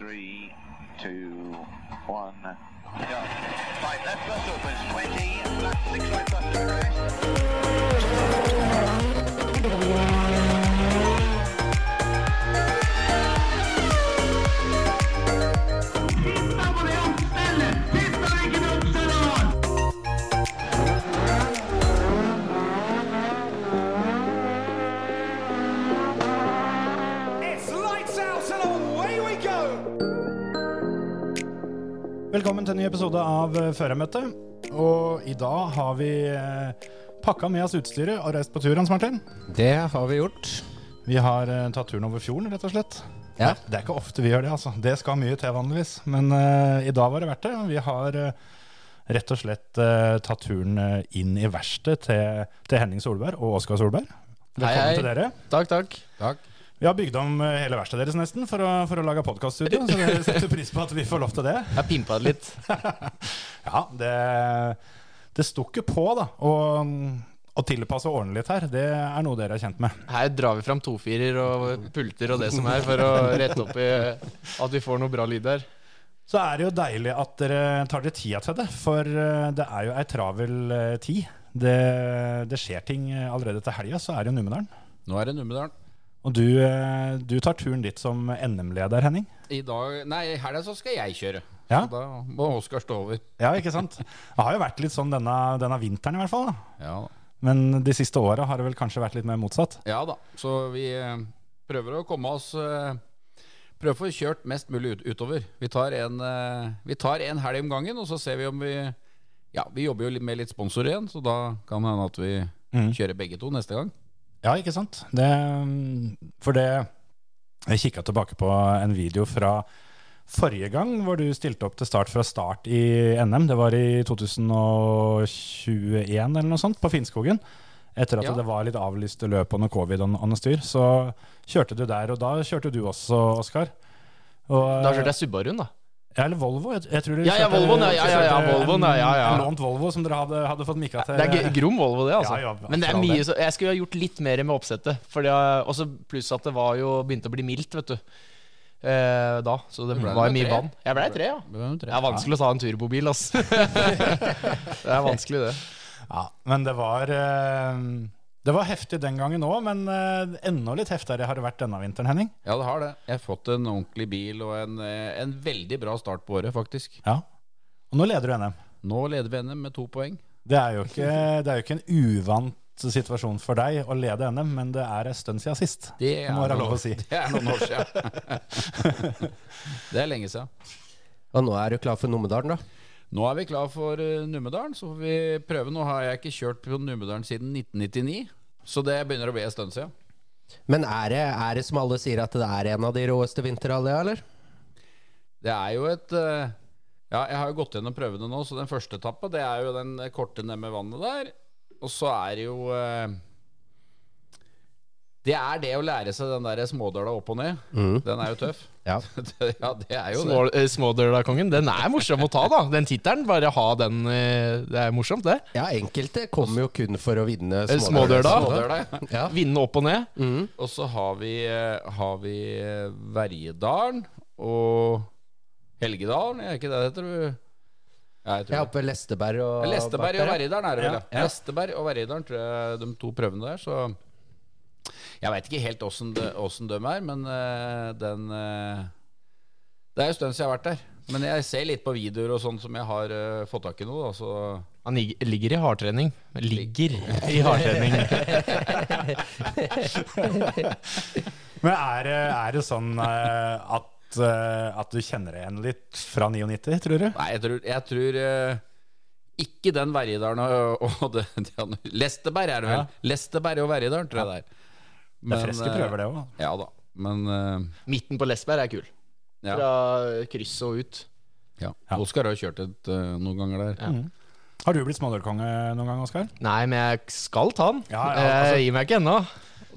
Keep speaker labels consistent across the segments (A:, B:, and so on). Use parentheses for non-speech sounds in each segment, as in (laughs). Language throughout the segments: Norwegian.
A: three, two, one, go. Right, left bus opens 20, left six right bus to crest.
B: Velkommen til en ny episode av eh, Førermøtet. Og i dag har vi eh, pakka med oss utstyret og reist på tur, Hans Martin.
C: Det har vi gjort.
B: Vi har eh, tatt turen over fjorden, rett og slett.
C: Ja.
B: Det, det er ikke ofte vi gjør det, altså. Det skal mye til vanligvis. Men eh, i dag var det verdt det. Vi har eh, rett og slett eh, tatt turen eh, inn i verkstedet til, til Henning Solberg og Oskar Solberg. Velkommen
C: hei.
B: til dere.
C: Takk, takk.
B: Vi har bygd om eh, hele verkstedet deres nesten for å, for å lage podkaststudio, så dere setter pris på at vi får lov til det.
C: Jeg pimpa det litt.
B: Ja, det, det sto ikke på da å, å tilpasse årene litt her. Det er noe dere er kjent med.
C: Her drar vi fram tofirer og pulter og det som er, for å rette opp i eh, at vi får noe bra lyd her.
B: Så er det jo deilig at dere tar dere tida til det, for eh, det er jo ei travel eh, tid. Det, det skjer ting eh, allerede til helga, så er det jo Numedalen.
D: Nå er det Numedalen.
B: Og du, eh, du tar turen dit som NM-leder, Henning.
D: I dag, nei, i helga så skal jeg kjøre.
B: Ja.
D: Så da må Oskar stå over.
B: Ja, ikke sant? Det har jo vært litt sånn denne, denne vinteren, i hvert fall. Da.
D: Ja da.
B: Men de siste åra har det vel kanskje vært litt mer motsatt.
D: Ja da. Så vi eh, prøver å komme oss eh, Prøver å få kjørt mest mulig ut, utover. Vi tar en, eh, vi tar en helg om gangen, og så ser vi om vi Ja, vi jobber jo litt med litt sponsor igjen, så da kan det hende at vi
B: Mm.
D: kjører begge to neste gang.
B: Ja, ikke sant? Det, mm, for det Jeg kikka tilbake på en video fra forrige gang hvor du stilte opp til start fra start i NM. Det var i 2021 eller noe sånt, på Finnskogen. Etter at
D: Ja.
B: det var litt avlyste løp og noe covid og noe styr, så kjørte du der. Og da kjørte du også, Oskar. Og-
C: Da kjørte jeg Subaruen, da.
B: Ja, eller Volvo. Jeg, jeg tror du
C: Ja, ja, Volvoen, ja, ja, ja, ja,
B: kjørte en-
C: Volvoen, ja, ja, ja.
B: en Lånt Volvo som dere hadde, hadde fått mikka til.
C: Det er g- grom Volvo, det, altså.
B: Ja, ja,
C: Men det er
B: for all
C: mye
B: del.
C: så Jeg skulle ha gjort litt mer med oppsettet. For det er- også pluss at det var jo begynte å bli mildt, vet du. Eh, da. Så det
D: Du ble
C: var
D: med
C: mye
D: tre.
C: vann. Jeg blei tre, ja.
D: Det var jo
C: Det
D: tre.
C: er vanskelig å ta en
D: (laughs)
C: turbobil, ass. det er vanskelig, det.
B: Ja, men det var eh, Det var heftig den gangen òg, men eh, enda litt heftigere har det vært denne vinteren, Henning.
D: Ja, det har det. Jeg har fått en ordentlig bil og en, eh, en veldig bra start på året, faktisk.
B: Ja. Og nå leder du NM.
D: Nå leder vi NM med to poeng.
B: Det er jo ikke, det er jo ikke en uvant situasjon for deg å lede NM, men det er en stund siden sist.
D: Det
B: Det må være lov å si.
D: (laughs) Det er noen år siden. (laughs) det er lenge siden.
E: Og nå er du klar for Numedalen, da.
D: Nå er vi klar for eh, Numedalen, så får vi prøve. Nå har jeg ikke kjørt på Numedalen siden 1999, så det begynner å bli en stund siden.
E: Men er det, er det som alle sier, at det er en av de råeste vinterallea, eller?
D: Det er jo et eh, Ja, jeg har jo gått gjennom prøvene nå, så den første etappa, det er jo den korte ned med vannet der. Og så er det jo eh, Det er det å lære seg den der smådøla opp og ned. Den er jo tøff.
E: Ja.
D: ja, (laughs) det er jo det.
C: Små- eh, Smådøla-kongen. Den er morsom å ta, da. Den tittelen. Bare ha den. eh, Det er morsomt, det.
E: ja, enkelte kommer jo kun for å vinne
C: Eh, Smådøla.
D: Smådøla,
E: (laughs)
D: ja.
E: Ja.
C: Vinne opp og ned.
D: Og så har vi, eh, har vi eh, Verjedalen og Helgedalen, er ikke det det heter? du? Ja,
E: Jeg
D: jeg
E: er
D: tror det.
E: oppe ved Lesteberg og
D: Lesteberg og Verjedalen er det vel, ja.
B: Ja.
D: Lesteberg og Verjedalen, tror jeg, de to prøvene der, så Jeg veit ikke helt åssen de, åssen de er, men eh, den eh, Det er jo en stund siden jeg har vært der. Men jeg ser litt på videoer og sånn som jeg har eh, fått tak i nå, da, så
C: Han lig- ligger i hardtrening. Ligger i hardtrening.
D: (laughs)
B: Men er, det- er det sånn eh, at, eh, at du kjenner deg igjen litt fra 99, tror du?
D: Nei, jeg tror, jeg tror eh, ikke den Verjedalen og, og det, det andre- Lesteberg er det vel.
B: Ja.
D: Lesteberg og Verjedalen, tror jeg det er.
B: Det er
D: eh,
B: freske prøver, det òg.
D: Ja da. Men eh,
C: Midten på Lesberg er kul.
D: ja.
C: Fra krysset og ut.
D: ja. Oskar har jo kjørt et eh, noen ganger der.
B: Har du blitt smådølkonge noen gang, Oskar?
C: Nei, men jeg skal ta den.
B: Ja, ja, altså-
C: Jeg gir meg ikke ennå.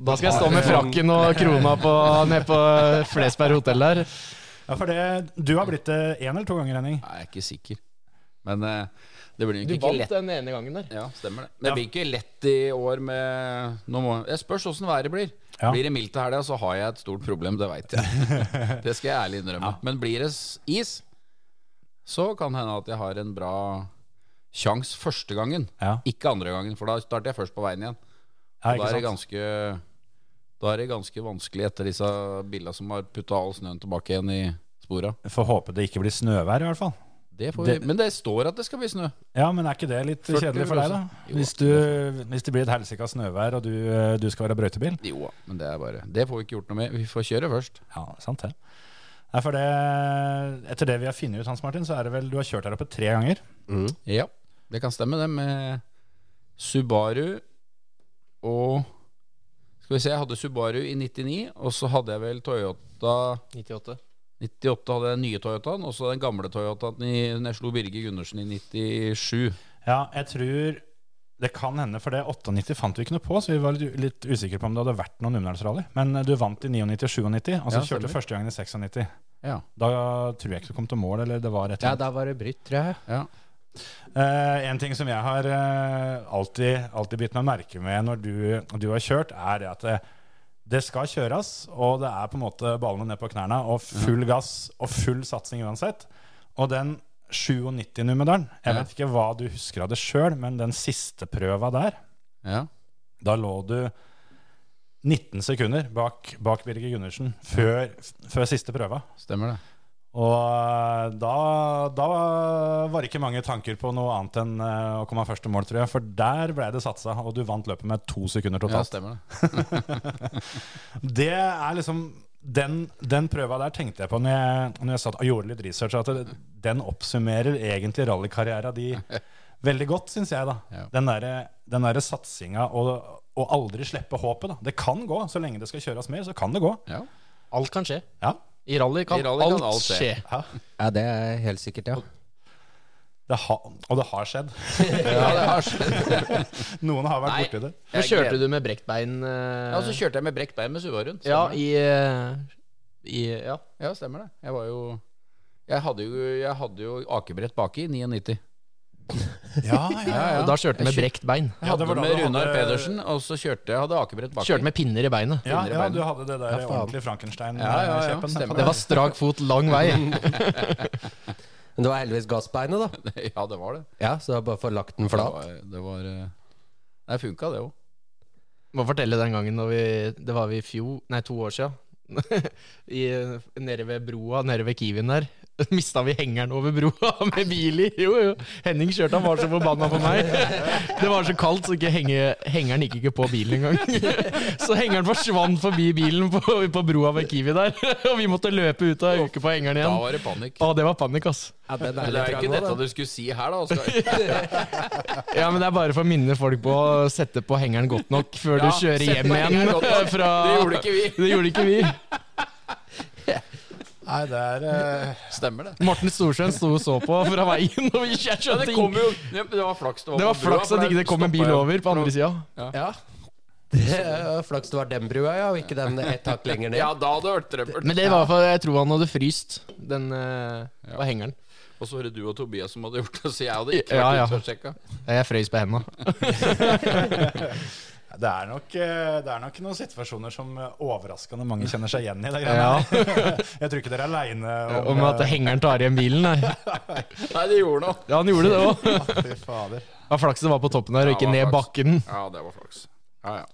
C: Da skal jeg stå med frakken
B: (laughs)
C: og krona på, ned på Flesberg hotell der.
B: Ja, for det, du har blitt det én eh, eller to ganger, Henning.
D: Nei, jeg er ikke sikker. Men eh, det blir
C: Du
D: nok ikke
C: vant
D: lett.
C: den ene gangen der.
D: Ja, stemmer det. Men det blir ikke lett i år med nå må, Jeg spørs åssen været blir.
B: Ja.
D: Blir det mildt til helga, så har jeg et stort problem. Det veit jeg. (laughs) det skal jeg ærlig innrømme. Men blir det s- is, så kan det hende at jeg har en bra sjanse første gangen.
B: Ja.
D: Ikke andre gangen, for da starter jeg først på veien igjen.
B: Ja, ikke
D: da, er det
B: sant?
D: ganske, da er det ganske vanskelig etter disse billa som har putta all snøen tilbake igjen i spora.
B: Får håpe det ikke blir snøvær, i hvert fall.
D: Det får
B: Det-
D: vi, men det står at det skal bli snø.
B: Ja, men er ikke det litt
D: 40
B: kjedelig for deg, da?
D: vil også. Jo,
B: Hvis, du, hvis det blir et helsika snøvær, og du, eh, du skal være brøytebil?
D: Jo, men det er bare Det får vi ikke gjort noe med. Vi får kjøre først.
B: Ja, sant det. Nei, for det, etter det vi har funnet ut, Hans Martin, så er det vel du har kjørt her oppe tre ganger.
D: Ja, det kan stemme, det. Med Subaru og Skal vi se, jeg hadde Subaru i 99, og så hadde jeg vel Toyota
C: 98.
D: 98 hadde jeg den nye Toyotaen, og så den gamle Toyotaen i, når jeg slo Birger Gundersen i 97.
B: Ja, jeg tror det kan hende, for det 98 fant vi ikke noe på, så vi var litt, litt usikre på om det hadde vært noen Numedalsrally. Men eh, du vant i 99-97, og så kjørte
D: Ja, stemmer.
B: du første gangen i 96.
D: Ja.
B: Da tror jeg ikke du kom til mål, eller det var et eller
E: Ja,
B: annet.
E: da var det brytt, tror jeg.
D: ja.
B: Eh, en ting som jeg har eh, alltid, alltid bitt meg merke med når du, du har kjørt, er det at det, det skal kjøres, og det er på en måte ballene ned på knærne, og full gass og full satsing uansett. Og den 97-numedalen, jeg
D: Ja.
B: vet ikke hva du husker av det sjøl, men den siste prøva der,
D: ja.
B: da lå du 19 sekunder bak, bak Birger Gundersen før, før siste prøva.
D: Stemmer det.
B: Og eh, da, da var det ikke mange tanker på noe annet enn eh, å komme først til mål, tror jeg. For der ble det satsa, og du vant løpet med to sekunder
D: Ja,
B: totalt.
D: stemmer det.
B: det er liksom den, den prøva der tenkte jeg på når jeg, når jeg satt og gjorde litt research, at det, den oppsummerer egentlig rallykarriera di veldig godt, syns jeg. da
D: Ja.
B: Den derre den derre satsinga og, og aldri slippe håpet. da Det kan gå, så lenge det skal kjøres mer, så kan det gå.
D: Ja.
C: Alt kan skje.
B: Ja
C: I rally kan,
D: I rally kan
C: alt,
D: alt
C: skje.
D: skje.
B: ja.
E: Ja, det er helt sikkert, ja.
B: Det ha, og det har skjedd.
D: (laughs) ja, det har skjedd.
B: (laughs) Noen har vært
D: Nei.
B: borti det.
C: Nå kjørte du med brekt bein eh,
D: Ja, og så kjørte jeg med brekt bein med Subaruen.
C: ja,
D: Stemmer det.
C: i, eh, i Ja.
D: Ja, stemmer det. Jeg var jo Jeg hadde jo, jeg hadde jo akebrett baki i 99.
B: Ja, ja, ja.
D: Ja.
C: Og da kjørte du med
D: Jeg kjør-
C: brekt bein.
D: Jeg
B: Ja, det
D: hadde
B: var da
D: med
B: du
D: Runar
B: hadde-
D: Pedersen, og så kjørte jeg hadde akebrett baki.
C: Kjørte med pinner i beinet.
B: Ja,
D: Finner
B: ja,
D: i beina.
B: du hadde det der
E: Ja, faen.
B: ordentlig
D: Ja, ja, ja,
B: Frankenstein-kjeppen.
D: stemmer.
C: Det var strak fot lang vei.
D: (laughs)
E: Men det var heldigvis gassbeinet, da.
D: Ja, det (laughs) var det.
E: Ja, Så det er bare for lagt den
D: Det
E: flat.
D: var, det var eh, Nei, funka det òg.
C: Må fortelle den gangen når vi, Det var vi i fjor Nei, to år siden (laughs) I, Nede ved broa Nede ved Kiwien der (laughs) Mista vi hengeren over broa (laughs) Med bil i Jo jo Henning kjørte Han var så forbanna på meg Det var så kaldt Så ikke henge, hengeren gikk ikke på bilen engang (laughs) Så hengeren forsvant forbi bilen På, på broa ved Kiwi der (laughs) Og vi måtte løpe ut og uke på hengeren
D: Da
C: igjen
D: var det panikk.
C: Å, det var panikk ass
E: Ja, den er
D: Men det er
E: litt
D: jo ikke
E: trang
D: dette
E: også, da.
D: du skulle si her, da, altså. Oskar.
C: Ja, men det er bare for å minne folk på Å sette på hengeren godt nok Før
D: Ja,
C: du kjører
D: sett
C: hjem
D: på hengeren
C: igjen
D: godt nok.
C: (laughs) fra,
D: Det gjorde ikke vi.
C: Det gjorde ikke vi
B: Nei, det er eh,
D: (laughs) Stemmer det.
C: Morten Storsjøen sto og så på fra veien. Og vi jeg
D: Men
C: skjønte
D: det
C: ingen-
D: kom jo ja, men Det var flaks det var
C: Det var
D: på brua,
C: flaks
D: for
C: at
D: der
C: ikke det kom en bil
D: stoppet jeg.
C: over på andre sida.
E: Ja. Det er Flaks det var den brua, ja, og ikke den ett hakk lenger ned.
D: Ja, da hadde det vært trøbbel.
C: Men det var for jeg tror han hadde fryst. Den eh, var hengeren.
D: Og så var det du og Tobias som hadde gjort det, så jeg hadde ikke
C: Ja,
D: vært
C: ja.
D: ute og sjekka.
C: Jeg frøys på henda.
B: det er, nok, eh, det er nok noen situasjoner som eh, overraskende mange kjenner seg igjen i. Det greiene.
C: Ja.
B: (laughs) Jeg tror ikke dere er aleine
C: Om at hengeren tar igjen bilen, nei.
D: Nei, det gjorde noe.
C: Ja, han gjorde det òg. Det
B: Fy fader.
C: var flaks det var på toppen der, og ikke
D: Ja, det
C: ned
D: var flaks.
C: bakken.
D: Ja, det var flaks. Ja, ja.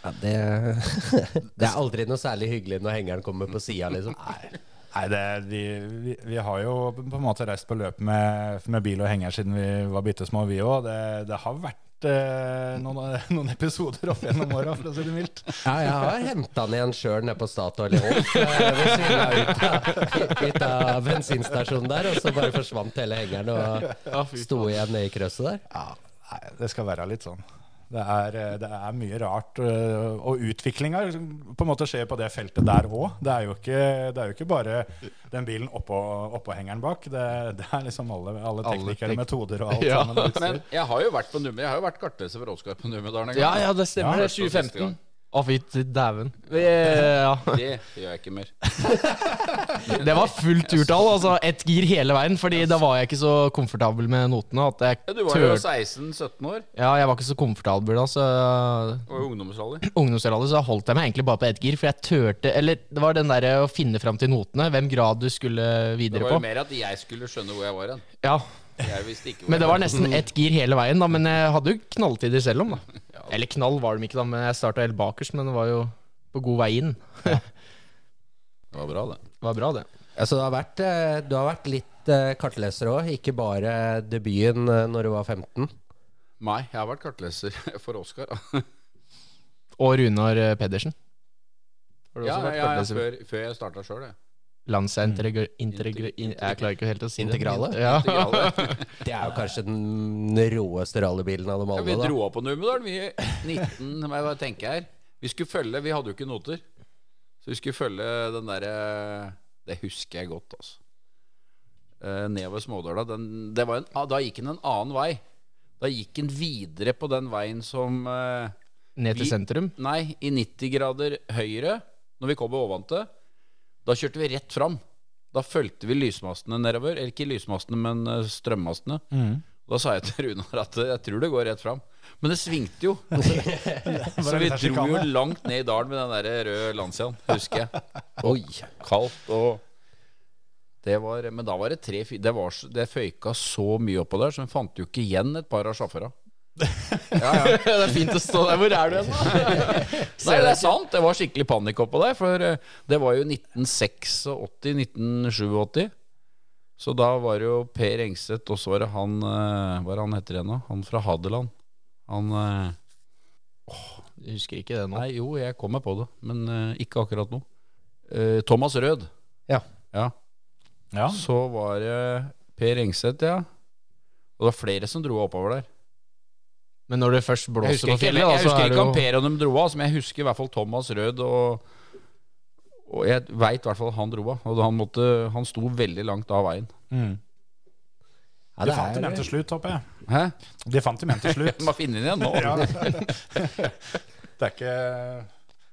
E: Ja, det, det (laughs) er aldri noe særlig hyggelig når hengeren kommer på sida, liksom.
B: Nei, det, er- vi, vi, vi har jo på en måte reist på løp med, med bil og henger siden vi var bitte små, vi òg. Det, det har vært eh, noen, (laughs) noen episoder opp gjennom åra, for å si det mildt.
E: Ja, jeg har henta den igjen sjøl nede på Statoil i Holt. eh, ved siden av- Ut, av- ut av bensinstasjonen der, og så bare forsvant hele hengeren og
D: (laughs)
E: sto igjen nede i krøsset der.
B: Ja, nei, det skal være litt sånn. Det er, eh, det er mye rart. øh, Og utviklinga på en måte skjer på det feltet der òg. Det, er jo ikke- det er jo ikke bare den bilen oppå, oppå hengeren bak. Det, det er liksom alle, alle teknikere, metoder og alt
C: Ja.
B: sammen.
D: Men jeg har jo vært på nummer Jeg har jo vært kartleser for Oskar på Numedalen en gang.
C: Ja, ja, det stemmer.
D: Ja,
C: det
D: første og siste
C: 2015.
D: gang.
C: Å, fy til dæven. eh, Ja.
D: Det gjør jeg ikke mer.
C: Det var fullt turtall. Altså ett gir hele veien, Fordi da var jeg ikke så komfortabel med notene. At
D: Ja,
C: jeg
D: Du var jo
C: tør...
D: 16-17 år
C: Ja, jeg var ikke så komfortabel da, så
D: og i ungdomsalder.
C: ungdomsrally så holdt jeg meg egentlig bare på ett gir. For jeg turte Eller det var den derre å finne fram til notene, hvem grad du skulle
D: Det
C: videre
D: var jo
C: på.
D: mer at jeg skulle skjønne hvor jeg var hen.
C: Ja,
D: Jeg visste ikke hvor
C: Men det
D: jeg
C: var nesten ett gir hele veien, da. Men jeg hadde jo knalltider selv
D: (laughs)
C: om, da. Eller knall var de ikke, da, men jeg starta helt bakerst. Men det var jo på god vei inn.
D: Det var bra, det.
C: Det var bra, det.
E: Altså, du, har vært, eh, du har vært litt eh, kartleser òg, ikke bare debuten eh, når du var 15.
D: Nei, jeg har vært kartleser (laughs) for Oskar.
C: Og Runar eh, Pedersen. Har du
D: Ja,
C: også
D: ja,
C: vært
D: ja,
C: kartleser?
D: før, før jeg starta sjøl, jeg.
C: Lansa integra... integra in, jeg klarer ikke helt å si
E: Integrale?
C: det. Ja. (laughs)
D: Integrale.
E: Det er jo kanskje den råeste rallybilen av dem
D: Ja, vi
E: alle. da.
D: dro opp på Numedalen, vi. 19, må jeg bare tenke her. Vi skulle følge Vi hadde jo ikke noter. Så vi skulle følge den derre Det husker jeg godt, altså. Eh, nedover Smådøla. Den, det var en, ah, da gikk den en annen vei. Da gikk den videre på den veien som eh,
C: Ned til
D: Vi-
C: sentrum.
D: Nei, i 90 grader høyre Når vi kom over ovante Da kjørte vi rett fram Da følte vi lysmastene nedover Eller ikke lysmastene, men eh, strømmastene Da sa jeg til Runar at eh, jeg tror det går rett fram Men det svingte jo (laughs) Så vi
B: litt
D: dro jo
B: hersikane.
D: langt ned i dalen Med den der røde landsjern, husker jeg
E: Oi.
D: Kaldt og det var, men da var det tre fi- det, var, så- det føyka så mye oppå der Så vi fant jo ikke igjen et par av sjåførene. ja, ja.
C: det er fint å stå der. Hvor er du hen, da?
D: Nei, det er sant. Det var skikkelig panikk oppå der. For eh, det var jo 1986-1987. Så da var det jo Per Engseth, og så var det han eh, Hva er det han heter igjen, da? Han fra Hadeland. Han eh,
C: Jeg husker ikke det nå.
D: Nei, jo, jeg kom meg på det, men eh, ikke akkurat nå. Eh, Thomas Rød.
E: Ja.
D: ja.
B: Ja.
D: Så var det Per Engseth, ja. Og det var flere som dro oppover der.
C: Men når det først
D: Jeg
C: blåser
D: husker
C: på
D: ikke,
C: fjellet, da,
D: jeg
C: så
D: husker
C: er det
D: ikke om
C: jo
D: Per og dem dro av, men jeg husker i hvert fall Thomas Rød og og jeg veit i hvert fall at han dro av. Og han, måtte, han sto veldig langt av veien.
B: Mm.
E: Ja,
B: De fant dem igjen
E: det
B: til
E: er,
B: slutt, håper jeg.
D: Hæ?
B: De fant dem igjen til slutt.
D: Jeg
C: (laughs)
D: må finne den igjen nå.
B: (laughs) Ja. (laughs) Det er ikke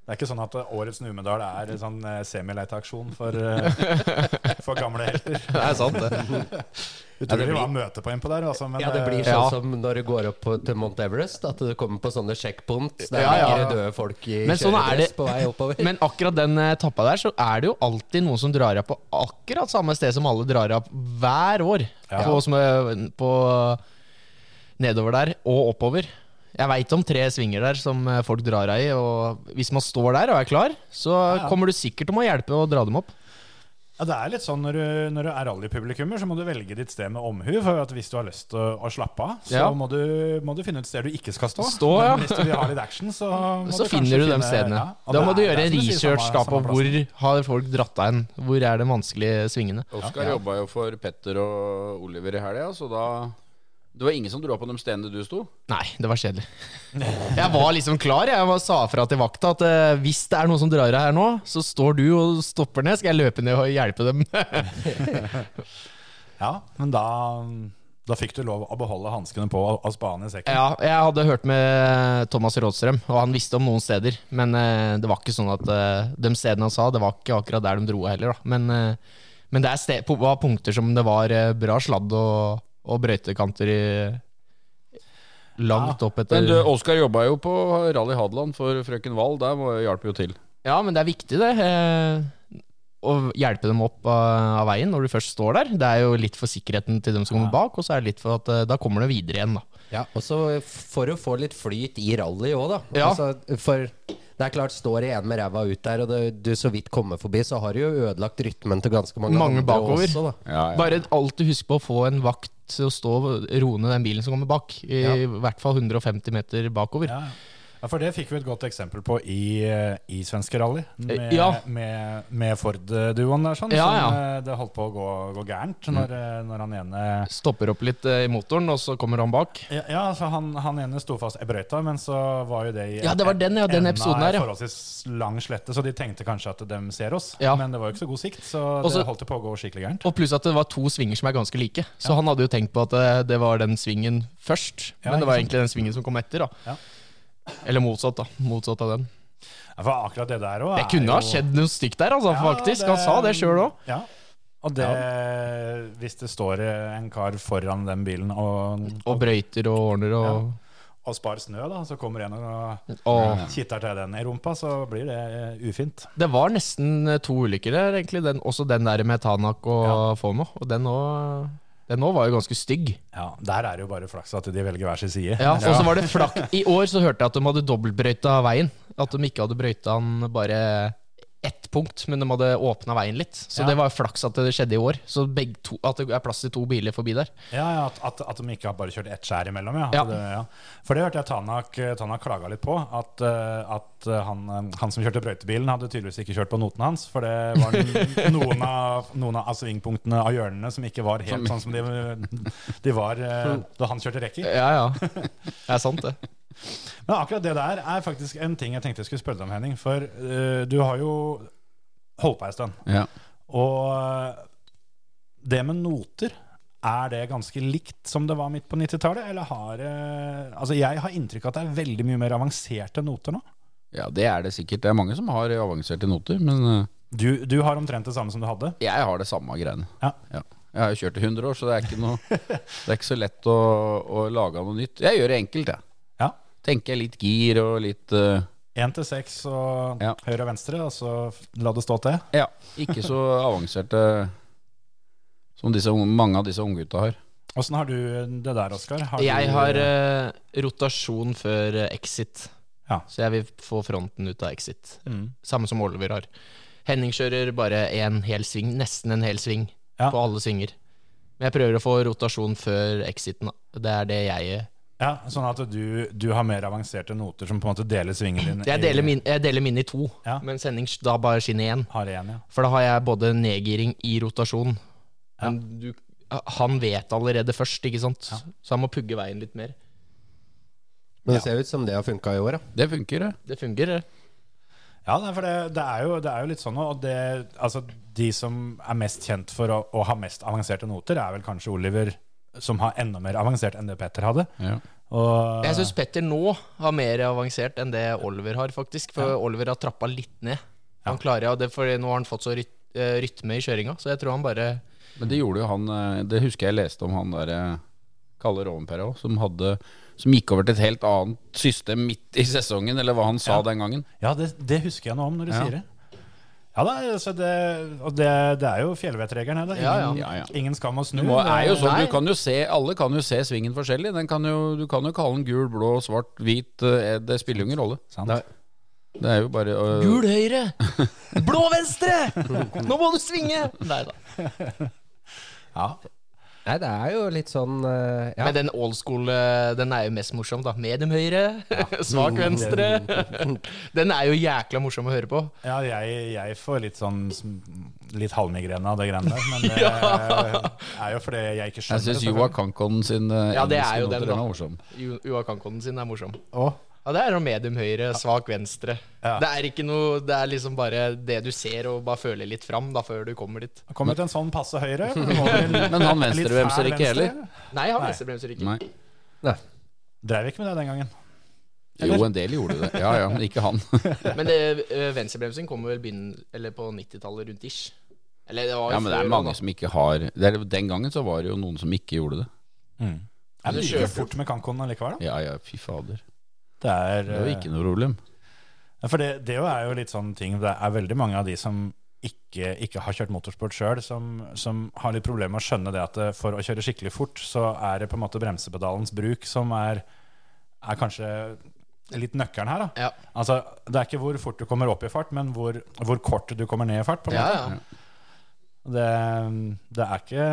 B: det er ikke sånn at årets Numedal er en sånn eh, semileiteaksjon for, eh, for gamle helter.
C: (laughs) Det er sant, det.
B: Utrolig hva møtepoeng på der, altså. Men
E: ja, det
B: eh,
E: blir sånn
C: Ja.
E: som når du går opp på- til Mount Everest, at du kommer på sånne checkpoints der
C: Ja, ja.
E: ligger det døde folk i
C: Men sånn er
E: kjøredress
C: det.
E: på vei
C: (laughs)
E: oppover.
C: Men akkurat den eh, etappa der, så er det jo alltid noen som drar av på akkurat samme sted som alle drar av hver år.
B: Ja.
C: På, som, eh, på nedover der og oppover. Jeg veit om tre svinger der som eh, folk drar av i. Og hvis man står der og er klar, så
B: ja.
C: kommer du sikkert til å hjelpe å dra dem opp.
B: Ja, det er litt sånn når du, når du er rallypublikummer, så må du velge ditt sted med omhu. For at hvis du har lyst til å, å slappe av, så
C: Ja.
B: må, du, må du finne ut steder du ikke skal stå.
C: Stå, ja.
B: Men hvis du vil ha litt action,
C: (laughs)
B: så må
C: Så
B: du
C: finner
B: kanskje
C: du de
B: finne-
C: stedene.
B: ja, og
C: da
B: det
C: må
B: er-
C: du
B: det er
C: gjøre en
B: som sier,
C: research
B: samme-
C: da på
B: samme plassen.
C: hvor har folk dratt av hen. Hvor er de vanskelige svingene.
D: Oskar jobba jo for Petter og Oliver i helga, så da Det var ingen som dro av på de stedene du sto?
C: Nei, det var kjedelig. Jeg var liksom klar. Jeg var, sa fra til vakta at eh, hvis det er noen som drar av her nå, så står du og stopper ned. Skal jeg løpe ned og hjelpe dem? (laughs)
B: Ja, men da, da fikk du lov å beholde hanskene på og, og spane i sekken.
C: ja, jeg hadde hørt med Thomas Rådstrøm, og han visste om noen steder. Men eh, det var ikke sånn at eh, de stedene han sa, det var ikke akkurat der de dro av heller. Da. Men, eh, men det er ste- pu- var punkter som det var eh, bra sladd og, og brøytekanter i langt opp etter
D: Men du, Oskar jobba jo på Rally Hadeland for frøken Wahl. Der var- hjalp jo til.
C: Ja, men det er viktig det. eh, Å hjelpe dem opp av, av veien når du først står der. Det er jo litt for sikkerheten til dem som kommer bak, og så er det litt for at eh, da kommer de videre igjen, da.
E: Ja, og så for å få litt flyt i rally òg, da.
C: Ja.
E: Altså, for det er klart, står det en med ræva ut der, og det, du så vidt kommer forbi, så har du jo ødelagt rytmen til ganske mange,
C: Mange
E: andre
C: bakover.
E: også, da.
C: Bare alltid husk på å få en vakt til å stå og roe ned den bilen som kommer bak. I hvert fall 150 meter bakover.
B: (laughs) Ja. ja, for det fikk vi et godt eksempel på i, eh, i svenske rally. Med,
C: Ja.
B: med, med Ford-duoen der, sånn.
C: Ja, Mm.
B: som,
C: ja.
B: eh, det holdt på å gå, gå gærent når, eh, når han ene
C: Stopper opp litt eh, i motoren, og så kommer han bak.
B: Ja, ja altså han, han ene sto fast i brøyta, men så var jo det i e-
C: Ja, det var den, ja, den
B: enden
C: episoden
B: av
C: her, ja.
B: forholdsvis lang slette, så de tenkte kanskje at de ser oss.
C: Ja.
B: Men det var jo ikke så god sikt, så
C: Også-
B: det holdt på å gå skikkelig gærent.
C: Og pluss at det var to svinger som er ganske like. Så han hadde jo tenkt på at eh, det var den svingen først,
B: Ja,
C: men det
B: ikke sant.
C: var egentlig den svingen som kom etter. da
B: Ja.
C: Eller motsatt, da. Motsatt av den.
B: Ja, for akkurat det der også
C: Det
B: er
C: kunne ha
B: jo-
C: skjedd noe stygt der, altså,
B: Ja,
C: faktisk. Han sa det sjøl òg.
B: Ja. Og det Hvis det står eh, en kar foran den bilen og,
C: Og brøyter og ordner og
B: og spar snø, da, så kommer en og
C: Åh.
B: kitter til den i rumpa, så blir det eh, ufint.
C: Det var nesten eh, to ulykker der, egentlig. Den, også den der med Tanak og Fomo. Og den òg den nå var jo ganske stygg.
B: Ja, Der er det jo bare flaks at de velger hver sin side.
C: Ja, og så var det flak I år så hørte jeg at de hadde dobbeltbrøyta veien. At de ikke hadde brøyta den bare ett punkt, men de hadde åpna veien litt. Så
B: Ja.
C: det var flaks at det skjedde i år. Så begge to, at det er plass til to biler forbi der.
B: Ja, ja at, at, at de ikke har bare kjørt ett skjær imellom, ja.
C: Ja.
B: At Det, ja. For det hørte jeg Tanak, Tanak klaga litt på. At, eh, at han, eh, han som kjørte brøytebilen, hadde tydeligvis ikke kjørt på noten hans. For det
C: (laughs)
B: var n- noen av, noen av svingpunktene av hjørnene som ikke var helt sånn som de, de var eh, da han kjørte rekker.
C: Ja, ja. Det er sant, det.
B: Men akkurat det der er faktisk en ting jeg tenkte jeg skulle spørre deg om, Henning. For eh, du har jo holdt på ei stund.
D: Ja.
B: Og eh, det med noter, er det ganske likt som det var midt på 90-tallet? Eller har eh, Altså, jeg har inntrykk av at det er veldig mye mer avanserte noter nå.
D: ja, det er det sikkert. Det er mange som har avanserte noter, men eh,
B: Du, du har omtrent det samme som du hadde.
D: Jeg har det samme greiene.
B: Ja.
D: Jeg har jo kjørt i 100 år, så det er ikke, noe, (laughs) det er ikke så lett å, å lage noe nytt. Jeg gjør det enkelt, jeg.
B: Ja.
D: Tenker litt gir og litt eh,
B: Én til seks og
D: Ja.
B: høyre og venstre, og så la det stå til.
D: Ja, ikke så avanserte som disse, unge- mange av disse unggutta har.
B: Åssen har du det der, Oskar?
C: Jeg
B: du-
C: har eh, rotasjon før eh, exit.
B: Ja.
C: Så jeg vil få fronten ut av exit.
B: Mm.
C: Samme som Oliver har. Henning kjører bare en hel sving, nesten en hel sving,
B: Ja.
C: på alle svinger. Men jeg prøver å få rotasjon før exiten. da. Det er det jeg
B: Ja, Sånn at du, du har mer avanserte noter som på en måte deler svingen din?
C: Jeg deler min, jeg deler min i to,
B: Ja.
C: mens Henning da bare skinner én.
B: Har én, ja.
C: For da har jeg både nedgiring i rotasjon Men du, han vet allerede først, ikke sant? Så han må pugge veien litt mer.
E: Men det ser ut som det har funka i år, da.
D: Det funker, det.
C: Det fungerer.
B: Ja, nei, for det, det, er jo, det er jo litt sånn Og det, altså, de som er mest kjent for å, å ha mest avanserte noter, er vel kanskje Oliver, som har enda mer avansert enn det Petter hadde.
D: Ja.
B: Og,
C: Jeg syns Petter nå har mer avansert enn det Oliver har, faktisk. For Oliver har trappa litt ned. Han klarer ja, det, for nå har han fått så ryt, eh, rytme i kjøringa, så jeg tror han bare
D: Men det gjorde jo han eh, Det husker jeg leste om han der eh, Kalle Rovenpera òg, som, hadde- som gikk over til et helt annet system midt i sesongen, eller hva han sa
B: Ja.
D: den gangen.
B: ja, det, det husker jeg noe om når du
D: Ja.
B: sier det. Ja da, altså det, og det, det er jo fjellvettregelen her. da.
C: Ja, ja.
B: Ingen,
D: Ja, ja.
B: ingen skam å snu.
D: Du må, er jo
B: Det-
D: sånn,
C: Mm. Nei.
D: du kan jo se, alle kan jo se svingen forskjellig. Den kan jo, du kan jo kalle den gul, blå, svart, hvit. eh, Det spiller jo ingen rolle.
B: Sant.
E: Nei.
D: Det er jo bare øh,
C: Gul høyre! Blå venstre! Nå må du svinge! Nei da.
B: Ja.
E: Nei, det er jo litt sånn eh, ja.
C: Men den old school, eh, den er jo mest morsom, da. Medium høyre, (laughs) svak venstre. Den er jo jækla morsom å høre på.
B: Ja, jeg, jeg får litt sånn sm- Litt halvmigrene av det greiene der. Men
D: (laughs)
B: det er jo fordi jeg ikke
D: Jeg
B: skjønner
D: syns
B: det,
D: Joa Kankon sin eh,
C: Ja, det er
D: engelske
C: jo den,
D: noter,
C: da.
D: er morsom.
C: Jo- Joa Kankonen sin er morsom.
B: selvfølgelig. Å,
C: Ja, det er jo medium høyre, svak venstre.
B: Ja.
C: Det er ikke noe, det er liksom bare det du ser og bare føler litt fram da før du kommer dit.
B: Kommer til en sånn passe høyre.
D: (laughs)
B: Men
D: Men han venstrevemser ikke heller.
C: Nei, han venstrebremser ikke.
D: Nei.
E: Nei.
B: Drev ikke med det den gangen.
D: Jo, en del gjorde det. Ja ja, men ikke han.
C: Men det, ø, venstrebremsing kommer vel begynn, eller på 90-tallet rundt ish. Eller det var jo
D: Ja, Men det
C: før
D: er
C: da,
D: mange
C: da.
D: som ikke har det er, Den gangen så var det jo noen som ikke gjorde det.
B: Mm. Er det
C: Du
B: like
C: kjørte-
B: fort med Cancun allikevel, da?
D: Ja ja, fy fader.
B: Det er,
D: Det var
B: eh,
D: ikke noe problem.
B: for det, det jo er jo litt sånn ting Det er veldig mange av de som ikke, ikke har kjørt motorsport sjøl, som, som har litt problemer med å skjønne det at eh, for å kjøre skikkelig fort, så er det på en måte bremsepedalens bruk som er, er kanskje litt nøkkelen her, da.
C: Ja.
B: Altså, det er ikke hvor fort du kommer opp i fart, men hvor, hvor kort du kommer ned i fart. På en
C: Ja,
B: måte.
C: ja.
B: Det, det, er ikke,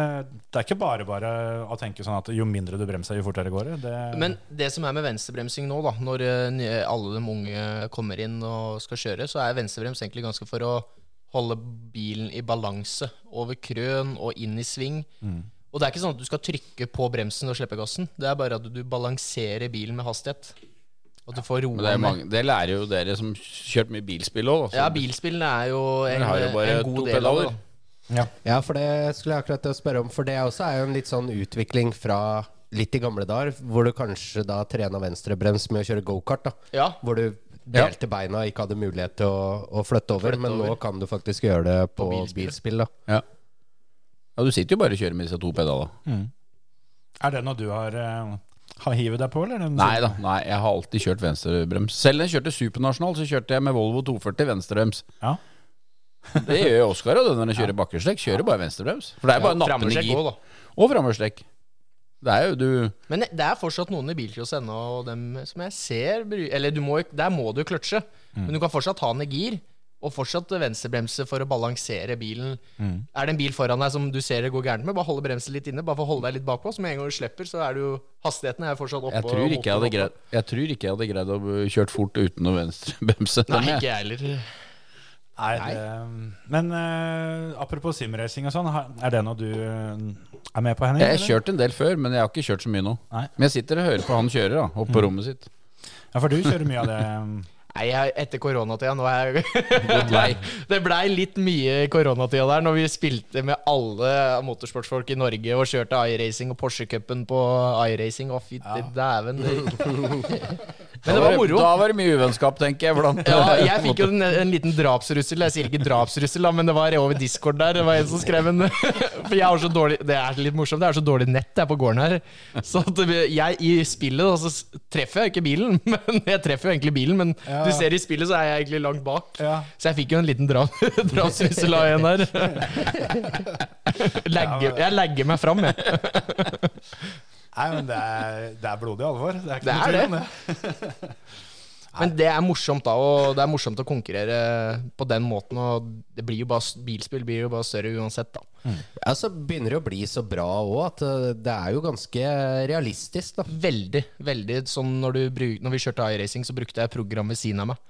B: det er ikke bare bare å tenke sånn at jo mindre du bremser, jo fortere går det. det.
C: Men det som er med venstrebremsing nå, da, når ø, nye- alle de unge kommer inn og skal kjøre, så er venstrebrems egentlig ganske for å holde bilen i balanse over krøn og inn i sving.
D: Mm.
C: Og det er ikke sånn at du skal trykke på bremsen og slippe gassen. Det er bare at du balanserer bilen med hastighet. At du får roa
D: Men det, er
C: ned.
D: mange, det lærer jo dere som kjørte mye bilspill òg.
C: Ja, bilspillene er jo en,
D: Dere har jo bare
C: en
D: to
C: god del av det.
D: pedaler.
C: da.
E: Ja, for det skulle jeg akkurat til å spørre om. For det også er jo en litt sånn utvikling fra litt i gamle dager, hvor du kanskje da trena venstrebrems med å kjøre gokart. da
C: Ja.
E: Hvor du delte beina og ikke hadde mulighet til å, å flytte over.
C: Flytte
E: men nå
C: over.
E: kan du faktisk gjøre det på,
C: bilspill.
E: bilspill. da.
D: Ja. ja, du sitter jo bare og kjører med disse to pedalene.
B: Er det noe du har, eh, har hivet deg på, eller? er det noe
D: Nei
B: som-
D: da, nei, jeg har alltid kjørt venstrebrems. Selv når jeg kjørte supernasjonal, så kjørte jeg med Volvo 240 venstrebrems.
B: Ja.
D: Det gjør jo Oskar òg, når han kjører bakkestrekk. Kjører bare venstrebrems. For det er bare nappende
C: Frammesjekk
D: gir.
C: også, da.
D: Og framoverstrekk. Det er jo du
C: Men det er fortsatt noen i bilcross ennå, og dem som jeg ser bry- Eller du må, jo- der må du jo kløtsje,
D: Mm.
C: men du kan fortsatt ha ned gir. Og fortsatt venstrebremse for å balansere bilen.
D: Mm.
C: Er det en bil foran deg som du ser det går gærent med, bare holde bremsen litt inne. Bare for å holde deg litt bakpå. Så med en gang du slipper, så er det jo Hastigheten er fortsatt oppe.
D: Jeg tror ikke jeg hadde greid, jeg tror ikke jeg hadde greid å kjørt fort uten å venstrebremse.
C: Nei, ikke jeg heller.
B: Nei, det, men eh, apropos simracing og sånn, har- er det noe du eh, er med på, Henning?
D: Jeg har
B: eller?
D: kjørt en del før, men jeg har ikke kjørt så mye nå.
B: Nei.
D: Men jeg sitter og hører på han kjører, da, oppe
C: Mm.
D: på rommet sitt.
B: Ja, for du kjører mye av det.
C: Nei, jeg, etter koronatida nå er jeg
D: Nei.
C: (laughs) Det blei litt mye i koronatida der, når vi spilte med alle motorsportsfolk i Norge og kjørte iRacing og Porsche-cupen på iRacing. Å, fytti dæven. det gikk. Men det var moro.
D: Da var det mye uvennskap, tenker jeg. (laughs) Blant,
C: Ja, jeg fikk jo en, en liten drapsrussel. Jeg sier ikke drapsrussel, da, men det var over Discord der. Det var en som skrev en (laughs) For jeg har så dårlig Det er litt morsomt, det er så dårlig nett det er på gården her. Så at det- jeg i spillet da, så s- treffer jeg ikke bilen. (laughs) Men jeg treffer jo egentlig bilen, men
B: Ja.
C: du ser i spillet så er jeg egentlig langt bak.
B: Ja.
C: Så jeg fikk jo en liten dra (laughs) drapsrussel av en her. Legger, jeg legger meg fram, jeg.
B: Nei, men det er, det er blodig alvor. Det er ikke
C: Det
B: noe
C: er
B: tvil
C: det. (laughs)
B: om det.
C: Men det er morsomt da, og det er morsomt å konkurrere på den måten. Og det blir jo bare, s- bilspill blir jo bare større uansett, da.
E: Ja, så begynner det å bli så bra òg at eh, det er jo ganske realistisk, da.
C: Veldig, veldig sånn når, du bruk, når vi kjørte iRacing, så brukte jeg program ved siden av meg.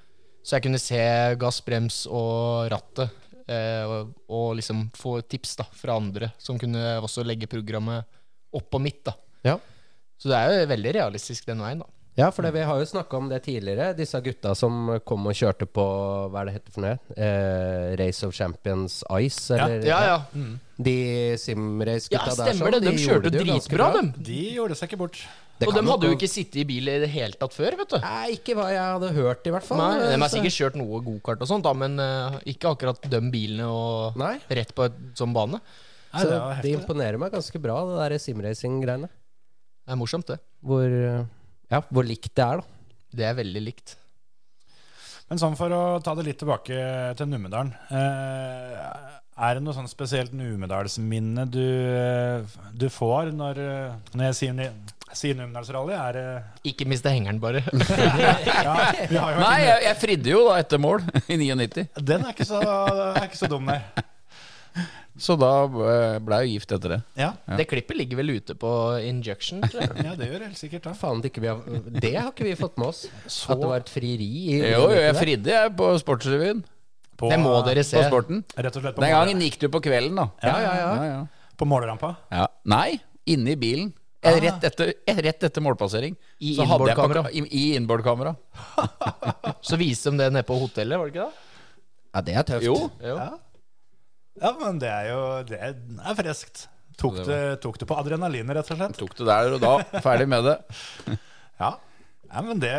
C: Så jeg kunne se gass, brems og rattet. Eh, og, og liksom få tips da fra andre som kunne også legge programmet oppå mitt. da
E: Ja.
C: Så det er jo veldig realistisk den veien, da.
E: Ja, for det, vi har jo snakka om det tidligere. Disse gutta som kom og kjørte på Hva er det heter for noe? Eh, Race of Champions Ice? Eller,
C: Ja, ja.
E: De Simrace-gutta
C: ja
E: der
C: stemmer det.
E: sånn,
C: De
E: gjorde
C: kjørte
E: det jo ganske
C: dritbra,
E: bra.
C: dem.
B: De gjorde seg ikke bort.
E: Det
C: Og
E: kan
C: dem hadde jo
E: nok-
C: ikke sittet i bil i det hele tatt før, vet du.
E: Nei, ikke hva jeg hadde hørt, i hvert fall.
C: Nei, De har
E: Så-
C: sikkert kjørt noe gokart og sånt, da, men eh, ikke akkurat de bilene og
E: Nei.
C: rett på et sånn bane.
B: Nei,
E: Så
B: det var
E: det
B: heftig.
E: imponerer meg ganske bra, det der simracing-greiene.
C: Det er morsomt, det.
E: Hvor, eh, ja, hvor likt det er, da.
C: Det er veldig likt.
B: Men sånn for å ta det litt tilbake til Numedalen. Eh, er det noe sånn spesielt Numedalsminne du, eh, du får når, eh, når jeg sier, ni- sier Numedalsrally? Er det
C: Ikke miste hengeren, bare.
D: (laughs)
B: Ja, vi har jo
D: Nei,
B: vært
D: jeg, jeg fridde jo da etter mål (laughs) i 99.
B: inne. Den er ikke så, er ikke så dum, nei.
D: Så da eh, ble jeg jo gift etter det.
B: Ja,
C: Det klippet ligger vel ute på Injection, tror jeg.
B: ja det gjør helt sikkert. da.
E: Faen, det, ikke vi har, det har ikke vi fått med oss. At det var et frieri. I,
D: Jo, jo, jeg fridde jeg på Sportsrevyen.
B: På,
C: Det må dere
D: På
C: se.
D: sporten.
B: Rett og slett på,
D: Den gangen
B: måler,
D: gikk du på kvelden, da.
B: Ja, ja,
D: ja, ja.
B: på målerampa.
D: Ja. Nei, inne i bilen. Eh,
B: Ah.
D: Rett etter, eh, rett etter målpassering.
C: I
D: Så hadde jeg på-
C: innbordkamera.
D: I, i innbordkamera.
C: Så viste de det nede på hotellet, var det ikke det?
E: Ja, det er tøft.
D: Jo.
C: Jo.
B: Ja, men det er jo Det er friskt. Tok
D: Det var-
B: det, tok det på adrenalinet, rett og slett.
D: Tok det der og da. Ferdig med det.
B: Ja. ja men det,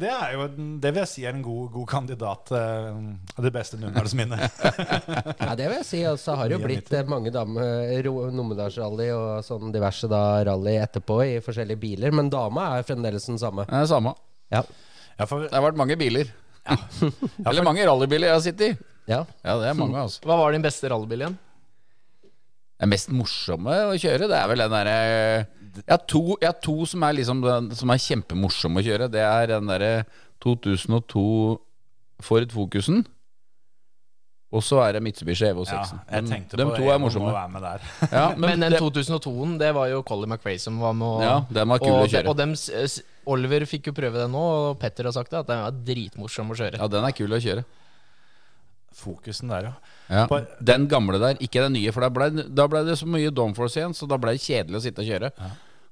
B: det er jo en- Det vil jeg si er en god, god kandidat eh, av de beste
D: (laughs)
B: nummerene
E: Ja, det vil jeg si. Og så har det jo blitt eh, mange damer Numedalsrally og sånn diverse da rally etterpå i forskjellige biler, men dama er fremdeles den samme.
D: Det er det samme.
E: Ja.
B: ja, for,
D: Det har vært mange biler. (laughs) Eller mange rallybiler jeg har sittet i.
E: ja.
D: Ja, det er mange, altså.
C: Hva var din beste rallybil igjen?
D: Det mest morsomme å kjøre, det er vel den derre jeg, har to- jeg har to som er, liksom, den- som er kjempemorsomme å kjøre. Det er den derre 2002 Ford Focusen. Og så er det Mitsubishi E Evo 6.
B: ja, jeg tenkte
D: de
B: på E
D: to
B: Evo
D: er
B: Må
D: morsomme.
B: være med der. (laughs)
D: Ja, men
C: Men den
D: det,
C: 2002-en, det var jo Colin McRae som var med. Og,
D: ja, den var kul
C: og,
D: å kjøre.
C: de- og dem, s- s- Oliver fikk jo prøve den nå, og Petter har sagt det, at den er dritmorsom å kjøre.
D: Ja, den er kul å kjøre.
B: Fokusen der, ja.
D: Ja.
B: På-
D: Den gamle der, ikke den nye. For da ble, da ble det så mye downforce igjen, så da ble det kjedelig å sitte og kjøre.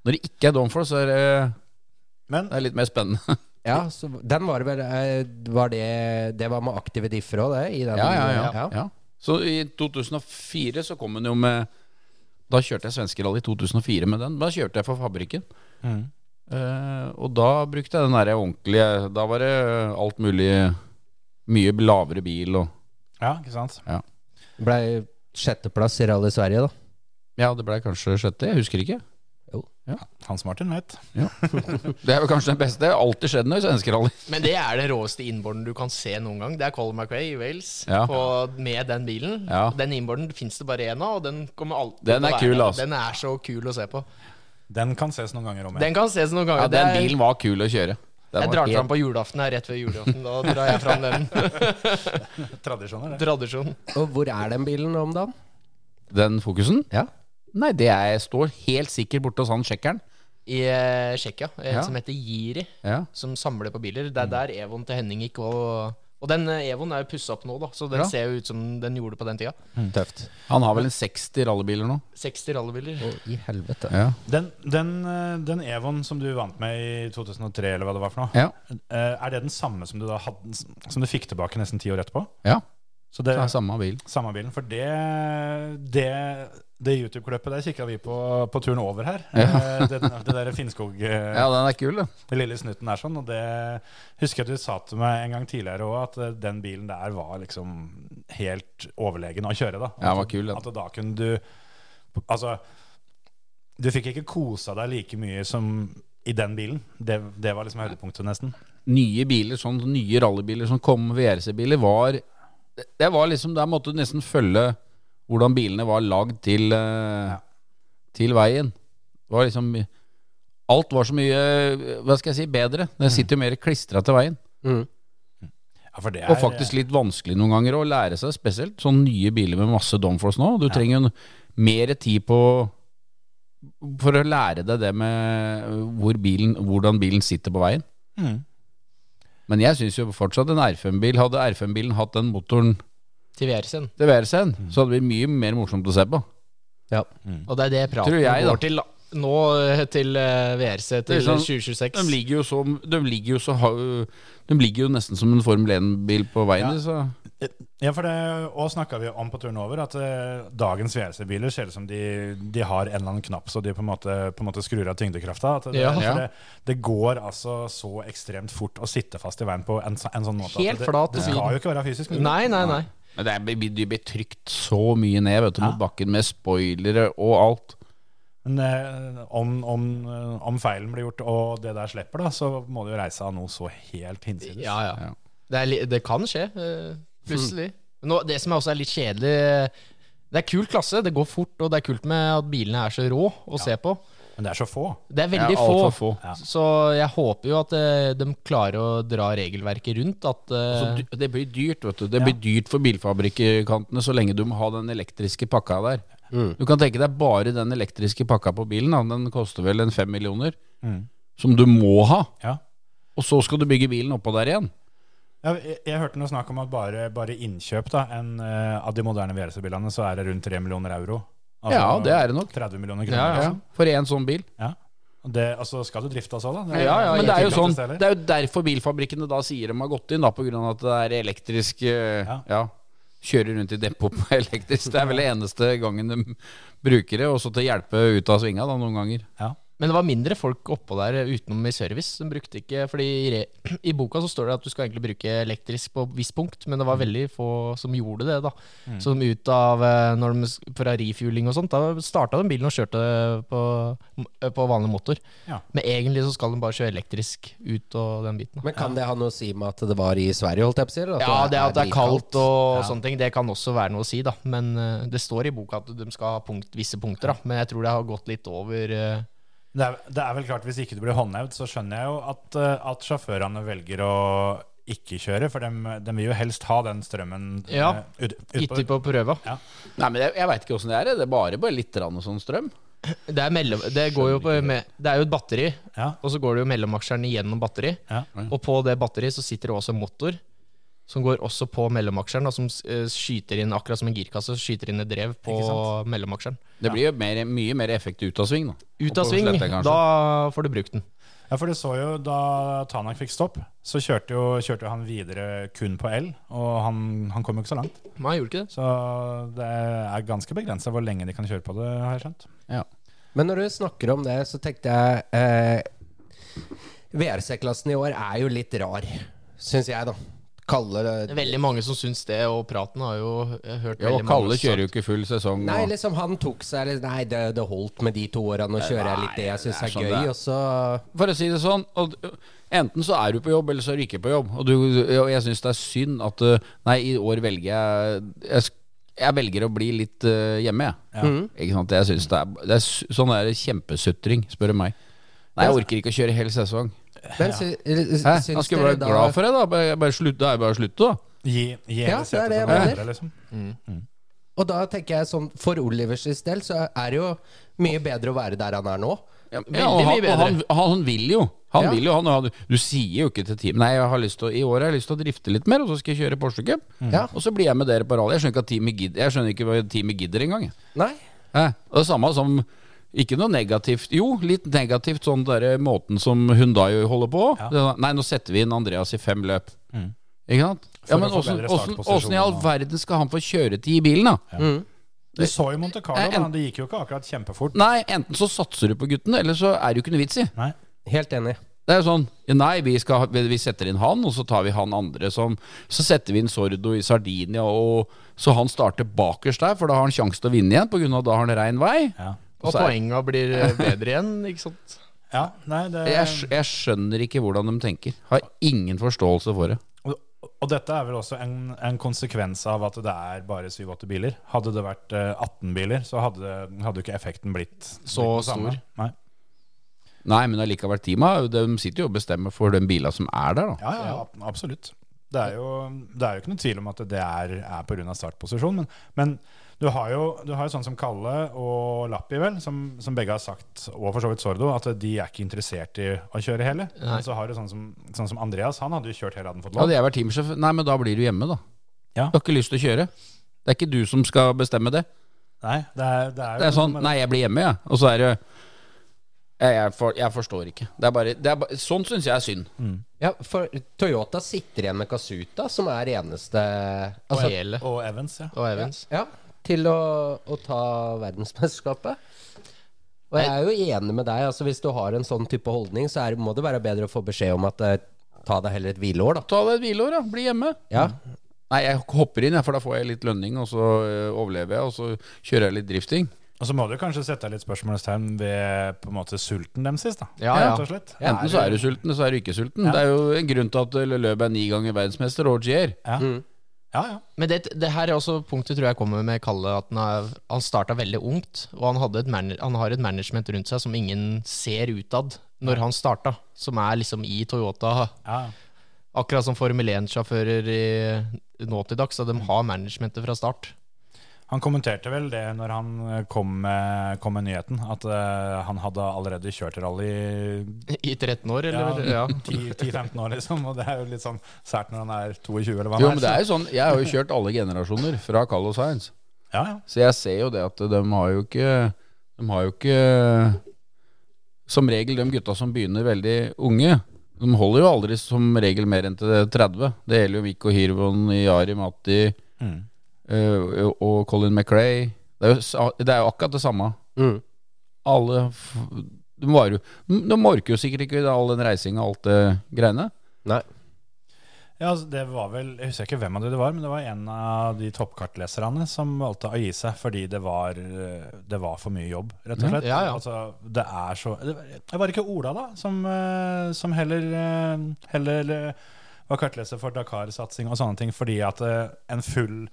D: Når det ikke er downforce, så er det,
B: Men
D: det er litt mer spennende. (laughs)
E: ja så den var det vel eh, var det, det var med aktive differ òg, det? I den,
D: Ja, ja, ja, ja. Så i 2004 så kom
B: Mm.
D: hun jo med Da kjørte jeg svenskerally i 2004 med den. Da kjørte jeg for fabrikken. Eh, og da brukte jeg den derre ordentlige Da var det eh, alt mulig Mye lavere bil og
B: Ja, ikke sant?
E: Blei sjetteplass i Rally Sverige, da.
D: Ja, det blei kanskje sjette, jeg husker ikke.
B: Hans Martin vet.
D: Det er vel kanskje den beste. Det har alltid skjedd noe i svenskerally.
C: Men det er det råeste innborden du kan se noen gang. Det er Colin McRae i Wales
D: Ja.
C: på, med den bilen.
D: Ja.
C: Den innborden fins det bare én av, og den kommer alltid
D: Den
C: til å
D: er
C: være
D: kul,
C: der.
D: altså.
C: Den er så kul å se på.
B: Den kan ses noen ganger om igjen.
C: Den kan ses noen ganger.
D: Ja, den bilen var kul å kjøre. Den
C: jeg
D: var
C: drar fram på julaften her rett ved julaften. Da drar jeg fram den (laughs)
B: Tradisjoner, det.
C: tradisjonen.
E: Og hvor er den bilen om dagen?
D: Den fokusen?
E: Ja.
D: Nei, det er, står helt sikkert borte hos han sjekkeren.
C: I eh, Tsjekkia, en
D: Ja.
C: som heter Jiri,
D: Ja.
C: som samler på biler. Det er der Evon til Henning gikk. Og, og den eh, Evon er jo pussa opp nå, da, så den
D: Ja.
C: ser jo ut som den gjorde på den tida.
E: Tøft.
D: Han har vel en 60 rallybiler nå.
C: 60 rallybiler.
E: Å, i helvete.
D: Ja.
B: Den, den, eh, den Evon som du vant med i 2003, eller hva det var for noe,
D: Ja.
B: eh, er det den samme som du, da hadde, som du fikk tilbake nesten ti år etterpå?
D: ja.
B: Så det,
D: Det er samme bil.
B: Samme bilen, for det, det, det YouTube-kløppet der kikka vi på på turen over her. Eh, Det, det der Finnskog eh,
D: Ja, den er kul, da.
B: Den lille snutten er sånn, og det husker jeg at du sa til meg en gang tidligere òg, at eh, den bilen der var liksom helt overlegen å kjøre, da.
D: Ja, den var kul, den.
B: At da kunne du Altså, du fikk ikke kosa deg like mye som i den bilen. Det, det var liksom høydepunktet, nesten.
D: Nye biler, sånn nye rallybiler som kom, VRC-biler, var det, det var liksom Der måtte du nesten følge hvordan bilene var lagd til, eh, til veien. Det var liksom Alt var så mye eh, Hva skal jeg si bedre.
B: Mm.
D: Det sitter jo mer klistra til veien.
E: Mm.
B: Ja, for det er
D: Og faktisk litt vanskelig noen ganger å lære seg, spesielt sånne nye biler med masse downforce nå. Du trenger jo mer tid på for å lære deg det med hvor bilen, hvordan bilen sitter på veien.
B: Mm.
D: Men jeg syns jo fortsatt en R5-bil Hadde R5-bilen hatt den motoren
C: Til VR-scenen.
D: til VRC-en, så hadde det blitt mye mer morsomt å se på.
C: Og det er det praten
D: Tror jeg, da.
C: går til da. nå eh, til eh, VRC
D: Det er
C: til
D: sånn- De
C: 2026.
D: ligger jo, så, de ligger jo, så, ha- de ligger jo nesten som en Formel 1-bil på veien.
B: Ja.
D: de, Så.
B: Ja, for det òg snakka vi om på turen over, at eh, dagens VRC-biler ser ut som de, de har en eller annen knapp, så de på en måte, på en måte skrur av tyngdekrafta. At det,
C: Ja.
B: for
D: Ja.
B: det, det går altså så ekstremt fort å sitte fast i veien på en, så- en sånn måte. at
C: Helt
B: det,
C: flat og
B: det
C: fin.
B: skal jo ikke være fysisk. mulig.
C: Nei, nei, nei.
D: Men det er, de blir trykt så mye ned vet du, mot bakken med spoilere og alt.
B: Men eh, om, om, eh, om feilen blir gjort, og det der slipper, da, så må du jo reise av noe så helt hinsides.
C: Ja, ja.
D: Ja. Mm.
C: Det, er, li- det kan skje, eh, plutselig. Men Nå, det som også er litt kjedelig eh, Det er kul klasse, det går fort, og det er kult med at bilene er så rå å se på.
B: Men det er så få.
C: Det er veldig
D: Ja,
C: få,
D: alt for få.
B: Ja.
C: så jeg håper jo at eh, de klarer å dra regelverket rundt. At,
D: Så
C: eh,
D: dy- det blir dyrt, vet du. Det blir dyrt for bilfabrikkantene så lenge du må ha den elektriske pakka der.
C: Mm.
D: Du kan tenke deg bare den elektriske pakka på bilen. da. Den koster vel en fem millioner.
C: Mm.
D: Som du må ha.
B: Ja.
D: Og så skal du bygge bilen oppå der igjen.
B: Ja, jeg, jeg hørte noe snakk om at bare, bare innkjøp da, en, eh, av de moderne VRC-bilene, så er det rundt 3 millioner euro. Altså,
D: Ja, det er det nok.
B: 30 millioner kroner.
D: Ja, ja.
B: liksom.
D: For én sånn bil.
B: Ja. Og Det, altså, skal du drifte altså, da?
D: Men det er jo
B: ikke
D: sånn
B: gratis heller.
D: Det er jo derfor bilfabrikkene da sier de har gått inn, da, på grunn av at det er elektrisk eh,
B: Ja.
D: Ja. Kjører rundt i depot på (laughs) elektrisk. Det er vel det eneste gangen de bruker det. Og så til å hjelpe ut av svinga da, noen ganger.
B: Ja.
C: men det var mindre folk oppå der eh, utenom i service. De brukte ikke Fordi i, re, (clears throat) i boka så står det at du skal egentlig bruke elektrisk på et visst punkt, men det var veldig få som gjorde det, da. Som ut av eh, når de, s- Fra refueling og sånt, da starta de bilen og kjørte på, eh, på vanlig motor.
B: Ja.
C: Men egentlig så skal de bare kjøre elektrisk ut av den biten. da.
E: Men kan det ha noe å si med at det var i Sverige, holdt jeg på å si? eller
C: Ja, det at det er kaldt og
B: Ja.
C: sånne ting, det kan også være noe å si, da. Men eh, det står i boka at de skal ha punkt, visse punkter, da. Men jeg tror det har gått litt over eh,
B: Det, er, det er vel klart, hvis ikke du blir håndhevd, så skjønner jeg jo at, eh, at sjåførene velger å ikke kjøre, for de, vil jo helst ha den strømmen eh,
C: Ja.
B: ut,
C: Hittil
B: utpå.
C: på prøva.
D: Nei, men jeg, jeg veit ikke åssen det er. jeg. Det er bare, bare litt rann og sånn strøm.
C: Det er, mellom, det, går jo på, med, det er jo et batteri,
B: Ja.
C: og så går det jo mellomaksjeren gjennom batteri.
B: Ja.
C: Og på det batteriet så sitter det også en motor, som går også på mellomaksjeren, og som eh, skyter inn, akkurat som en girkasse, skyter inn et drev på
B: Ikke
C: mellomaksjeren.
D: Det blir jo mer, mye mer effekt ut av sving, da.
C: Ut av
D: Og på
C: sving,
D: slette, kanskje.
C: da får du brukt den.
B: Ja, for du så jo da Tanak fikk stopp, så kjørte jo, kjørte jo han videre kun på el, og han, han kom jo ikke så langt.
C: Nei, gjorde ikke det.
B: Så det er ganske begrensa hvor lenge de kan kjøre på det, har jeg skjønt.
D: Ja.
E: Men når du snakker om det, så tenkte jeg eh, VRC-klassen i år er jo litt rar, syns jeg, da. Kalle det
C: Det er veldig mange som syns det, og praten har jo jeg har hørt
D: Jo,
C: veldig
D: Kalle
C: mange som-
D: kjører jo ikke full sesong.
E: Nei,
D: og-
E: liksom han tok seg litt- Nei, det, det holdt med de to åra. Nå kjører jeg litt det jeg syns
D: det er
E: er,
D: sånn det
E: gøy,
D: er.
E: og så
D: For å si det sånn, og, enten så er du på jobb, eller så er du ikke på jobb. Og, du, og jeg syns det er synd at uh, Nei, i år velger jeg Jeg, sk- jeg velger å bli litt uh, hjemme, jeg. Ikke sant? Jeg synes det er, det er s- Sånn er det kjempesutring, spør du meg. Nei, jeg orker ikke å kjøre hel sesong.
E: Men sy,
D: Hæ?
E: syns
D: Jeg skulle
E: dere
D: være
E: da
D: glad for det, da. Bare, bare slutt, da er jeg bare å slutte, da.
B: Gi, gi
E: Ja, det
B: hele
E: er
B: setet
E: det jeg
B: til noen
E: mener.
B: andre, liksom.
E: Og da tenker jeg sånn For Olivers del så er det jo mye bedre å være der han er nå.
D: Ja,
C: Veldig
D: og han,
C: mye
D: og han, han, han vil jo. Han
E: Ja.
D: vil jo han, han, du sier jo ikke til teamet Nei, jeg har lyst til, å- i år har jeg lyst til å drifte litt mer, og så skal jeg kjøre Porsche Cup.
E: Ja.
D: Og så blir jeg med dere på rally. Jeg skjønner ikke, at teamet gidder, jeg skjønner ikke hva teamet gidder engang. jeg.
E: Nei?
D: Hæ? Og det samme som Ikke noe negativt. Jo, litt negativt sånn derre måten som Hundai holder på. Det er, sånn, Nei, nå setter vi inn Andreas i fem løp. Ikke sant? Ja,
B: å
D: men
B: få
D: åssen
B: bedre
D: åssen-
B: startposisjon
D: åssen i all
B: og-
D: verden skal han få kjøretid i bilen, da?
B: Du så jo Monte Carlo,
D: Eh, en-
B: da. Det gikk jo ikke akkurat kjempefort.
D: Nei, enten så satser du på guttene, eller så er det jo ikke noe vits i.
B: Nei.
E: Helt enig.
D: Det er jo sånn Nei, vi, skal, vi setter inn han, og så tar vi han andre som Så setter vi inn Sordo i Sardinia, og så han starter bakerst der, for da har han sjanse til å vinne igjen, på grunn av da har han rein vei.
B: Ja.
C: Og poenga blir eh, bedre igjen, ikke sant?
B: ja, nei, det
D: Jeg, skj- jeg skjønner ikke hvordan de tenker. Har ingen forståelse for det.
B: Og, og dette er vel også en, en konsekvens av at det er bare 7-8 biler. Hadde det vært eh, 18 biler, så hadde, det- hadde jo ikke effekten blitt
C: Så
B: blitt den samme.
C: stor.
B: Nei.
D: Nei, men allikevel, teamet de sitter jo og bestemmer for den bila som er der, da.
B: Ja, ja, ab- absolutt. Det er, jo, det er jo ikke noen tvil om at det er, er pga. startposisjon, men, men du har jo du har jo sånn som Kalle og Lappi, vel, som, som begge har sagt, og for så vidt Sordo, at de er ikke interessert i å kjøre hele. Men så har du sånn som, sånn som Andreas, han hadde jo kjørt hele, hadde han fått lov.
D: Hadde jeg vært teamsjef, nei, men da blir du hjemme, da.
B: Ja.
D: Du har ikke lyst til å kjøre. Det er ikke du som skal bestemme det.
B: Nei, det er, det er jo
D: Det er sånn
B: noe med
D: Nei, jeg blir hjemme, jeg. Og så er det jeg, jeg, for, jeg forstår ikke. Det er bare, det er bare Sånn syns jeg er synd.
E: Ja, for Toyota sitter igjen med Kasuta, som er eneste
C: Og
E: altså,
C: hele.
B: Og Evans, ja.
C: Og Evans.
E: Ja, til å, å ta verdensmesterskapet. Og jeg er jo enig med deg. Altså Hvis du har en sånn type holdning, så er, må det være bedre å få beskjed om at eh, ta deg heller et hvileår, da.
D: Ta deg et hvileår, da. Bli hjemme.
E: Ja,
D: Nei, jeg hopper inn, jeg, for da får jeg litt lønning, og så øh, overlever jeg, og så kjører jeg litt drifting.
B: Og så må du kanskje sette litt spørsmålstegn ved på en måte sulten dem sist, da.
C: Ja, ja.
B: Rett og slett.
D: Enten så er du sulten, eller så er du ikke sulten. Det er jo en grunn til at Løb er ni ganger verdensmester og GR.
B: Ja, ja. ja.
C: Men det, det her er også punktet tror jeg kommer med Kalle. At han, er, han starta veldig ungt, og han, hadde et man, han har et management rundt seg som ingen ser utad når han starta, som er liksom i Toyota.
B: ja.
C: Akkurat som Formel 1-sjåfører i- nå til dags, så de har managementet fra start.
B: Han kommenterte vel det når han eh, kom med, kom med nyheten, at eh, han hadde allerede kjørt rally
C: I 13 år,
B: ja,
C: eller? Ja.
B: 10-15 år, liksom. Og det er jo litt sånn sært når han er 22, eller hva han
D: Jo, men det er jo sånn, Jeg har jo kjørt alle generasjoner fra Carlos Heinz,
B: så- Ja, ja.
D: så jeg ser jo det at de har jo ikke De har jo ikke Som regel, de gutta som begynner veldig unge, de holder jo aldri som regel mer enn til 30. Det gjelder jo Mikko Hirvon, Yari Matti
B: Mm.
D: eh, og Colin McRae. Det er jo, sa- det er jo akkurat det samme.
E: Mm.
D: Alle f- de, var jo, de orker jo sikkert ikke all den reisinga og alt det greiene.
E: nei
B: Ja, altså, det var vel, Jeg husker ikke hvem av de det var, men det var en av de toppkartleserne som valgte å gi seg fordi det var, eh, det var for mye jobb, rett og slett.
C: Mhm. Ja, ja.
B: Altså, det er så Det var- det var ikke Ola, da, som, eh, som heller, eh, heller eh, var kartleser for Dakar-satsing og sånne ting, fordi at eh, en full,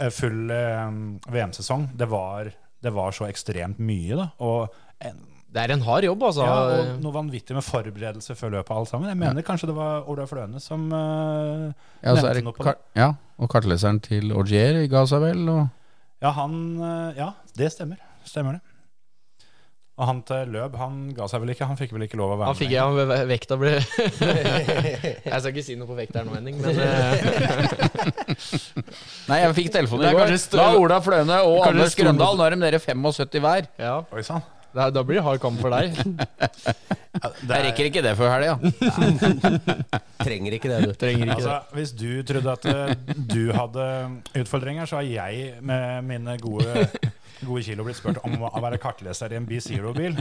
B: eh, full eh, VM-sesong, det var, det var så ekstremt mye, da. Og en,
C: Det er en hard jobb, altså.
B: ja, og noe vanvittig med forberedelse før løpet og alt sammen. Jeg mener kanskje det var Ola Fløne som eh,
D: Ja, så
B: Nevnte
D: er det
B: noe på
D: kar ja, og kartleseren til Augier ga seg vel, og
B: Ja, han eh, Ja, det stemmer. Stemmer det. Og han til Løb, han ga seg vel ikke? Han fikk vel ikke lov å være
C: Han fikk
B: med?
C: jeg han ve- vekta ble (laughs) Jeg skal ikke si noe på vekta her nå, Henning,
B: (laughs)
C: men eh,
D: Nei, jeg fikk telefonen i
C: Det er
D: går.
C: kanskje stø-
D: Da er Ola Fløne og
C: Kanskje
D: Anders
C: stø-
D: Grøndal, nå er de nede 75 hver.
C: ja.
B: Oi sann.
C: Da, da blir det hard kamp for deg.
D: (laughs) Jeg rekker ikke det før helga.
E: trenger ikke det, du.
C: Trenger ikke
B: Altså, hvis du trodde at eh, du hadde utfordringer, så har jeg med mine gode gode kilo blitt spurt om å være kartleser i en B-Zero-bil.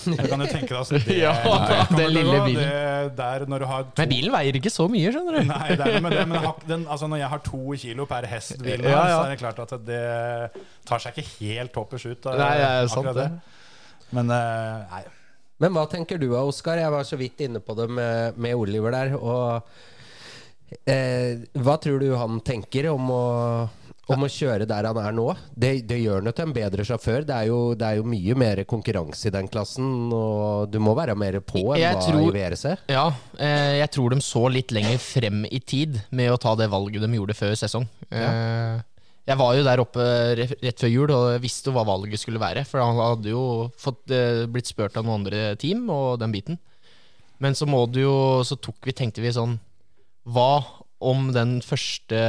B: Så kan du tenke deg altså, det,
C: (laughs) Ja,
B: kommer
C: den
B: til å
C: lille
B: gå.
C: bilen.
B: Det, der når du har to
C: Men bilen veier ikke så mye, skjønner du.
B: Nei, det er noe med det, men jeg har ikke den, altså, når jeg har to kilo per hest, bilen,
C: Ja, ja.
B: så er det klart at det tar seg ikke helt toppers ut. av
C: Nei, det er sant,
B: akkurat
C: det.
B: Men eh, nei.
E: Men hva tenker du av Oskar? Jeg var så vidt inne på det med, med Oliver der. Og eh, hva tror du han tenker om å, om å kjøre der han er nå? Det, det gjør han jo til en bedre sjåfør. Det er, jo, det er jo mye mer konkurranse i den klassen, og du må være mer på enn
C: Jeg
E: hva
C: tror-
E: i VRC.
C: Ja, eh, jeg tror de så litt lenger frem i tid med å ta det valget de gjorde før sesong. Eh, jeg var jo der oppe re- rett før jul og visste jo hva valget skulle være. For han hadde jo fått, eh, blitt spurt av noen andre team og den biten. Men så må du jo Så tok vi, tenkte vi sånn Hva om den første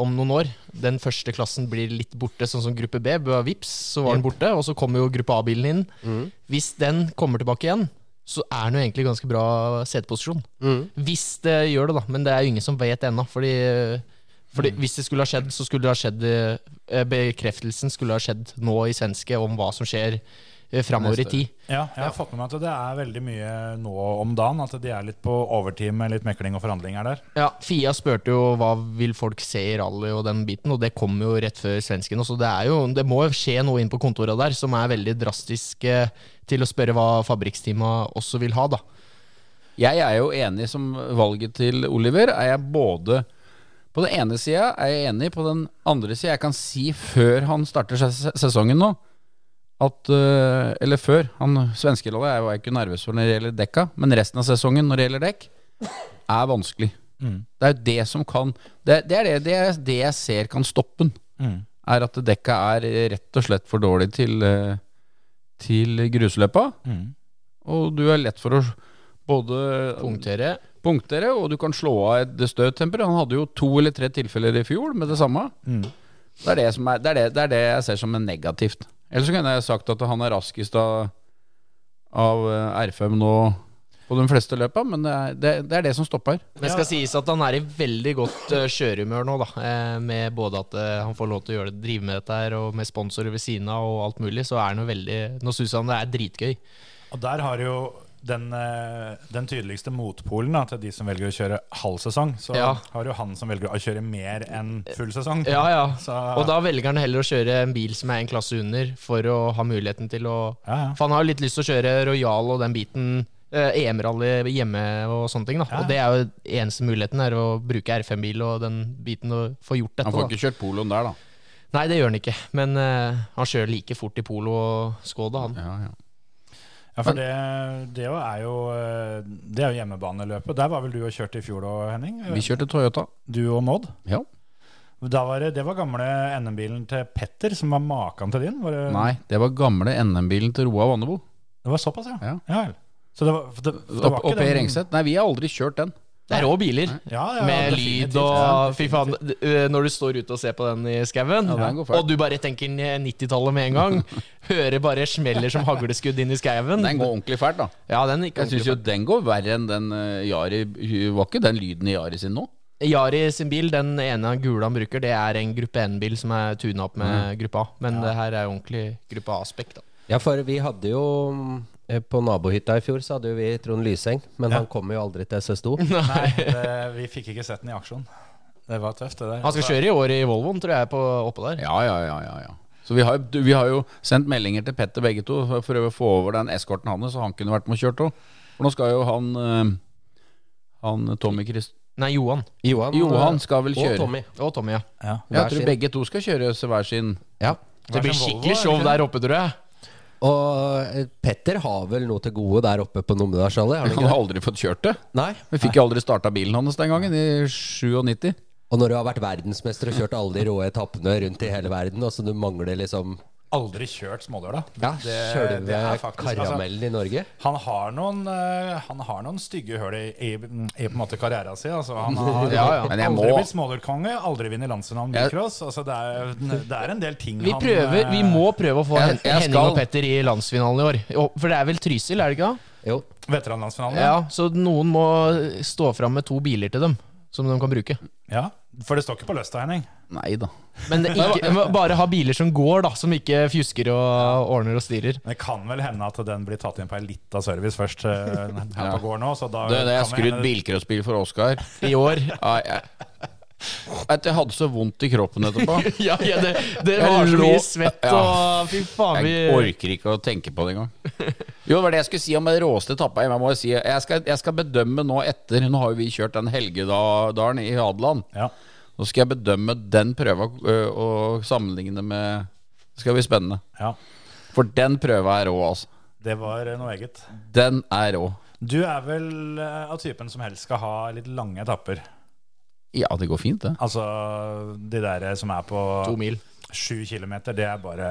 C: Om noen år Den første klassen blir litt borte Sånn som gruppe B bør vips Så var den borte Og så kommer jo gruppe A-bilen inn Hvis den kommer tilbake igjen Så er den jo egentlig ganske bra seteposisjon Hvis det gjør det da Men det er jo ingen som vet enda Fordi, fordi hvis det skulle ha skjedd Så skulle det ha skjedd eh, Bekreftelsen skulle ha skjedd nå i svenske Om hva som skjer eh, fremover i tid
B: Ja, jeg har fått med meg at det er veldig mye nå om dagen. At de er litt på overtid med litt mekling og forhandlinger der.
C: Ja, Fia spurte jo hva vil folk se i rally og den biten, og det kom jo rett før svensken. Så det, er jo, det må jo skje noe inn på kontorene der som er veldig drastisk eh, til å spørre hva fabrikksteama også vil ha, da.
D: Jeg er jo enig som valget til Oliver. Er jeg både På den ene sida er jeg enig, på den andre sida Jeg kan si før han starter ses sesongen nå at, øh, Eller før. Han svenskelollet jeg var ikke nervøs for når det gjelder dekka, men resten av sesongen når det gjelder dekk, er vanskelig. Det er jo det som kan Det, det er det, det, er det jeg ser kan stoppe den.
C: Mm,
D: Er at dekka er rett og slett for dårlig til, øh, til grusløpa.
C: mm.
D: Og du er lett for å både
C: Punktere.
D: punktere, og du kan slå av et støttemper. Han hadde jo to eller tre tilfeller i fjor med det samme. Det, er det, som er, det, er det, det er det jeg ser som er negativt. Ellers så kunne jeg sagt at han er raskest av, av eh, R5 nå på de fleste løpa, men det er det, det, er det som stopper.
C: Men det skal sies at han er i veldig godt eh, kjørehumør nå, da. Eh, Med både at eh, han får lov til å gjøre det, drive med dette her, og med sponsorer ved siden av og alt mulig, så er han jo veldig Nå syns han det er dritgøy.
B: Og der har jo den, eh, den tydeligste motpolen da, til de som velger å kjøre halv sesong, så
C: Ja.
B: har jo han som velger å kjøre mer enn full sesong.
C: Ja, ja.
B: Så,
C: Og da velger han heller å kjøre en bil som er en klasse under, for å ha muligheten til å
B: Ja, ja.
C: For han har jo litt lyst til å kjøre Royal og den biten. eh, EM-rally hjemme og sånne ting. da Og det er jo eneste muligheten, er å bruke R5-bil og den biten og få gjort dette.
D: Han får
C: da
D: ikke kjørt poloen der, da.
C: Nei, det gjør han ikke, men eh, han kjører like fort i polo og Skoda, han.
D: Ja, ja.
B: Ja, for det, det jo er jo eh, Det er jo hjemmebaneløpet. Der var vel du og kjørte i fjor da, Henning?
D: Vi kjørte Toyota.
B: Du og Maud?
D: Ja.
B: Da var det, det var gamle NM-bilen til Petter, som var maken til din? Var det,
D: Nei, det var gamle NM-bilen til Roa Vannebo.
B: Det var såpass, ja?
D: Ja.
B: vel. Så det var, for det, for det
D: Og
B: var
D: og
B: ikke
D: Per
B: den-
D: Engseth. Nei, vi har aldri kjørt den.
C: Det er rå biler,
B: Ja, ja, ja,
C: med
B: definitivt.
C: lyd og Fy faen, d- eh, når du står ute og ser på den i skauen,
D: Ja, den går fælt.
C: og du bare tenker ned 90-tallet med en
D: (laughs)
C: gang, hører bare smeller som hagleskudd inn i skauen
D: Den går ordentlig fælt, da.
C: Ja, den gikk
D: Jeg syns jo den går verre enn den eh, Yari Var ikke den lyden i Yari sin nå?
C: Yari sin bil, den ene gule han bruker, det er en gruppe N-bil som er tuna opp med
B: Mm.
C: gruppe A. Men det her er jo ordentlig gruppe A-aspekt, da.
E: Ja, for vi hadde jo eh, på nabohytta i fjor så hadde jo vi Trond Lyseng, men han kom jo aldri til SS2.
B: Nei, det, vi fikk ikke sett den i aksjon. Det var tøft, det der.
C: Han skal kjøre i år i Volvoen, tror jeg, på, oppå der.
D: Ja, ja, ja, ja, ja. Så vi har, jo- vi har jo sendt meldinger til Petter begge to for å prøve å få over den eskorten hans, så han kunne vært med og kjørt òg. For nå skal jo han eh, Han Tommy Christ...
C: Nei, Johan
E: Johan,
D: Johan skal vel
E: eh, og
D: kjøre.
E: Tommy.
C: og Tommy, ja.
B: Ja.
D: Jeg
E: Hver
D: tror
E: sin.
D: begge to skal kjøre så hver sin.
E: eh, Ja.
C: Det blir
B: Hver sin Volvo,
C: skikkelig show
B: er det ikke
C: der oppe, tror jeg.
E: Og eh, Petter har vel noe til gode der oppe på Numedalshallet? har han
D: Han (laughs)
E: ikke
D: har
E: det?
D: aldri fått kjørt det.
E: Nei?
D: Vi fikk jo aldri starta bilen hans den gangen, i 97.
E: Og når du har vært verdensmester og kjørt alle de rå etappene rundt i hele verden, og så du mangler liksom
B: Aldri kjørt smådøla.
E: ja,
B: det
E: sjølve
B: er faktisk- altså,
E: karamellen i Norge?
B: Han har noen, eh, han har noen stygge høl i, i, i på en måte karrieren sin. Altså, han har
C: Ja, ja.
D: Men jeg
B: aldri
D: må-
B: blitt smålørkonge, aldri vunnet landsfinalen
D: Jeg-
B: bilcross. Altså, det, er, det er en del ting
C: Vi
B: han
C: prøver,
B: eh,
C: vi må prøve å få
D: Jeg-
C: Hen-
D: jeg
C: Henning
D: skal.
C: og Petter i landsfinalen i år. Jo, For det er vel Trysil, er det ikke det?
E: Jo.
B: Veteranlandsfinalen.
C: Ja, så noen må stå fram med to biler til dem, som de kan bruke.
B: Ja, For det står ikke på løsta, Henning.
D: Nei da.
C: Men det
B: (laughs)
C: er ikke, men bare ha biler som går, da, som ikke fjusker og ordner og styrer.
B: Det kan vel hende at den blir tatt inn på ei lita service først. eh,
D: (laughs)
B: her på gården også, så da
D: Du, da jeg
B: kan vi
D: skrudd
B: hende-
D: bilcrossbil for Oskar
C: I år.
D: ja, jeg, Vet du, jeg hadde så vondt i kroppen etterpå.
C: (laughs) Ja, ja det, det
D: Jeg
C: var så
D: lå-
C: mye svett og Fy
D: Jeg
C: faen, vi
D: orker ikke å tenke på det
C: (laughs)
D: engang. Jo, det var det jeg skulle si om den råeste etappa. Jeg, må jo si, jeg, skal, jeg skal bedømme nå etter Nå har jo vi kjørt den Helgedalen i Hadeland.
B: Ja.
D: Nå skal jeg bedømme den prøva ø, og sammenligne med Det skal bli spennende.
B: ja.
D: For den prøva er rå, altså.
B: Det var eh, noe eget.
D: Den er rå.
B: Du er vel eh, av typen som helst skal ha litt lange etapper.
D: Ja, det går fint, det.
B: Altså de der eh, som er på
C: To mil.
B: sju kilometer, det er bare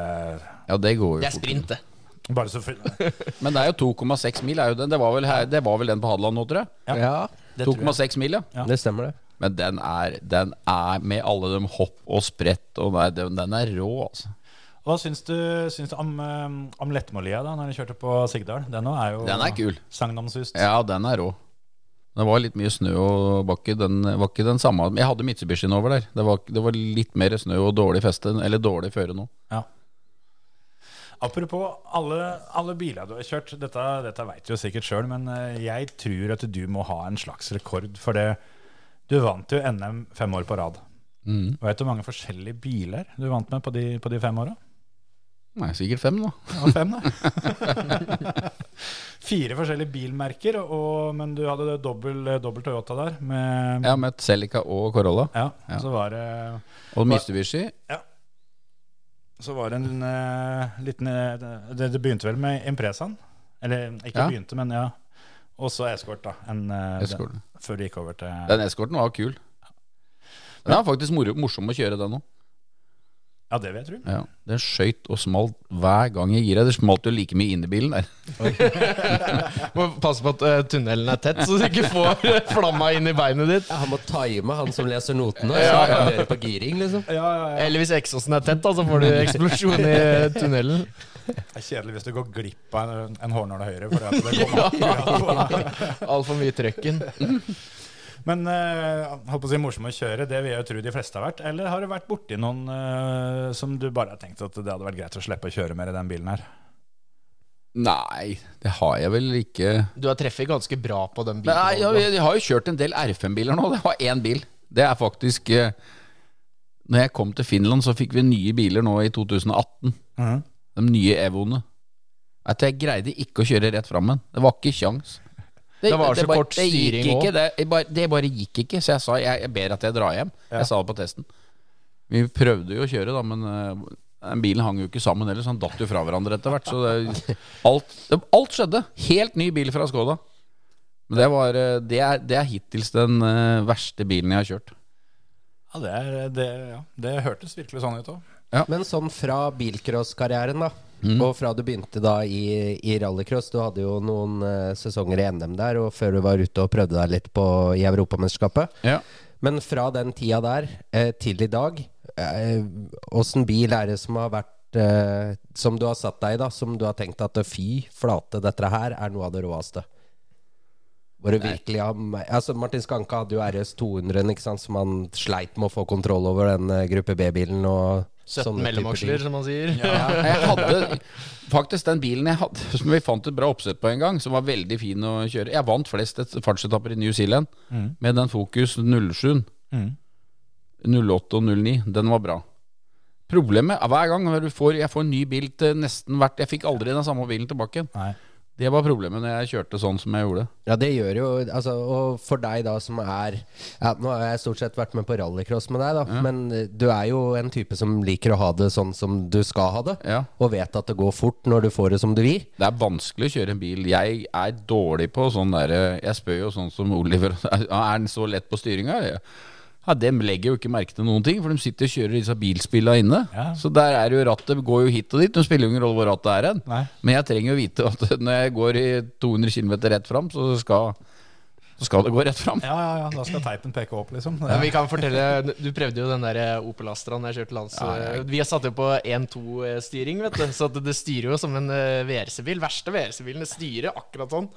D: Ja, det går jo
C: Det er
D: fort.
C: sprint, det.
B: Bare så fri-
D: (laughs) Men det er jo 2,6 mil. Er jo den. Det, var vel her, det var vel den på Hadeland nå, tror jeg.
E: Ja,
D: 2,6 mil, ja.
B: Ja.
E: det stemmer, det.
D: Men den er, den er med alle de hopp og sprett og nei, den, den er rå, altså.
B: Hva syns du, syns du om, eh, om Lettmålia da når du kjørte på Sigdal? Den nå er jo
D: Den er kul.
B: sagnomsust.
D: Ja, den er rå. Det var litt mye snø og var ikke den, var ikke den samme Jeg hadde Mitsubishien over der. Det var, det var litt mer snø og dårlig feste, eller dårlig føre nå.
B: Ja. Apropos alle, alle biler du har kjørt, dette, dette veit du jo sikkert sjøl, men eh, jeg tror at du må ha en slags rekord. For det, du vant jo NM fem år på rad.
D: Mhm.
B: Veit du hvor mange forskjellige biler du vant med på de, på de fem åra?
D: Nei, sikkert fem, da.
B: Ja, fem, da. (laughs) Fire forskjellige bilmerker, og, men du hadde det dobbel, dobbel Toyota der. Med, ja.
D: Ja, med Celica og Corolla. Ja.
B: Så var det
D: Og Mitsubishi.
B: Så var det en eh, liten eh, det, det begynte vel med Impresaen. Eller ikke
D: Ja.
B: begynte, men ja. Og så Escort, da. En, eh,
D: Escort.
B: den, før det gikk over til
D: Den eskorten var kul. Den er faktisk moro, morsom å kjøre, den òg.
B: Ja, det vil jeg tro.
D: Ja. Den skøyt og smalt hver gang jeg gira. Det smalt jo like mye inn i bilen der.
C: Må passe på at eh, tunnelen er tett, så du ikke får eh, flamma inn i beinet ditt.
E: Ja, han må time han som leser notene. Så han kan gjøre på giring, liksom.
B: Ja, ja, ja.
C: Eller hvis eksosen er tett, da, så får du eksplosjon i eh, tunnelen.
D: (laughs)
B: Det er kjedelig hvis du går glipp av en, en hårnål høyre. For at det
D: (laughs)
B: kommer akkurat på.
C: Altfor mye trøkken.
B: Men eh, holdt på å si morsom å kjøre, det vil jeg jo tro de fleste har vært. Eller har du vært borti noen eh, som du bare har tenkt at det hadde vært greit å slippe å kjøre mer i den bilen her?
D: Nei, det har jeg vel ikke
C: Du har treffet ganske bra på den bilen.
D: Nei, jeg, jeg har jo kjørt en del R5-biler nå. Det var én bil. Det er faktisk eh, Når jeg kom til Finland, så fikk vi nye biler nå i 2018. De nye Evoene. At jeg greide ikke å kjøre rett fram med den. Det var ikke kjangs.
C: Det var så
D: bare-
C: kort styring
D: Det gikk
C: også.
D: ikke. Det, det, bare, det bare gikk ikke. Så jeg sa jeg, jeg ber at jeg drar hjem. Jeg sa det på testen. Vi prøvde jo å kjøre, da, men eh, den bilen hang jo ikke sammen heller, så han datt jo fra hverandre etter hvert. Så
C: (laughs)
D: det, alt, alt skjedde. Helt ny bil fra Skoda. Men det, var, eh, det, er, det er hittils den eh, verste bilen jeg har kjørt.
B: Ja, det, er, det, ja. det hørtes virkelig sånn ut òg.
E: Men sånn fra bilcrosskarrieren, da,
B: Mm.
E: og fra du begynte da i, i rallycross Du hadde jo noen eh, sesonger i NM der, og før du var ute og prøvde deg litt på, i Europamesterskapet.
D: Ja.
E: Men fra den tida der eh, til i dag, eh, åssen bil er det som har vært eh, Som du har satt deg i, da, som du har tenkt at fy flate, dette her er noe av det råeste? Hvor det virkelig har altså Martin Skanke hadde jo RS 200, ikke sant, som han sleit med å få kontroll over den eh, gruppe B-bilen. og
C: 17
E: sånne typer ting.
C: mellomaksjer, som man sier.
D: Nei, Jeg hadde faktisk den bilen jeg hadde, som vi fant et bra oppsett på en gang, som var veldig fin å kjøre. Jeg vant flest et- fartsetapper i New Zealand med den Focus 07. 08 og 09. Den var bra. Problemet er hver gang du får, jeg får en ny bil til nesten hvert Jeg fikk aldri den samme bilen tilbake. igjen.
B: Nei.
D: Det var problemet når jeg kjørte sånn som jeg gjorde.
E: Ja, det gjør jo altså, Og for deg da som er ja, Nå har jeg stort sett vært med på rallycross med deg, da. Men eh, du er jo en type som liker å ha det sånn som du skal ha det.
D: Ja.
E: Og vet at det går fort når du får det som du vil.
D: Det er vanskelig å kjøre en bil. Jeg er dårlig på sånn derre Jeg spør jo sånn som Oliver. (laughs) Er han så lett på styringa? Ja, dem legger jo ikke merke til noen ting, for de sitter og kjører disse bilspilla inne.
B: Ja.
D: Så der er jo rattet går jo hit og dit. De spiller jo ingen rolle hvor rattet er hen.
B: Nei.
D: Men jeg trenger jo vite at (laughs) når jeg går i 200 km rett fram, så skal, så skal det gå rett fram.
B: Ja, ja, ja. Da skal teipen peke opp, liksom.
C: Ja, vi kan fortelle, Du prøvde jo den der Opel Astra når jeg kjørte lands... Vi har satt jo på eh, 1-2-styring, vet du. Så at det styrer jo som en eh, VRC-bil. Verste VRC-bilen. Det styrer akkurat sånn.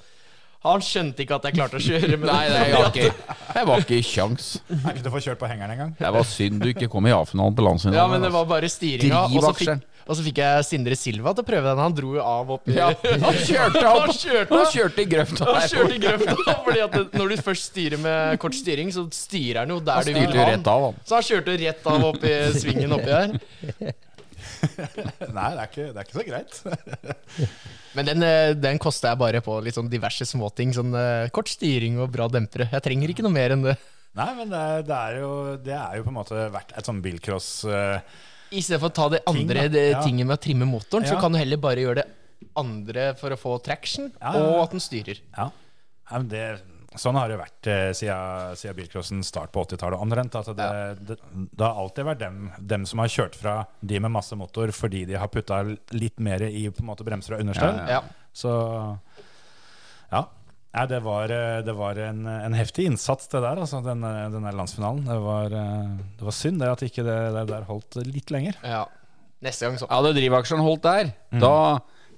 C: Han skjønte ikke at jeg klarte å kjøre
D: (laughs)
C: med
D: Nei, nei, jeg, var ikke, jeg var ikke i kjangs.
B: Er ikke til å få kjørt på hengeren engang.
D: Det var synd du ikke kom i A-finalen på landsfinalen.
C: Ja, men det var bare styringa. Og så
D: Drivaksjen.
C: fikk, og så fikk jeg Sindre Silva til å prøve den. Han dro jo av opp i
D: Ja, han
C: (laughs)
D: kjørte opp.
C: Han kjørte,
D: Han kjørte i grøfta
C: han
D: der.
C: kjørte i grøfta. Fordi at det- når du først styrer med kort styring, så styrer han jo der
D: Han
C: du vil
D: styrte jo
C: ha
D: rett
C: han.
D: av, han.
C: Så han kjørte rett av opp i svingen oppi her.
B: (laughs) Nei, det er ikke, det er ikke så greit. (laughs)
C: Men den, eh, den kosta jeg bare på litt sånn diverse småting. Sånn eh, kort styring og bra dempere. Jeg trenger ikke noe mer enn det.
B: Nei, men det er, det er, jo, det er jo på en måte vært et sånn bilcross eh,
C: I stedet for å ta det andre
B: Ting, da.
C: det,
B: Ja.
C: tinget med å trimme motoren, så
B: Ja.
C: kan du heller bare gjøre det andre for å få traction,
B: Ja, ja, ja.
C: og at den styrer.
B: Ja. ja men det, sånn har det vært eh, siden, siden bilcrossens start på 80-tallet omtrent. at det, det, det har alltid vært dem, dem som har kjørt fra de med masse motor fordi de har putta litt mer i på en måte, bremser og understell.
D: Ja,
C: Ja.
B: Så ja. Nei, det var, eh, det var en, en heftig innsats, det der, altså, den, eh, den der landsfinalen. Det var, eh, det var synd det at ikke det, det der holdt litt lenger.
C: Ja. Neste gang så
D: Ja, Hadde drivaksjen holdt der, da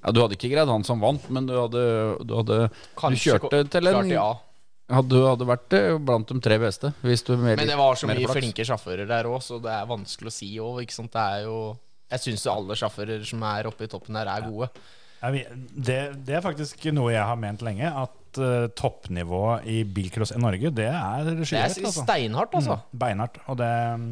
D: ja, Du hadde ikke greid han som vant, men du hadde, du hadde Du
C: kanskje
D: kjørte til
C: klarte
D: en
C: jeg av.
D: ja, Du hadde vært eh, blant de tre beste. Hvis du mer,
C: Men det var så
D: mer
C: mye
D: flaks.
C: flinke sjåfører der òg, så det er vanskelig å si òg. Det er jo Jeg syns alle sjåfører som er oppe i toppen her, er gode.
B: Ja, vi- Det, det er faktisk noe jeg har ment lenge, at eh, toppnivået i bilcross i Norge, det er
C: Det er
B: skyhøyt. Altså.
C: steinhardt, altså.
B: Mm, Beinhardt. Og det mm,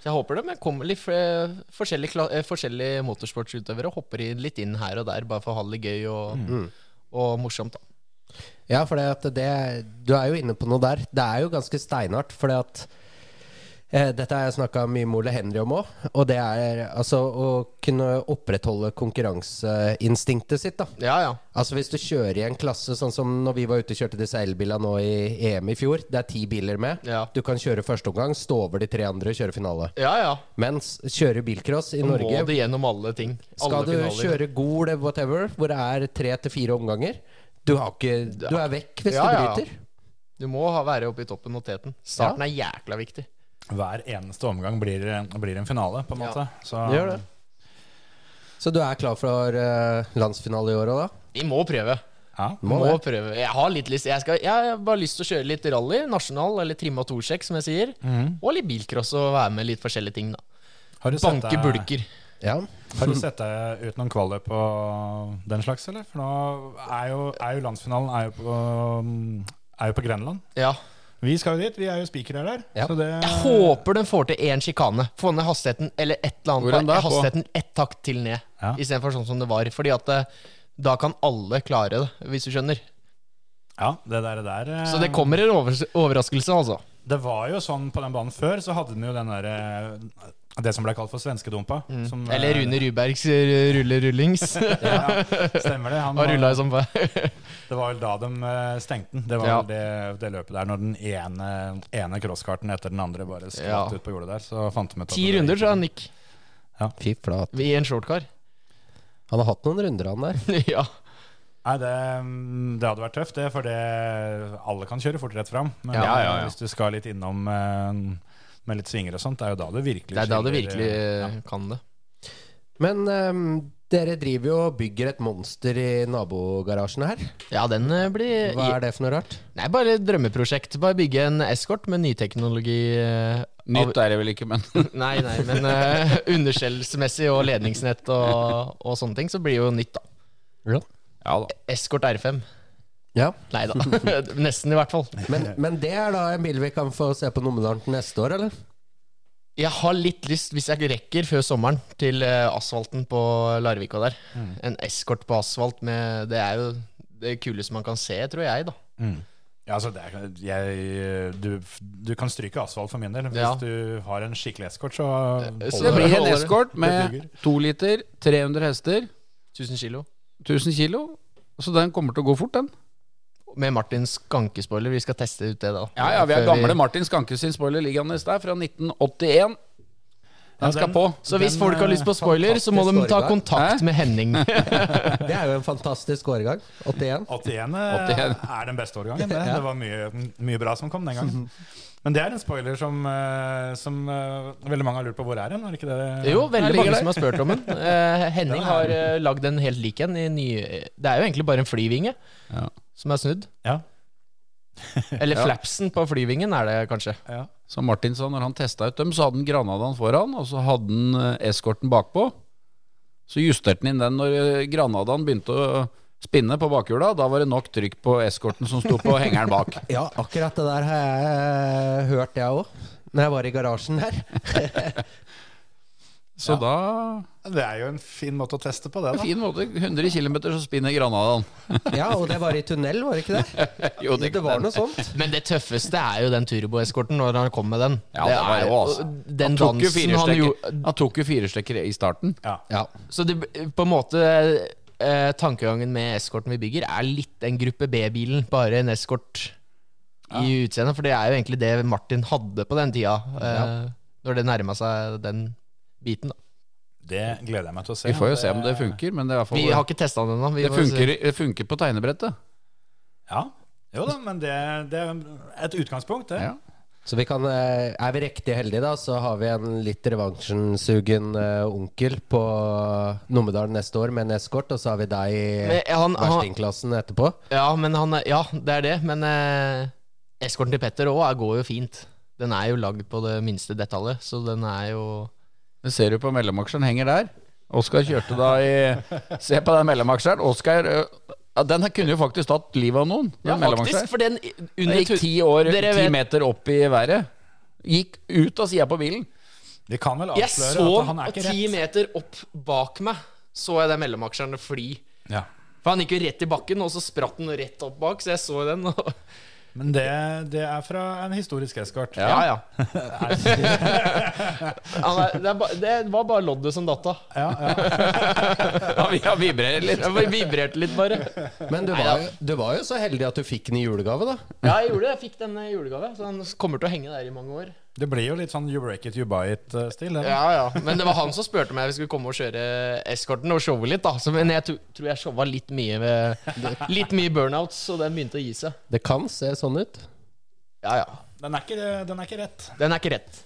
C: Så jeg håper de kommer litt eh, forskjellige, kla- eh, forskjellige motorsportsutøvere hopper i- litt inn her og der, bare for å ha det gøy og,
E: Mm.
C: og morsomt. da
E: Ja, for det at det, du er jo inne på noe der. Det er jo ganske steinhardt. For at eh, dette har jeg snakka mye med Ole Henry om òg. Og det er altså å kunne opprettholde konkurranseinstinktet sitt, da.
C: Ja, ja.
E: Altså Hvis du kjører i en klasse, sånn som når vi var ute og kjørte disse elbilene nå i EM i fjor. Det er ti biler med.
C: Ja.
E: Du kan kjøre første omgang, stå over de tre andre og kjøre finale.
C: ja, ja.
E: Mens kjører bilcross i
C: Da Må
E: Norge
C: det gjennom alle ting.
E: skal
C: alle
E: du
C: finaler.
E: kjøre gol eller whatever, hvor det er tre til fire omganger Du, har ikke, du er vekk hvis
C: Ja,
E: du
C: ja.
E: bryter.
C: Du må ha, være oppe i toppen og teten. Starten er jækla viktig.
B: hver eneste omgang blir, eh, blir en finale, på en
C: Ja.
B: måte. Så,
E: Det gjør det. Så du er klar for eh, landsfinale i år òg, da?
C: Vi må prøve.
B: Ja.
E: Må
C: Må,
E: det.
C: prøve. Jeg har litt lyst Jeg, skal, jeg har bare lyst til å kjøre litt rally, nasjonal eller trimma torsjekk, som jeg sier.
E: Mm.
C: Og litt bilcross og være med litt forskjellige ting, da.
B: Har du sett
C: Banke
B: deg-
C: bulker.
E: Ja.
B: Har du sett deg ut noen kvaler på den slags, eller? For nå er jo, er jo landsfinalen er jo på, mm, er jo på Grenland.
C: Ja.
B: Vi skal jo dit, vi er jo spikere der.
E: Ja.
B: Så det
C: Jeg håper den får til én sjikane. Få ned hastigheten eller et eller annet.
D: Hvor er den
C: Bare
D: da, på?
C: hastigheten ett takt til ned,
B: Ja.
C: istedenfor sånn som det var. Fordi at eh, da kan alle klare det, hvis du skjønner.
B: Ja, det der, eh, det der
C: Så det kommer en over overraskelse, altså.
B: Det var jo sånn på den banen før, så hadde den jo den der eh, Det som ble kalt for svenskedumpa. Som, eh,
C: Mm. Eller Rune Rybergs eh, rullerullings.
B: Ja, (laughs) stemmer
C: (laughs)
B: det. Han,
C: Har rulla
B: var-
C: som bare
B: det var vel da de eh, stengte den. Det var
C: Ja.
B: vel det, det løpet der når den ene, ene crosskarten etter den andre bare skvatt
C: Ja.
B: ut på jordet der. Så fant de ut at
C: Ti
B: det-
C: runder, tror jeg, Nick.
E: Fy flate.
C: I en shortcar. (laughs)
E: Han har hatt noen runder, han der.
C: ja.
B: Nei, det, mm, det hadde vært tøft, det. For det, alle kan kjøre fort rett fram. Men
D: Ja, ja, ja.
B: hvis du skal litt innom eh, med litt svinger og sånt, det er jo da det virkelig
C: Det er da du
B: skiller,
C: virkelig
B: eh,
C: eh, kan det.
E: Men ehm, dere driver jo og bygger et monster i nabogarasjen her.
C: Ja, den eh, blir
E: Hva er det for noe rart?
C: Nei, bare et drømmeprosjekt. Bare bygge en eskort med nyteknologi. eh,
D: Nytt er det vel ikke, men
C: Nei, nei, men uh, underskjellsmessig og ledningsnett og, og sånne ting, så blir jo nytt, da.
D: ja da.
C: Escort R5.
E: Ja,
C: Nei da. (laughs) Nesten, i hvert fall.
E: men, men det er da en bil vi kan få se på Numedalen til neste år, eller?
C: Jeg har litt lyst, hvis jeg rekker før sommeren, til eh, asfalten på Larvika der.
D: Mm.
C: En escort på asfalt med Det er jo det kuleste man kan se, tror jeg, da.
B: Ja, altså det er, jeg, du, du kan stryke asfalt for min del. Hvis
C: Ja.
B: du har en skikkelig eskort, så
D: Så
B: holder
D: det (laughs) blir en
C: Holder det.
D: eskort med
B: Det
D: to liter, 300 hester,
C: 1000 kilo.
D: 1000 kilo. Så den kommer til å gå fort, den.
C: Med Martin Skankespoiler. Vi skal teste ut det, da.
D: Ja, ja, vi har
C: Før
D: gamle Martin Skanke sin spoiler liggende der fra 1981. Den skal på.
C: Så hvis
B: Den,
C: folk har
B: eh,
C: lyst på spoiler, så må de
E: fantastisk
C: ta
E: årgang.
C: kontakt
D: Hæ?
C: med
D: (laughs)
C: Henning.
E: Det er jo en fantastisk årgang. 81.
B: 81
D: 81.
B: er den beste årgangen.
D: (laughs)
B: Det, det var mye, mye bra som kom den gangen. Men det er en spoiler som, eh, som eh, veldig mange har lurt på hvor er den. Er det ikke det?
C: Jo, veldig
D: ligger
C: mange
D: der.
C: som har spurt om den. Eh, Henning
B: Den er-
C: har eh, lagd en helt lik en. i nye- Det er jo egentlig bare en flyvinge
D: Ja.
C: som er snudd.
B: Ja.
C: Eller
D: Ja.
C: flapsen på flyvingen er det kanskje.
B: ja.
D: Som Martin sa, når han testa ut dem, så hadde han Granadaen foran, og så hadde han eh, eskorten bakpå. Så justerte han inn den når eh, Granadaen begynte å spinne på bakhjula. Da var det nok trykk på eskorten som sto på hengeren bak.
E: (laughs) Ja, akkurat det der har jeg eh, hørt, jeg òg. Når jeg var i garasjen her.
D: Så
B: Det er jo en fin måte å teste på det,
D: da
B: da.
D: Fin måte. 100 km, så spinner Granadaen.
E: Ja, og det var i tunnel, var det ikke det?
D: Jo,
E: Det var noe sånt.
C: Men det tøffeste er jo den turboeskorten når han kom med den.
D: Ja, det var jo altså.
C: Den
D: Han tok jo
C: dansen han
D: firestekker-
C: gjorde
D: han tok jo firestekker i starten.
B: Ja.
E: Ja.
C: Så det, på en måte eh, Tankegangen med eskorten vi bygger, er litt den gruppe B-bilen, bare en eskort i utseendet. For det er jo egentlig det Martin hadde på den tida, eh, når det nærma seg den biten. da
B: Det gleder jeg meg til å se.
D: Vi får jo se om det funker, men det er i hvert fall
C: Vi har ikke testa den ennå. vi
D: det
C: får se.
D: funker, det funker på tegnebrettet.
B: Ja. Jo da, men det, det er et utgangspunkt, det.
D: Ja.
E: Så vi kan, eh, er vi riktig heldige, da, så har vi en litt revansjensugen eh, onkel på Numedal neste år med en eskort, og så har vi deg i
C: Men han, han,
E: verstingklassen etterpå.
C: ja, men han er- Ja, det er det. Men eh, eskorten til Petter òg går jo fint. Den er jo lagd på det minste detaljet, så den er jo
D: Det ser du på mellomaksjeren henger der. Oskar kjørte da i Se på den mellomaksjeren. Oskar ø, ja, Den her kunne jo faktisk tatt livet av noen. Den
C: Ja, faktisk,
D: mellomaksjeren.
C: for den
D: Den
C: under
D: gikk ti, år,
C: Dere
D: ti
C: vet-
D: meter opp i været. Gikk ut av sida på bilen.
B: Vi kan vel
C: Jeg
B: avsløre
C: så
B: at han er
C: at
B: ikke
C: ti
B: rett.
C: meter opp bak meg så jeg den mellomaksjeren fly.
B: Ja.
C: For han gikk jo rett i bakken, og så spratt den rett opp bak, så jeg så den. Og,
B: Men det, det er fra en historisk eskort.
C: ja,
B: (laughs)
C: ja. Han er, det, er ba, det var bare loddet som (laughs) datt av.
B: Ja, ja.
D: Ja, vi
C: (laughs)
D: har vibrert litt.
C: Jeg bare vibrerte litt, bare.
E: Men du var, jo, du var jo så heldig at du fikk den i julegave, da.
C: Ja, jeg gjorde det. Jeg fikk den i julegave, så den kommer til å henge der i mange år.
B: Det blir jo litt sånn you break it, you buy it-stil. det da.
C: Ja, ja. Men det var han som spurte meg om jeg skulle komme og kjøre eskorten og showe litt, da. Så, men jeg tro- tror jeg showa litt mye ved Litt mye burnouts, så den begynte å gi seg.
E: Det kan se sånn ut.
C: Ja, ja.
B: Den, er ikke, den er ikke rett.
C: Den er ikke rett.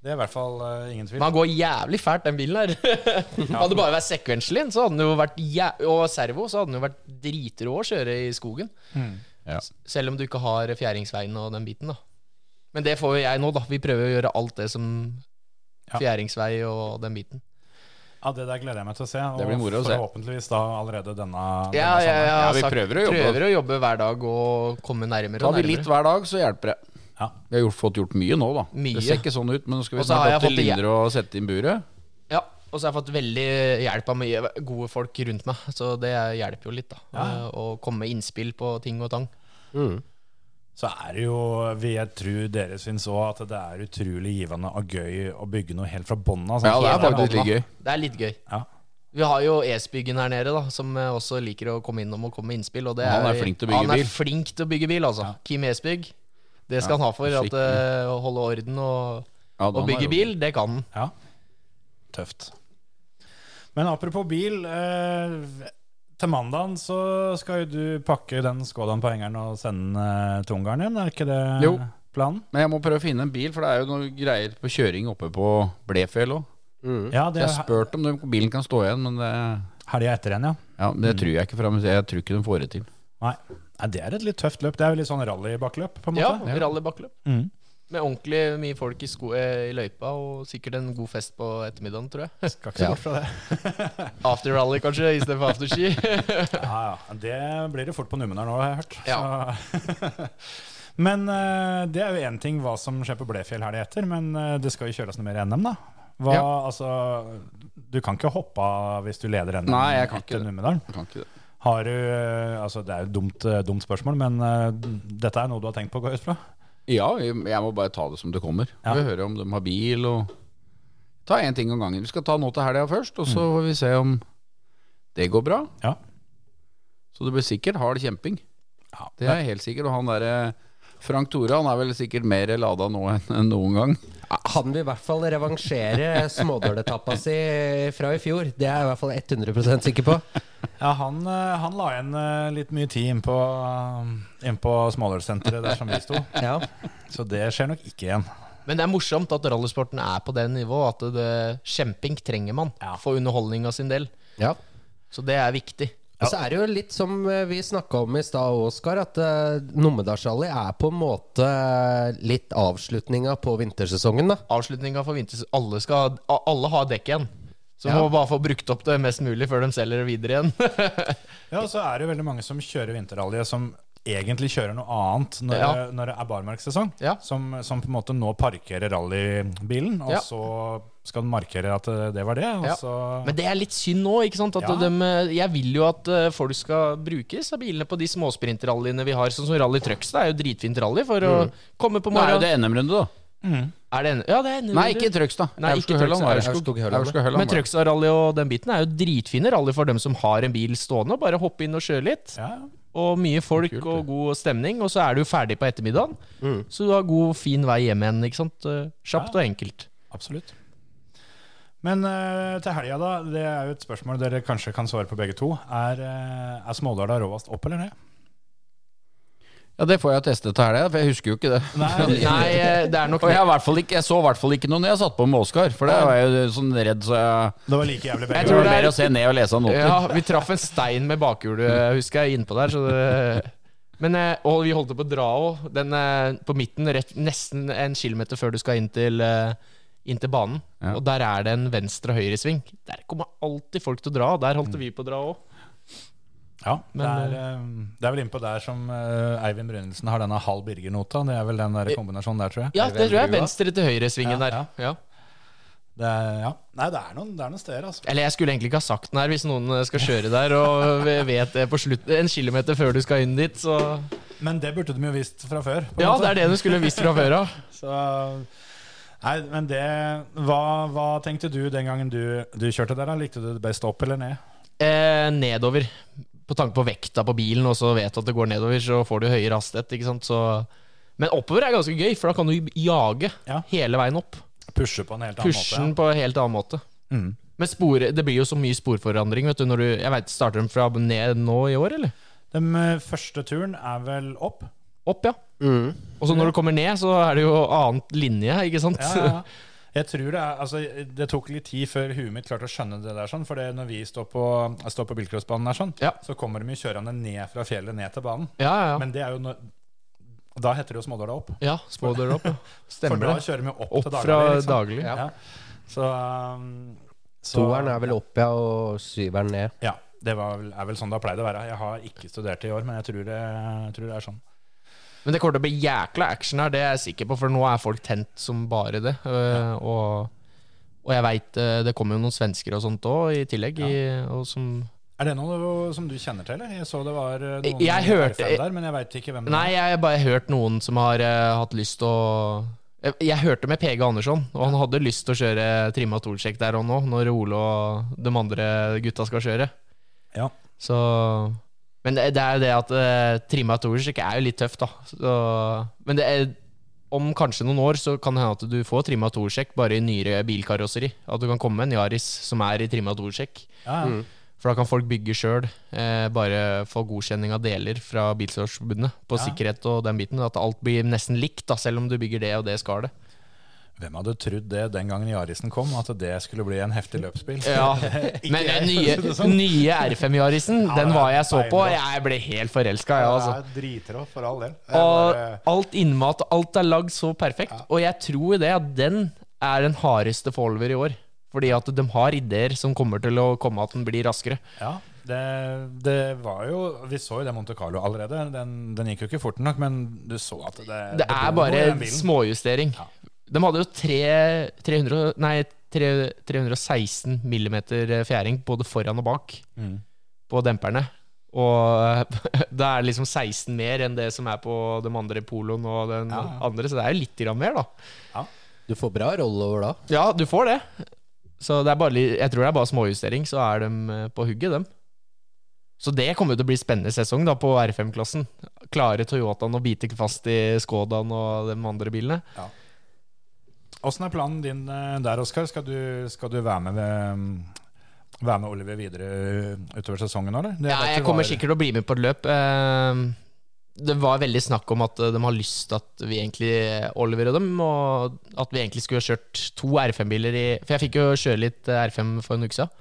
B: Det er i hvert fall eh, ingen tvil.
C: Men han går jævlig fælt, den bilen her. hadde det bare vært sekvenslin så hadde den jo vært jæ og servo, så hadde den jo vært dritrå å kjøre i skogen.
D: Ja.
C: S- Selv om du ikke har fjæringsveien og den biten, da. Men det får jo jeg nå, da. Vi prøver å gjøre alt det som
B: Ja.
C: fjæringsvei og den biten.
B: Ja, Det der gleder jeg meg til å se. Og
D: Det blir moro å se.
B: forhåpentligvis da allerede denne, denne
C: Ja, ja,
B: sommeren.
C: ja,
D: Ja, vi prøver å jobbe.
C: prøver å jobbe hver dag og komme nærmere
D: Tar
C: og
D: vi litt
C: nærmere.
D: hver dag, så hjelper det.
B: Ja.
D: Vi har gjort, fått gjort mye nå, da.
C: Mye.
D: Det ser ikke sånn ut, men nå skal vi
C: Og så har
D: snart
C: jeg
D: opp til
C: fått det-
D: Lindre og sette inn buret.
C: Ja, og så har jeg fått veldig hjelp av mye gode folk rundt meg, så det hjelper jo litt, da. Eh,
B: Ja.
C: Å komme med innspill på ting og tang.
E: Mm.
B: Så er det jo, vil jeg tro dere syns òg, at det er utrolig givende og gøy å bygge noe helt fra bånn
C: Altså,
B: av. sånn
D: Ja, det er
B: helt
D: faktisk
B: fra
D: litt gøy.
C: Det er litt gøy.
B: Ja.
C: Vi har jo Esbyggen her nede, da som eh, også liker å komme innom og komme med innspill. Og det
D: Han er flink til å bygge
C: han er
D: bil.
C: flink til å bygge bil. Altså. Kim Esbygg. Det skal
D: Ja,
C: han ha for at,
D: skikkelig.
C: eh, å holde orden og,
D: Ja, da
C: og
D: har
C: bygge
D: jeg
C: bil. Det kan han.
B: Ja, tøft. Men apropos bil. Eh, til mandagen så skal jo du pakke den Skodaen på hengeren og sende den eh, til Ungarn igjen, er ikke det
D: Jo.
B: planen?
D: Men jeg må prøve å finne en bil, for det er jo noe greier på kjøring oppe på Blefjell òg.
B: Ja, det
D: Jeg
B: er
D: har spurt om den bilen kan stå igjen, men det,
B: helga etter igjen, ja.
D: ja, det tror jeg ikke. For jeg- jeg tror ikke de får det til.
B: Nei. Nei, det er et litt tøft løp. Det er jo litt sånn rallybakkeløp, på en
C: Ja,
B: måte.
C: rallybakkeløp.
B: Mm.
C: Med ordentlig mye folk i, sko eh, i løypa, og sikkert en god fest på ettermiddagen, tror jeg.
B: Skal ikke se bort fra det.
C: After rally, kanskje, istedenfor
D: (laughs)
C: afterski.
B: Ja, ja. Det blir det fort på Numedal nå, har jeg hørt.
C: Ja.
B: Så. (laughs) men eh, det er jo én ting hva som skjer på Blefjell helga etter, men eh, det skal jo kjøres noe mer NM, da. Hva, altså, du kan ikke hoppe av hvis du leder NM
D: Nei, jeg kan ikke
B: etter
D: det.
B: Numedalen.
D: Kan ikke det.
B: Har du eh, Altså, det er jo et dumt, eh, dumt spørsmål, men eh, dette er noe du har tenkt på, går jeg ut fra?
D: Ja, jeg jeg må bare ta det som det kommer.
B: Ja.
D: Vi hører om de har bil og Ta én ting om gangen. Vi skal ta nå til helga først, og så får vi se om det går bra.
B: Ja.
D: Så det blir sikkert hard kjemping.
B: Ja.
D: eh, Det er helt sikkert. Og han derre Frank Tore han er vel sikkert mer lada nå enn enn noen gang.
E: Han vil i hvert fall revansjere smådøletappa si fra i fjor. Det er jeg i hvert fall 100 sikker på.
B: Ja, han, eh, han la igjen eh, litt mye tid inn på, inn på smådølsenteret der som vi
D: (laughs)
B: sto.
E: Ja.
B: Så det skjer nok ikke igjen.
C: Men det er morsomt at rallysporten er på det nivået at det, kjemping trenger man
B: Ja.
C: for underholdninga sin del.
E: ja.
C: Så det er viktig. Altså,
E: Og så er det jo litt som eh, vi snakka om i stad, Oskar, at uh, Numedalsrally er på en måte eh, litt avslutninga på vintersesongen, da.
C: Avslutninga for vinters... Alle, skal, a- alle har dekk igjen. Så
E: Ja.
C: må bare få brukt opp det mest mulig før de selger det videre
D: (laughs)
C: igjen.
B: Ja, og så er det jo veldig mange som kjører vinterrally som egentlig kjører noe annet når,
C: Ja.
B: det- når det er barmarkssesong.
C: Ja.
B: Som, som på en måte nå parkerer rallybilen, og
C: Ja.
B: så skal den markere at eh, det var det. Og
C: Ja.
B: så,
C: Men det er litt synd nå, ikke sant? At
B: Ja.
C: dem, eh, jeg vil jo at eh, folk skal bruke disse bilene på de småsprintrallyene vi har. Sånn som Rally Trucks. Det er jo dritfint rally for å komme på
D: Nå er jo
C: morgenen.
D: det NM-runde, da.
C: Er det en, ja, det er en
D: Nei, ikke i Trøgstad.
C: Nei, ikke i
D: Aurskog-Høland var det.
E: Trøgstad. Aurskog-Høland.
D: Aurskog-Høland var
C: Men
D: det.
C: Trøgstad-rally og den biten er jo dritfine rally for dem som har en bil stående. og Bare hoppe inn og kjøre litt.
B: ja.
C: Og mye folk
D: Kult, det.
C: og god stemning. Og så er du ferdig på ettermiddagen. Så du har god, fin vei hjem igjen. ikke sant? Eh, Kjapt og enkelt.
B: Absolutt. Men eh, til helga, da. Det er jo et spørsmål dere kanskje kan svare på begge to. Er, uh, er Smådala råest opp eller ned?
D: Ja, det får jeg teste til helga, for jeg husker jo ikke det.
C: Nei, eh, det er nok (laughs)
D: Og jeg, har i hvert fall ikke, jeg så i hvert fall ikke noe når jeg satt på med Oskar, for da var jeg jo sånn redd så jeg
B: Det var like jævlig
C: Jeg
B: begge
D: Det
C: tror
D: var
B: ganger.
C: det er-
D: mer å se ned og lese av noter.
C: Ja, vi traff en stein med bakhjulet, husker jeg, innpå der. Så det, men eh, og vi holdt på å dra òg. Den eh, på midten, rett, nesten en kilometer før du skal inn til, eh, inn til banen.
D: Ja.
C: Og der er det en venstre- og høyresving. Der kommer alltid folk til å dra. og Der holdt vi på å dra òg.
B: Ja, det
C: Men,
B: er, eh, det er vel innpå der som eh, Eivind Brynildsen har denne halv Birger-nota. Det er vel den der kombinasjonen der, tror jeg.
C: Ja, det tror jeg er
E: Brua?
C: venstre til høyre-svingen
B: Ja,
C: der. Ja.
B: Det er, ja. Nei, det er noen, det er noen steder, altså.
C: Eller jeg skulle egentlig ikke ha sagt den her, hvis noen eh, skal kjøre der og (laughs) vi vet det på slutt, en kilometer før du skal inn dit, så
B: Men det burde de jo visst fra før. på en
C: Ja,
B: måte.
C: det er det du skulle visst fra før av.
B: Så, nei, men det hva, hva tenkte du den gangen du, du kjørte der? da? Likte du det best opp eller ned?
C: eh, nedover. På tanke på vekta på bilen, og så vet du at det går nedover, så får du høyere hastighet. ikke sant? Så... Men oppover er ganske gøy, for da kan du jage
B: Ja.
C: hele veien opp.
B: Pushe på en helt annen
C: Pushe den
B: måte.
C: på en helt annen måte.
B: Ja. Mm.
C: Men spor, det blir jo så mye sporforandring. vet du, når du, jeg vet, Starter de fra ned nå i år, eller?
B: Den eh, første turen er vel opp?
C: Opp, ja. Og så når du kommer ned, så er det jo annet linje, ikke sant?
B: Ja,
C: (laughs)
B: ja, ja. Jeg tror det, er, altså, det tok litt tid før huet mitt klarte å skjønne det der. sånn, For det når vi står på, står på bilcrossbanen, her, sånn,
C: Ja.
B: så kommer de jo kjørende ned fra fjellet ned til banen.
C: ja, ja.
B: Men det er jo når, da heter det jo Smådala opp.
C: ja små dører opp. ja.
B: (laughs) For
C: Stemmer
B: da
C: det.
B: kjører vi opp,
C: Opp
B: til
C: fra
B: daglig. Liksom.
C: daglig.
B: Ja. Så, um, så-
E: Toeren er vel opp, ja, og syveren ned.
B: Ja, det var, vel- er vel sånn det har pleid å være. Jeg har ikke studert i år, men jeg tror det, jeg tror det er sånn.
C: Men det kommer til å bli jækla action her, det er jeg sikker på, for nå er folk tent som bare det. Øh, og, og jeg veit det kommer jo noen svensker og sånt òg, i tillegg. I, og som,
B: Er det noe som du kjenner til? eller? Jeg så det var eh, noen
C: Jeg hørte-
B: RFM der, men jeg veit ikke hvem det
C: nei, jeg har bare hørt noen som har øh, hatt lyst til å jeg, jeg hørte med PG Andersson, og han hadde lyst til å kjøre trimma toolsjekk der og nå, når Ole og de andre gutta skal kjøre.
B: er. Ja.
C: Så Men det, det er jo det at uh, trimma toolsjekk er jo litt tøft, da. Så, men det er, om kanskje noen år så kan det hende at du får trimma toolsjekk bare i nyere bilkarosseri. At du kan komme med en Yaris som er i trimma toolsjekk.
B: Ja, ja.
C: Mm. For da kan folk bygge sjøl, eh, bare få godkjenning av deler fra Bilsportsforbundet på
B: Ja.
C: sikkerhet og den biten. At alt blir nesten likt, da, selv om du bygger det og det skalet.
B: Hvem hadde trodd det den gangen Yarisen kom, at det skulle bli en heftig løpsbil?
C: (laughs) Ja. Men den nye,
B: (laughs)
C: nye R5 Yarisen,
B: Sånn. Ja,
C: den
B: det er
C: var jeg så på,
B: beinbra.
C: jeg ble helt forelska, jeg, altså.
B: Det er dritrå, for all del. Jeg eh, bare-
C: Og alt innmat, alt er lagd så perfekt. Og jeg tror det at den er den hardeste follower i år. Fordi at de har ideer som kommer til å komme at den blir raskere.
B: Ja, det, det var jo Vi så jo det Monte Carlo allerede. Den, den gikk jo ikke fort nok, men du så at det
C: Det
B: bor
C: er
B: noe
C: bare
B: i den bilen.
C: småjustering.
B: Ja.
C: De hadde jo tre, 300, nei, tre, 316 millimeter eh, fjæring både foran og bak
B: Mm.
C: på demperne. Og (laughs) det er liksom 16 mer enn det som er på de andre poloen og den
B: Ja, ja.
C: andre, så det er jo litt grann mer, da.
E: Du får bra rollover da.
C: Ja, du får det. Så det er bare, li- jeg tror det er bare småjustering, så er de eh, på hugget, dem. Så det kommer jo til å bli spennende sesong da på R5-klassen. Klarer Toyotaen å bite fast i Skodaen og de andre bilene?
B: Åssen er planen din eh, der, Oskar? Skal, du- skal du være med ved mm, være med Oliver videre eh, utover sesongen? Eller? Det
C: Ja,
B: vet
C: jeg
B: du
C: kommer
B: var-
C: sikkert til å bli med på et løp. Eh, Det var veldig snakk om at eh, de har lyst til at vi egentlig, Oliver og dem, og at vi egentlig skulle ha kjørt to R5-biler i For jeg fikk jo kjøre litt eh, R5 for en uke siden.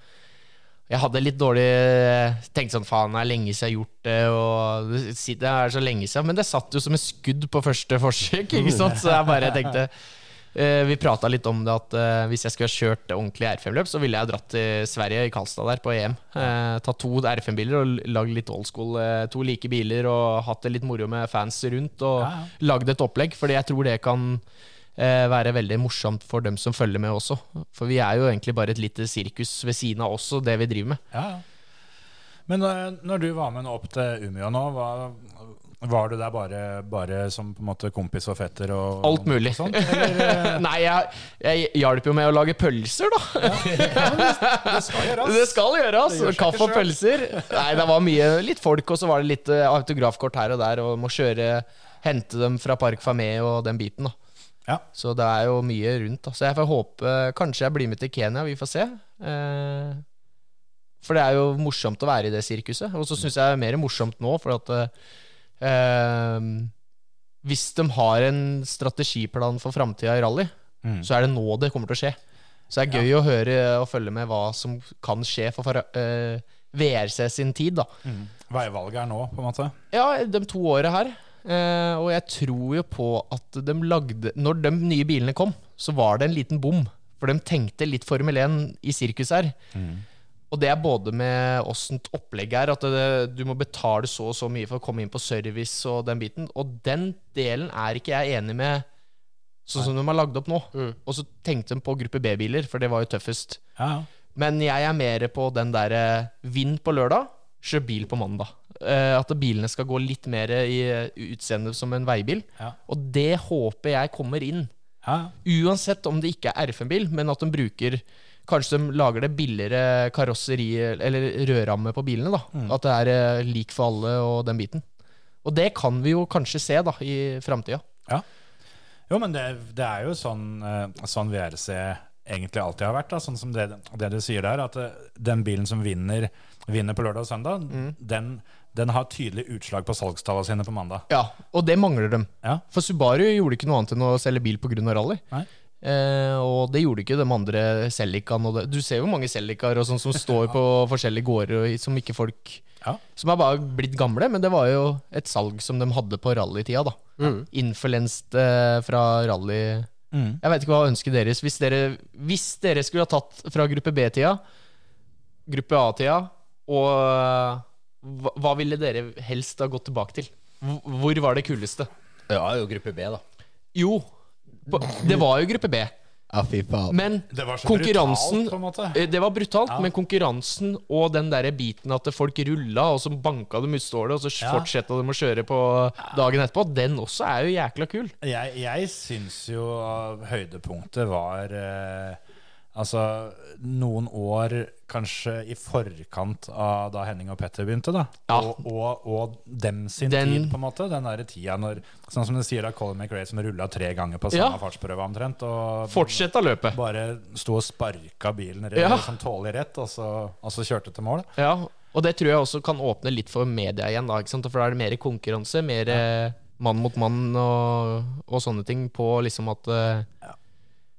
C: Jeg hadde litt dårlig Tenkte sånn, faen, det er lenge siden jeg har gjort det, og det sit- det er så lenge siden. Men det satt jo som et skudd på første forsøk, ikke sant? Så jeg bare tenkte eh, Vi prata litt om det at eh, hvis jeg skulle ha kjørt ordentlig R5-løp, så ville jeg dratt til Sverige, i Karlstad der, på EM. Eh, tatt to R5-biler og lagd litt old school, eh, to like biler, og hatt det litt moro med fans rundt, og
B: Ja, ja.
C: lagd et opplegg, fordi jeg tror det kan eh, være veldig morsomt for dem som følger med også. For vi er jo egentlig bare et lite sirkus ved siden av oss og det vi driver med.
B: Ja, ja. Men eh, når du var med nå opp til Umeå nå, var, var du der bare, bare som på en måte kompis og fetter? Og,
C: Alt mulig.
B: Og sånt,
C: (laughs)
B: eller, eh,
C: Nei, jeg, jeg hjalp jo med å lage pølser, da.
B: det skal gjøres.
C: Det skal gjøres.
B: Det gjør seg
C: Kaffe og
B: ikke
C: pølser. Nei, det var mye litt folk, og så var det litt eh, autografkort her og der, og må kjøre Hente dem fra Park Famé og den biten, da.
B: Ja.
C: Så det er jo mye rundt. Da. Så jeg får håpe Kanskje jeg blir med til Kenya, vi får se. Eh, for det er jo morsomt å være i det sirkuset. Og så syns jeg det er mer morsomt nå, for at eh, Hvis de har en strategiplan for framtida i rally,
B: Mm.
C: så er det nå det kommer til å skje. Så det er gøy å høre og følge med hva som kan skje for, for eh, VRC sin tid, da.
B: Mm. Veivalget er nå, på en måte.
C: Ja, de to åra her. Eh, og jeg tror jo på at de lagde Når de nye bilene kom, så var det en liten bom. For de tenkte litt Formel 1 i sirkus her. Og det er både med åssen opplegget er, at det, du må betale så og så mye for å komme inn på service og den biten. Og den delen er ikke jeg enig med, sånn som de har lagd opp nå. Og så tenkte de på gruppe B-biler, for det var jo tøffest.
B: Ja, ja.
C: Men jeg er mer på den der eh, Vinn på lørdag, kjør bil på mandag. Eh, at bilene skal gå litt mer i eh, utseende som en veibil.
B: Ja.
C: Og det håper jeg kommer inn.
B: Ja,
C: Uansett om det ikke er RFM-bil, men at de bruker Kanskje de lager det billigere karosseri eller rødramme på bilene. da At det er eh, lik for alle og den biten. Og det kan vi jo kanskje se da i framtida.
B: ja. Jo, men det, det er jo sånn, eh, sånn VRC egentlig alltid har vært. Da. Sånn som det, det du sier der, at eh, den bilen som vinner, vinner på lørdag og søndag, den, den har tydelig utslag på salgstallene sine på mandag.
C: Ja, og det mangler de.
B: Ja.
C: For Subaru gjorde ikke noe annet enn å selge bil pga. rally.
B: Nei.
C: Eh, og det gjorde ikke de andre Celicaene. og det- Du ser jo mange Celicaer og
B: (laughs)
C: sånn som står på forskjellige gårder og som ikke folk
B: Ja.
C: Som er bare blitt gamle, men det var jo et salg som de hadde på rallytida, da. Influenst eh, fra rally
B: Mm.
C: Jeg vet ikke hva ønsket deres Hvis dere, hvis dere skulle ha tatt fra gruppe B-tida, gruppe A-tida, og eh, hva, hva ville dere helst ha gått tilbake til? Hvor- Hvor var det kuleste?
E: Ja, jo gruppe B, da.
C: Jo, på, det var jo gruppe B.
E: Ja, fy faen.
C: Men
B: Det var så
C: konkurransen
B: brutalt, på en måte.
C: eh, Det var brutalt, men konkurransen og den der biten at folk rulla, og så banka dem utstålet, og så
B: Ja.
C: fortsetta de å kjøre på dagen etterpå, den også er jo jækla kul.
B: Jeg, jeg syns jo av høydepunktet var eh, Altså noen år kanskje i forkant av da Henning og Petter begynte, da.
C: Ja.
B: Og, og, og dem sin
C: Den-
B: tid, på en måte. Den derre tida når Sånn som du sier da Colin McRae som rulla tre ganger på
C: Ja.
B: samme fartsprøve omtrent. Og
C: Fortsetta løpet.
B: bare sto og sparka bilen rett,
C: Ja.
B: som tålig rett, og så, og så kjørte til mål.
C: Ja, og det tror jeg også kan åpne litt for media igjen, da. Ikke sant? For da er det mer konkurranse, mer eh, mann mot mann og, og sånne ting på liksom at eh,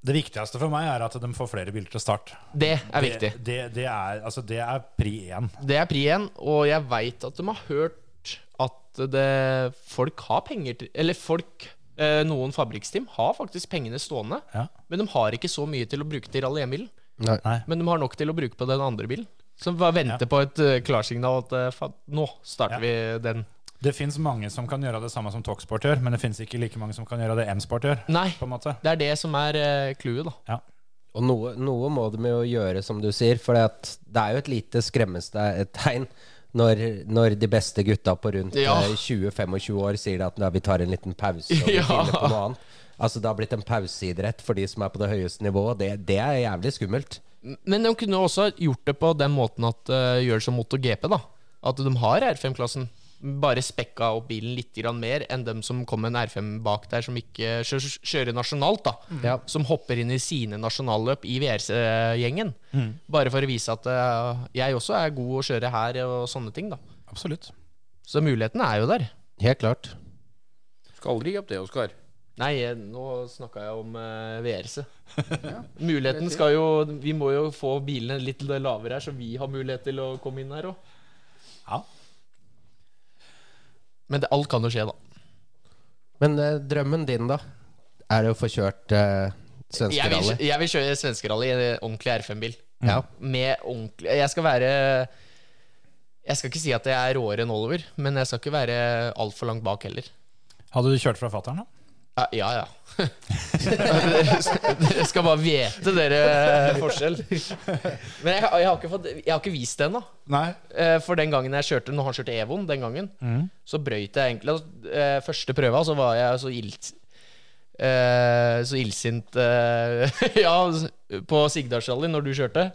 B: Det viktigste for meg er at de får flere biler til start.
C: Det er viktig.
B: Det, det, det, er, altså, det er pri én.
C: Det er pri én, og jeg veit at de har hørt at det, folk har penger til Eller folk, eh, noen fabrikksteam, har faktisk pengene stående.
B: Ja.
C: Men de har ikke så mye til å bruke til Rally 1-bilen.
E: Nei.
B: Nei.
C: Men de har nok til å bruke på den andre bilen. Som bare venter på et eh, klarsignal at eh, faen, nå starter vi den.
B: Det fins mange som kan gjøre det samme som Talksport gjør, men det fins ikke like mange som kan gjøre det M-sport gjør.
C: Nei,
B: på en måte.
C: det er det som er eh, clouet, da.
B: Ja.
E: Og noe, noe må de jo gjøre, som du sier. For det at det er jo et lite skremmestegn når, når de beste gutta på rundt
C: Ja.
E: eh, 20-25 år sier at «Nei, vi tar en liten pause
C: (laughs)
E: og
C: Ja.
E: ja. på noe annet. Altså Det har blitt en pauseidrett for de som er på det høyeste nivået. Det, det er jævlig skummelt.
C: Men de eh, kunne også gjort det på den måten at uh, gjør som MotoGP, da. At de har R5-klassen. bare spekka opp bilen litt grann mer enn dem som kom med en R5 bak der, som ikke kjø- kjører nasjonalt, da.
E: Ja.
C: Som hopper inn i sine nasjonalløp i VRC-gjengen. Bare for å vise at eh, jeg også er god å kjøre her og sånne ting, da.
B: Absolutt.
C: Så muligheten er jo der.
E: Helt klart.
D: Skal aldri gi opp det, Oskar.
C: Nei, eh, nå snakka jeg om eh, VRC. Muligheten skal jo Vi må jo få bilene litt lavere her, så vi har mulighet til å komme inn her òg.
B: Ja.
C: Men det, alt kan jo skje, da.
E: Men eh, drømmen din, da? Er det å få kjørt eh, svenske
C: Jeg vil,
E: rally?
C: jeg vil kjøre svenskerally i en ordentlig R5-bil.
E: Ja.
C: Med ordentlig Jeg skal være Jeg skal ikke si at jeg er råere enn Oliver, men jeg skal ikke være altfor langt bak heller.
B: Hadde du kjørt fra fattern, da?
C: Ja, ja. ja. (laughs) dere, dere skal bare vite dere eh, forskjell. Men jeg, jeg, har, ikke fått, jeg har ikke vist det ennå.
B: Nei.
C: Eh, For den gangen jeg kjørte Når han kjørte Evoen den gangen, så brøyt jeg egentlig eh, Første prøva så var jeg så ilt eh, Så illsint eh, (laughs) Ja, på Sigdalsrally når du kjørte.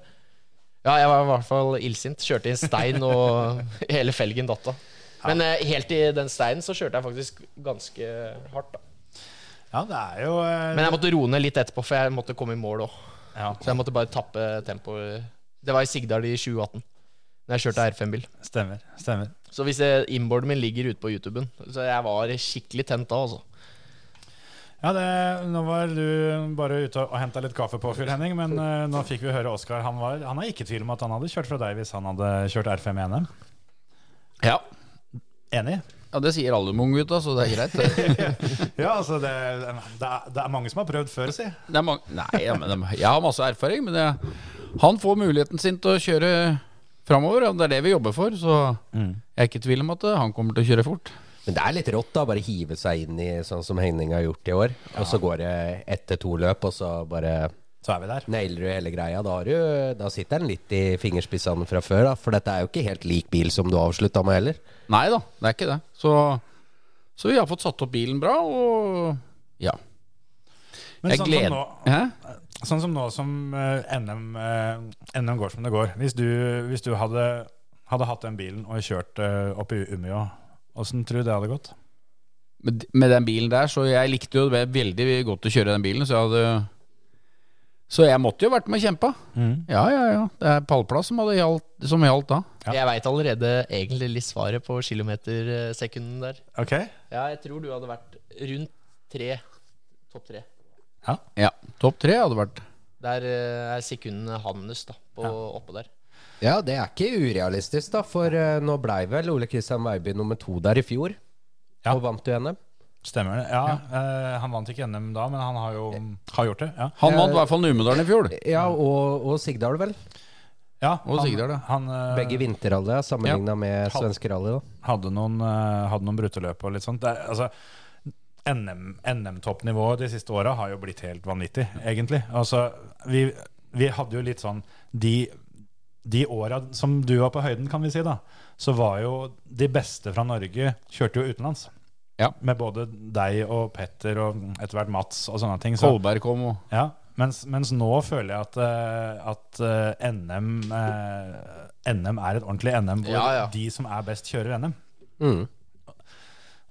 C: Ja, jeg var i hvert fall illsint. Kjørte i en stein, og (laughs) hele felgen datt av. Men eh, helt i den steinen så kjørte jeg faktisk ganske hardt, da.
B: Ja, det er jo eh,
C: Men jeg måtte roe ned litt etterpå, for jeg måtte komme i mål òg.
B: ja,
C: Så jeg måtte bare tappe tempoet. Det var i Sigdal i 2018, da jeg kjørte R5-bil.
B: Stemmer. stemmer.
C: Så hvis jeg- inboarden min ligger ute på YouTuben Så jeg var skikkelig tent da, altså.
B: Ja, det, Nå var du bare ute og henta litt kaffe på fyr, Henning, men eh, nå fikk vi høre Oskar. Han, var- han er ikke i tvil om at han hadde kjørt fra deg hvis han hadde kjørt R5 i NM.
D: Ja.
B: Enig?
D: ja, det sier alle Mung-gutta, så det er greit. (laughs) Det,
B: Ja, altså, det, det, er, det er mange som har prøvd før, si.
D: det er mange Nei, ja, men de- jeg har masse erfaring, men jeg, han får muligheten sin til å kjøre framover. og Det er det vi jobber for, så
E: Mm.
D: jeg er ikke i tvil om at eh, han kommer til å kjøre fort.
E: Men det er litt rått, da. Bare hive seg inn i sånn som Henning har gjort i år. Og så går det ett til to løp, og så bare
B: Så er vi der.
E: Nailer du hele greia, da, har du, da sitter den litt i fingerspissene fra før. Da, for dette er jo ikke helt lik bil som du avslutta med heller.
D: Nei da, det er ikke det. Så, så vi har fått satt opp bilen bra, og ja.
B: Men
D: Jeg
B: sånn
D: gleder
B: som nå,
D: Hæ?
B: Sånn som nå som eh, NM, eh, NM går som det går. Hvis du, hvis du hadde, hadde hatt den bilen og kjørt eh, opp i Umeå, åssen tror du det hadde gått?
D: Med, med den bilen der, så jeg likte jo det veldig godt å kjøre den bilen, så jeg hadde Så jeg måtte jo vært med og kjempa. Ja, ja, ja. Det er pallplass som, hadde gjaldt, som gjaldt da.
B: Ja.
C: Jeg veit allerede egentlig litt svaret på kilometersekunden der.
B: Ok?
C: Ja, jeg tror du hadde vært rundt tre. Topp tre.
D: Ja. Topp tre hadde vært
C: Der eh, er sekundene hans, da, på, oppå der.
E: Ja, det er ikke urealistisk, da. For eh, nå blei vel Ole Kristian Weiby nummer to der i fjor.
B: Ja.
E: Og vant du NM.
B: Stemmer det. Ja, eh, han vant ikke NM da, men han har jo har gjort det. Ja,
D: Han vant i hvert fall Numedalen i fjor.
E: Ja, og, og Sigdal, vel.
B: ja
D: Og
B: han,
D: Sigdal, ja.
B: han eh,
E: Begge vinterrally sammenligna med svenske rally. da
B: hadde noen, eh, hadde noen bruteløp og litt sånt. Det, er- altså, NM, NM-toppnivået de siste åra har jo blitt helt vanvittig, egentlig. Altså, vi, vi hadde jo litt sånn De, de åra som du var på høyden, kan vi si, da, så var jo de beste fra Norge kjørte jo utenlands.
D: Ja.
B: Med både deg og Petter og etter hvert Mats og sånne ting. Så,
D: Kolberg kom og
B: ja, mens, mens nå føler jeg at, eh, at eh, NM, eh, NM er et ordentlig NM hvor
C: Ja, ja.
B: de som er best, kjører NM.
E: Mm.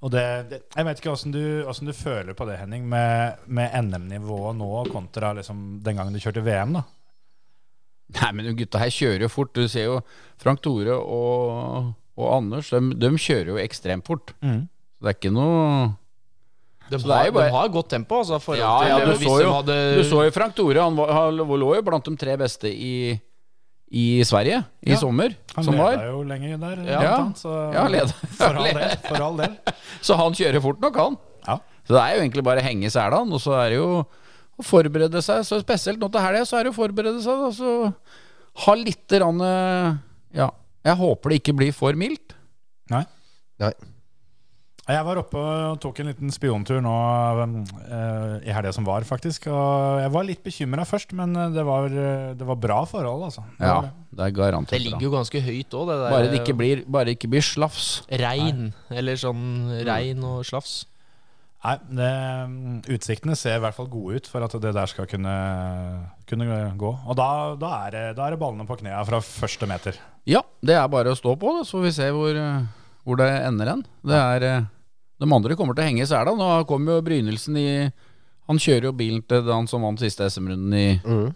B: Og det, det, jeg vet ikke åssen du, hvordan du føler på det, Henning, med, med NM-nivået nå kontra liksom, den gangen du kjørte VM. da.
D: Nei, men de gutta her kjører jo fort. Du ser jo Frank Tore og, og Anders, de, de kjører jo ekstremt fort. Så det er ikke noe
C: De,
D: det er
C: har,
D: jo bare-
C: de har godt tempo, altså. forhold
D: Ja,
C: til
D: ja,
C: det,
D: du
C: hvis
D: så
C: de
D: jo,
C: hadde-
D: du så jo Frank Tore. Han, var, han lå jo blant de tre beste i, i Sverige i
B: Ja.
D: sommer.
B: Han
D: som var.
B: leda jo lenge der,
D: Ja.
B: blant annet, så
D: Ja, leda.
B: (laughs) for all del. For all del.
D: Så han kjører fort nok, han.
B: Ja.
D: Så det er jo egentlig bare å henge i selene, og så er det jo å forberede seg. Så spesielt nå til helga, så er det å forberede seg, da. Så ha lite grann eh, Ja. Jeg håper det ikke blir for mildt.
B: Nei.
E: Nei.
B: Jeg var oppe og tok en liten spiontur nå eh, i helga som var, faktisk. Og jeg var litt bekymra først, men eh, det var, eh, det var bra forhold, altså. Det var
D: Ja,
B: det.
D: det er garantert.
C: Det ligger jo ganske høyt òg, det der. eh,
D: Bare det ikke blir, bare det ikke blir slafs.
C: Regn, eller
D: Mm.
C: sånn regn og slafs.
B: Nei, det, mm, Utsiktene ser i hvert fall gode ut for at det der skal kunne, kunne gå. Og da, da, er det, da er det ballene på knærne fra første meter.
D: Ja, det er bare å stå på, da, så får vi se hvor, eh, hvor det ender hen. Det er, eh, de andre kommer til å henge i sela. Nå kom jo Brynildsen i Han kjører jo bilen til han som vant siste SM-runden i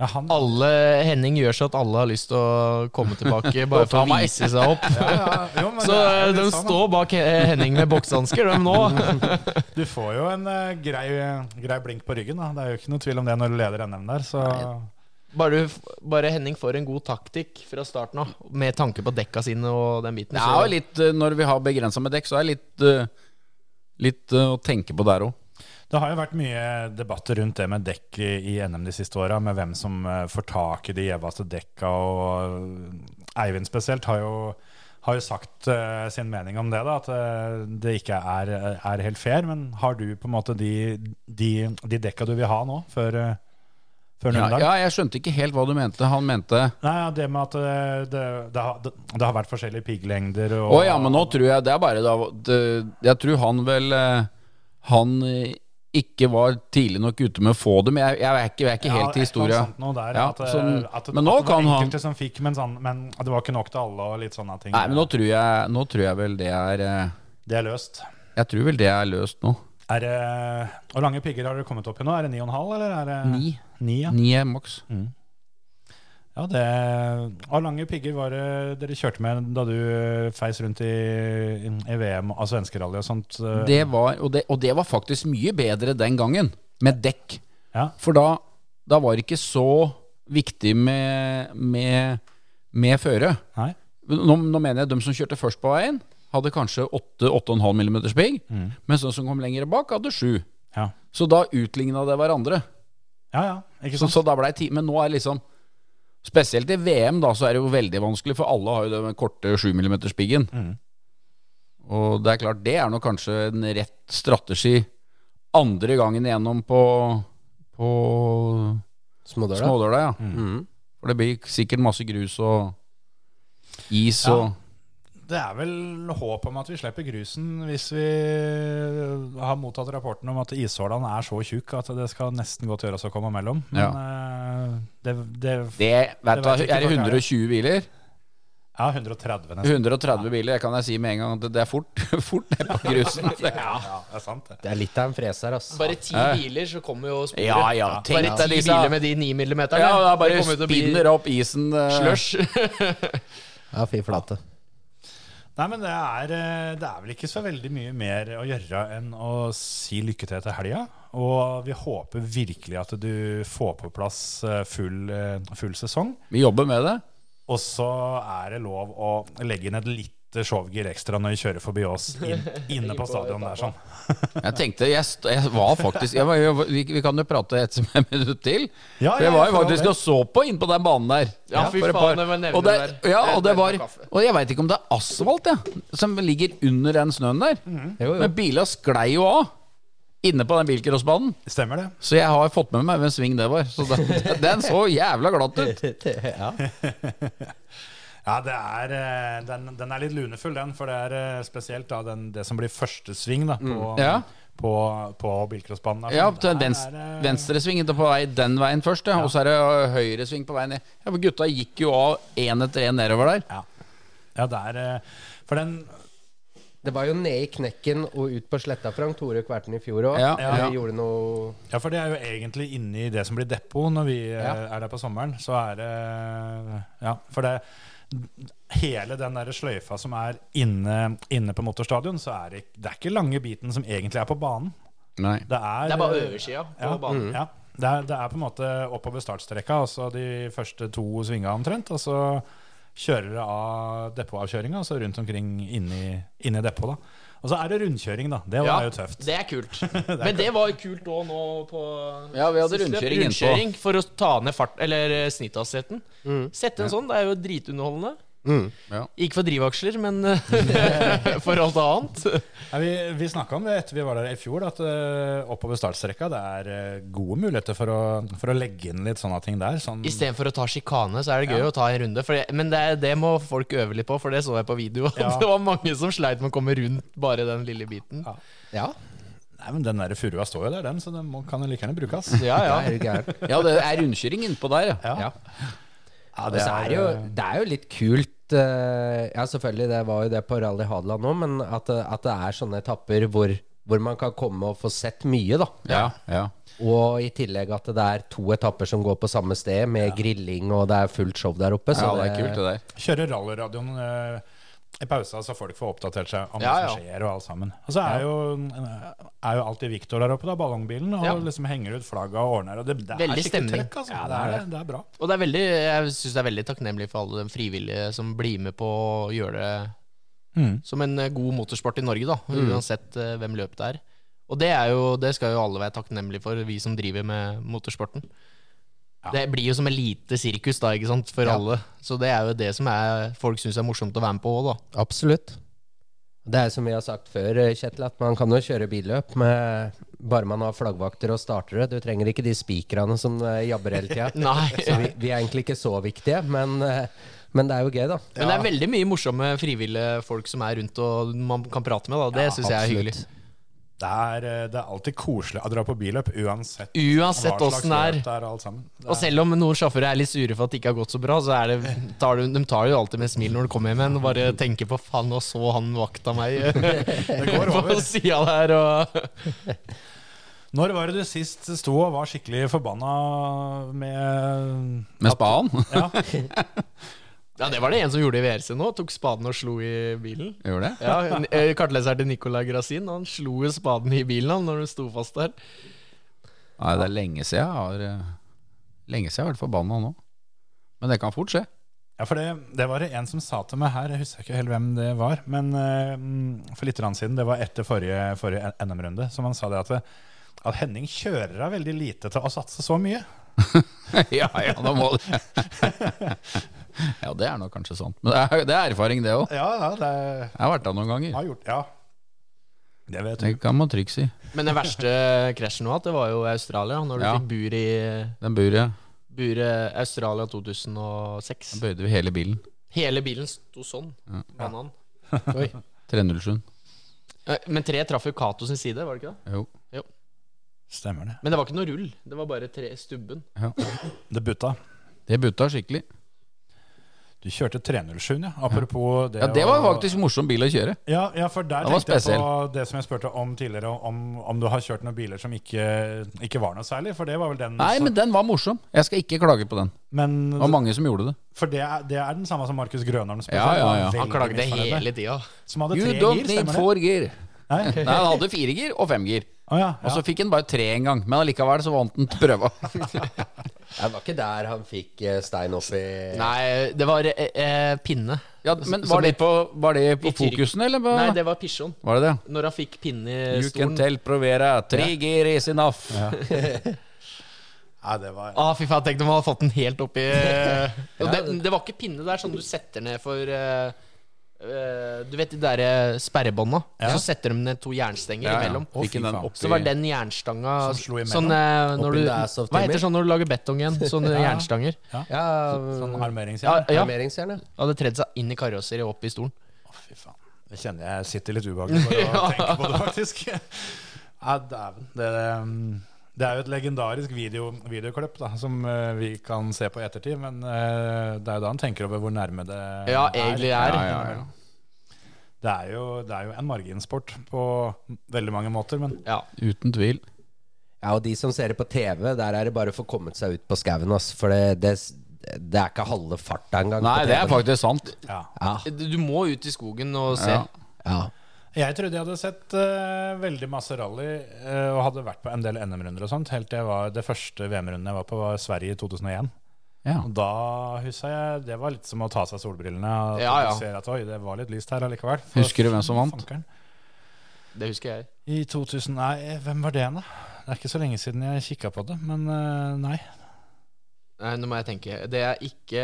B: Ja, han,
C: Alle, Henning gjør så at alle har lyst til å komme
D: (laughs)
C: tilbake, bare for å vise seg opp.
B: jo, men
C: (laughs) Så
B: det er
C: eh,
B: litt
C: de
B: sånn,
C: står bak He- Henning med boksehansker, de
D: (laughs)
C: nå.
B: da. Du får jo en eh, grei, grei blink på ryggen. Da. Det er jo ikke noe tvil om det når du leder NM der. Så
C: Bare, du f- bare Henning får en god taktikk fra starten av, med tanke på dekka sine og den biten.
D: Det er
C: Så
D: jo litt, eh, Når vi har begrensa med dekk, så er det litt, eh, litt eh, å tenke på der òg.
B: det har jo vært mye debatter rundt det med dekk i, i NM de siste åra, med hvem som eh, får tak i de gjeveste dekka, og eh, Eivind spesielt har jo har jo sagt eh, sin mening om det, da, at eh, det ikke er, er helt fair. Men har du på en måte de, de, de dekka du vil ha nå, før, eh, før
D: Ja,
B: Nürnberg?
D: ja, jeg skjønte ikke helt hva du mente. Han mente
B: Nei, ja, det med at eh, det, det, har, det, det har vært forskjellige pigglengder og
D: Å ja, men nå tror jeg det er bare da det- Jeg tror han vel eh, Han eh, ikke var tidlig nok ute med å få dem. Jeg, jeg er ikke, jeg er ikke helt i historia.
B: Der,
D: Ja,
B: at, eh,
D: sånn-
B: at,
D: men nå
B: at det var
D: kan han-
B: enkelte som fikk, men, sånn, men det var ikke nok til alle og litt sånne ting.
D: Nei, men nå tror jeg, nå tror jeg vel det er eh,
B: Det er løst.
D: Jeg tror vel det er løst nå.
B: Er det, hvor lange pigger har dere kommet opp i nå? Er det ni og en halv, eller er det
D: Ni.
B: Ni, ja.
D: Ni er maks.
B: ja det, hvor lange pigger var det dere kjørte med da du feis rundt i, i VM av svenskerally og sånt? eh?
D: Det var, og, det, og det var faktisk mye bedre den gangen, med dekk.
B: Ja.
D: For da, da var det ikke så viktig med, med, med føre.
B: Nei?
D: Nå, nå mener jeg de som kjørte først på veien, hadde kanskje 8-8,5 mm pigg, mens de som kom lenger bak, hadde 7.
B: Ja.
D: Så da utligna det hverandre.
B: ja, ja. Ikke
D: Liksom,
B: sant?
D: Så, så da ble det ti, Men nå er det liksom Spesielt i VM, da, så er det jo veldig vanskelig, for alle har jo den korte 7 mm piggen.
B: Mm.
D: Og det er klart, det er nå kanskje en rett strategi andre gangen igjennom på, på
E: Smådøla.
D: smådøla, ja.
E: Mm.
D: For det blir sikkert masse grus og is
B: Ja.
D: og
B: Det er vel håp om at vi slipper grusen hvis vi har mottatt rapporten om at ishålene er så tjukk at det skal nesten godt gjøres å komme mellom. Men eh, det, det
D: Det, vet
B: Det
D: du,
B: vet
D: hva,
B: jeg ikke
D: er det
B: hva det er.
D: 120 biler?
B: Ja, 130 nesten.
D: 130 biler, jeg kan jeg si med en gang at det- det er fort, (laughs) fort ned på grusen.
B: Ja, det er sant, det.
E: Det er litt av en freser, ass.
C: bare ti biler, så kommer jo sporet.
D: Ja, ja, tenk
C: bare
D: deg
C: ti
D: disse-
C: biler med de ni millimeterne.
D: Ja, da
C: Det
D: bare
C: kommer jo til å bli
D: spinner opp isen. eh,
C: slush.
E: Ja, fy flate.
B: Nei, men det er, eh, det er vel ikke så veldig mye mer å gjøre enn å si lykke til til helga. Og vi håper virkelig at du får på plass eh, full, eh, full sesong.
D: Vi jobber med det.
B: Og så er det lov å legge inn et lite showgir ekstra når vi kjører forbi oss (laughs) inn, inne på stadion der sånn.
D: Jeg tenkte, jeg, st- jeg var faktisk jeg var, jeg, var- vi, vi kan jo prate et (laughs) som et minutt til.
B: Ja,
D: For jeg
B: ja,
D: var jo
B: for all
D: faktisk
B: del.
D: og så på inn på den banen der.
C: (laughs) Ja, fy
D: for et
C: faen,
D: par-
C: det var nevne
D: og det,
C: der.
D: ja, og det
C: Jeg
D: var
C: vet ikke kaffe.
D: Og jeg veit ikke om det er asfalt ja, som ligger under den snøen der.
E: Jo, jo.
D: Mhm. Men bila sklei jo av inne på den bilcrossbanen.
B: Stemmer det?
D: Så jeg har fått med meg hvem sving det var. Så den, (laughs) den så jævla glatt ut.
E: (laughs) ja.
B: Ja, det er, eh, den, den er litt lunefull, den. For det er eh, spesielt da, den, det som blir første sving da, på,
D: Mm. Ja.
B: på, på bilcrossbanen. der,
D: Ja,
B: sånn.
D: til
B: Der
D: venst,
B: er det-
D: venstresving ikke på vei den veien først, ja. Og så er det ø, høyresving på veien ned. Ja, for gutta gikk jo av én etter én nedover der.
B: Ja. ja, det er eh, For den
E: Det var jo ned i knekken og ut på sletta, Frank Tore Kverten i fjor òg.
D: Ja,
E: Ja,
D: ja.
E: Gjorde noe
B: Ja, for det er jo egentlig inni det som blir depot når vi eh,
E: Ja.
B: er der på sommeren. Så er det Ja, for det Hele den der sløyfa som er inne, inne på motorstadion, så er det, det er ikke lange biten som egentlig er på banen.
D: Nei.
B: Det er,
C: Det er bare
B: eh,
C: øversida på
B: Ja,
D: Mm.
C: banen.
B: ja. Det, er, det er på en måte oppover startstreka, altså de første to svinga omtrent. Og så kjører det av depotavkjøringa, altså rundt omkring inni, inni depotet. da. Og så er det rundkjøring, da. Det var
C: Ja,
B: jo tøft.
C: Det er
B: (laughs)
C: kult. Men det var kult òg nå på
D: Ja, vi hadde
C: siste løp.
D: rundkjøring innpå.
C: Rundkjøring for å ta ned fart Eller eh, snitthastigheten.
D: Mm.
C: Sette en sånn, det er jo dritunderholdende.
D: (laughs) Ja.
C: Ikke for drivaksjer, men eh, (laughs) for alt annet.
B: Nei, vi vi snakka om det etter vi var der i fjor, at eh, oppover startstrekka det er eh, gode muligheter for å, for å legge inn litt sånne ting der. Sånn,
C: Istedenfor å ta sjikane, så er det gøy å ta en runde. For det, men det, er- det må folk øve litt på, for det så jeg på video. (laughs)
B: Ja.
C: Det var mange som sleit med å komme rundt bare den lille biten.
B: Ja.
E: Ja,
B: nei, men Den der furua står jo der, den, så den må, kan jo like gjerne brukes.
C: Ja,
E: ja.
C: ja.
E: er du (laughs) gæren.
D: Ja, det eh, er rundkjøring innpå der, ja.
B: Ja.
E: Ja. Og så er det, jo, det er jo litt kult eh, Ja, selvfølgelig, det var jo det på Rally Hadeland nå, men at, det- at det er sånne etapper hvor, hvor man kan komme og få sett mye, da.
D: Ja, ja.
E: Og i tillegg at det er to etapper som går på samme sted, med grilling og det er fullt show der oppe.
D: ja, det er kult, det der.
B: Kjøre rallyradioen eh, i pausa, så folk får oppdatert seg om
C: Ja,
B: hva
C: ja.
B: som skjer og alt sammen. Og så er, jo, er jo alltid Victor der oppe, da, ballongbilen, og
C: Ja.
B: liksom henger ut flagget og ordner. Og det, det er
C: Veldig
B: skikkelig
C: stemning.
B: trøkk, altså. det, er, det er bra.
C: Og det er veldig, jeg syns det er veldig takknemlig for alle de frivillige som blir med på å gjøre det som en eh, god motorsport i Norge, da.
E: Mm.
C: Uansett eh, hvem løpet er. Og det, er jo, det skal jo alle være takknemlige for, vi som driver med motorsporten. Det blir jo som elite sirkus da, ikke sant, for
E: Ja.
C: alle. Så det er jo det som er, folk syns er morsomt å være med på òg, da.
E: Absolutt. Det er som vi har sagt før, eh, Kjetil, at man kan jo kjøre billøp med bare man har flaggvakter og startere. Du trenger ikke de spikrene som eh, jabber hele tida. Så
C: (laughs) Nei.
E: vi, vi er egentlig ikke så viktige, men, eh, men det er jo gøy, da.
C: Men det er veldig mye morsomme frivillige folk som er rundt og man kan prate med, da. Det synes syns jeg er hyggelig.
E: Absolutt.
B: Det er, eh, det er alltid koselig å dra på billøp, uansett
C: Uansett åssen det er.
B: løp det er. og Alt sammen. Det
C: Og selv om noen sjåfører er litt sure for at det ikke har gått så bra, så er det, tar du, de tar jo alltid med smil når du kommer hjem igjen og bare tenker på faen, nå så han vakta meg
B: går
C: på
B: over.
C: sida der. Og,
B: Når var det du sist sto og var skikkelig forbanna med
D: Med spaden? (laughs)
B: ja.
C: ja, det var det en som gjorde i VRC nå. Tok spaden og slo i bilen.
D: Gjorde det?
C: Ja, n- eh, Kartleseren til Nicolai Grasin han slo jo spaden i bilen han når den sto fast der.
D: Nei, det er lenge siden jeg har eh, Lenge siden jeg har vært forbanna nå. Men det kan fort skje. (laughs)
B: Ja, for det, det var det en som sa til meg her, jeg husker ikke helt hvem det var, men eh, mm, for litt grann siden, det var etter forrige, forrige NM-runde, som han sa det at, at Henning kjører av veldig lite til å satse så mye.
D: ja, ja, da må det (laughs) Ja, det er nok kanskje sant. Men det er, det er erfaring, det òg.
B: Ja, ja, det
D: Jeg har vært der noen ganger.
B: har gjort, ja. Det vet
D: Det
B: du.
D: kan man trygt si.
C: Men den verste krasjen nå, at det var jo i Australia, når du
D: Ja.
C: fikk bur i
D: Den buret
C: buret Australia 2006.
D: den bøyde vi hele bilen.
C: Hele bilen sto sånn. Banan.
D: Oi. 307.
C: Eh, Men tre traff jo Cato sin side, var det ikke det?
D: Jo.
B: Stemmer det.
C: Men det var ikke noe rull, det var bare tre stubben.
D: Ja.
B: Det butta.
D: Det butta skikkelig.
B: Du kjørte 307, ja. Apropos det
D: Ja, Det var
B: å-
D: faktisk morsom bil å kjøre.
B: Ja, ja, for der
D: Den var
B: tenkte jeg på det som jeg spurte om tidligere, om, om du har kjørt noen biler som ikke, ikke var noe særlig, for det var vel den
D: Nei,
B: som-
D: men den var morsom. Jeg skal ikke klage på den.
B: men
D: Det var mange som gjorde det.
B: For det er, det er den samme som Markus Grønholm spør
D: Ja,
B: for.
D: ja,
B: var
D: ja.
B: veldig
C: Han klagde
B: misfornøyd med.
C: hele tida.
B: Som hadde
D: You
B: tre
D: don't
B: gir,
D: need
B: stemmer det?
D: four gear.
B: Nei?
D: Nei, han hadde fire gir og fem gir.
B: Å ja,
D: Og
B: ja.
D: så fikk han bare tre en gang. Men allikevel så vant
B: (laughs)
D: han prøva.
E: Det var ikke der han fikk eh, stein opp i
C: Nei, det var eh, eh, pinne.
D: Ja, men var det på, var det på
C: I Tyrk-
D: fokusen, eller? På,
C: Nei, det var pisjon.
D: Var det det?
C: Når han fikk pinne i
D: You can
C: stolen.
D: tell Provera. Tre gear is enough.
B: Nei, det var
C: Å, Ah, fy faen, tenk om han hadde fått den helt oppi Og det, det var ikke pinne der sånn du setter ned for eh, eh, Du vet de der eh, sperrebånda? Så setter de ned to jernstenger
D: Ja, ja.
C: imellom.
B: Å,
D: Fikk
B: fy
D: han den
B: faen.
D: oppi
C: Så var den jernstanga
B: Som slo imellom?
C: sånn, eh, når
E: Oppi
C: du,
E: the ass of
C: Hva
E: timber?
C: heter sånn når du lager betong igjen? Sånne
B: Ja.
C: jernstanger.
E: Ja,
B: sånn
C: Ja,
B: armeringsjern.
C: ja.
E: armeringsjern, ja.
C: Hadde tredd seg inn i karosseriet og opp i stolen.
B: Å, fy faen. Det kjenner jeg sitter litt
C: (laughs)
B: ubehagelig for å tenke på det, faktisk. (laughs) Nei, dæven. Det, um, det er jo et legendarisk video, videoklipp da, som eh, vi kan se på i ettertid, men eh, det er jo da han tenker over hvor nærme det
C: Ja, egentlig er.
D: Ja, ja, ja.
B: Det er, jo, det er jo en marginsport på veldig mange måter, men
C: Ja.
D: Uten tvil.
E: Ja, og de som ser det på TV, der er det bare for å komme seg ut på skauen, ass. For det, det, det er ikke halve farta engang.
D: Nei,
E: på
D: det er
E: TV.
D: faktisk sant.
B: ja.
E: Ja,
C: Du du må ut i skogen og se.
D: Ja.
E: ja.
B: Jeg trodde jeg hadde sett eh, veldig masse rally eh, og hadde vært på en del NM-runder og sånt. Helt til jeg var, det første VM-runden jeg var på, var Sverige i 2001.
D: Ja.
B: Og da huska jeg Det var litt som å ta av seg solbrillene. Og
C: Ja, ja.
B: Du ser at oi, det var litt lyst her allikevel. For
D: Husker du hvem som vant?
B: fankeren.
C: Det husker jeg.
B: I 2000 Nei, hvem var det, da? Det er ikke så lenge siden jeg kikka på det, men eh, nei.
C: Nei, nå må jeg tenke. Det er ikke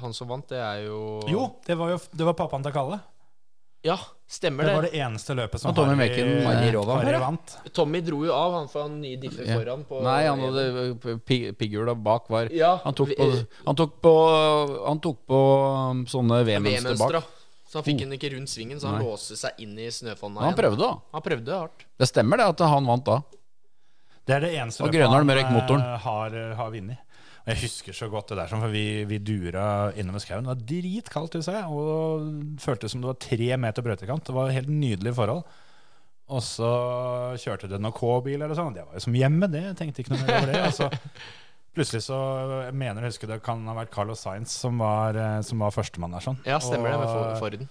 C: han som vant, det er jo
B: Jo, det var jo det var pappaen til Kalle.
C: Ja,
B: Det
C: stemmer
B: var
C: det.
B: det eneste løpet som
D: Og Tommy
B: Harry-
D: Mekken, eh,
E: Harry Rova.
B: Harry vant.
C: Tommy dro jo av, han for han nye differ
D: Ja.
C: foran på
D: Nei, han hadde eh, pi- pigghjula bak var
C: Ja.
D: Han tok på,
C: Vi-
D: han tok på, han tok på um, sånne V-mønster bak.
C: V-mønstra. Så han fikk den ikke rundt svingen, så han låste seg inn i snøfonna
D: Men han prøvde, da.
C: Han prøvde hardt.
D: Det stemmer det at han vant da.
B: Det er det eneste
D: Og Grønholm
B: han,
D: røyk
B: eh,
D: motoren.
B: har, har vunnet. Jeg husker så godt det der, sånn, for vi, vi dura innover skauen. Det var dritkaldt, husker jeg, og føltes som det var tre meter brøytekant. Det var helt nydelige forhold. Og så kjørte det noen K-bil eller sånn. og Det var jo som hjemme, det. Jeg tenkte ikke noe mer over det. Og så plutselig så jeg mener jeg husker det kan ha vært Carlos Sainz som var, eh, som var førstemann der. sånn.
C: Ja, stemmer det. Med for-
B: Og-
C: Forden.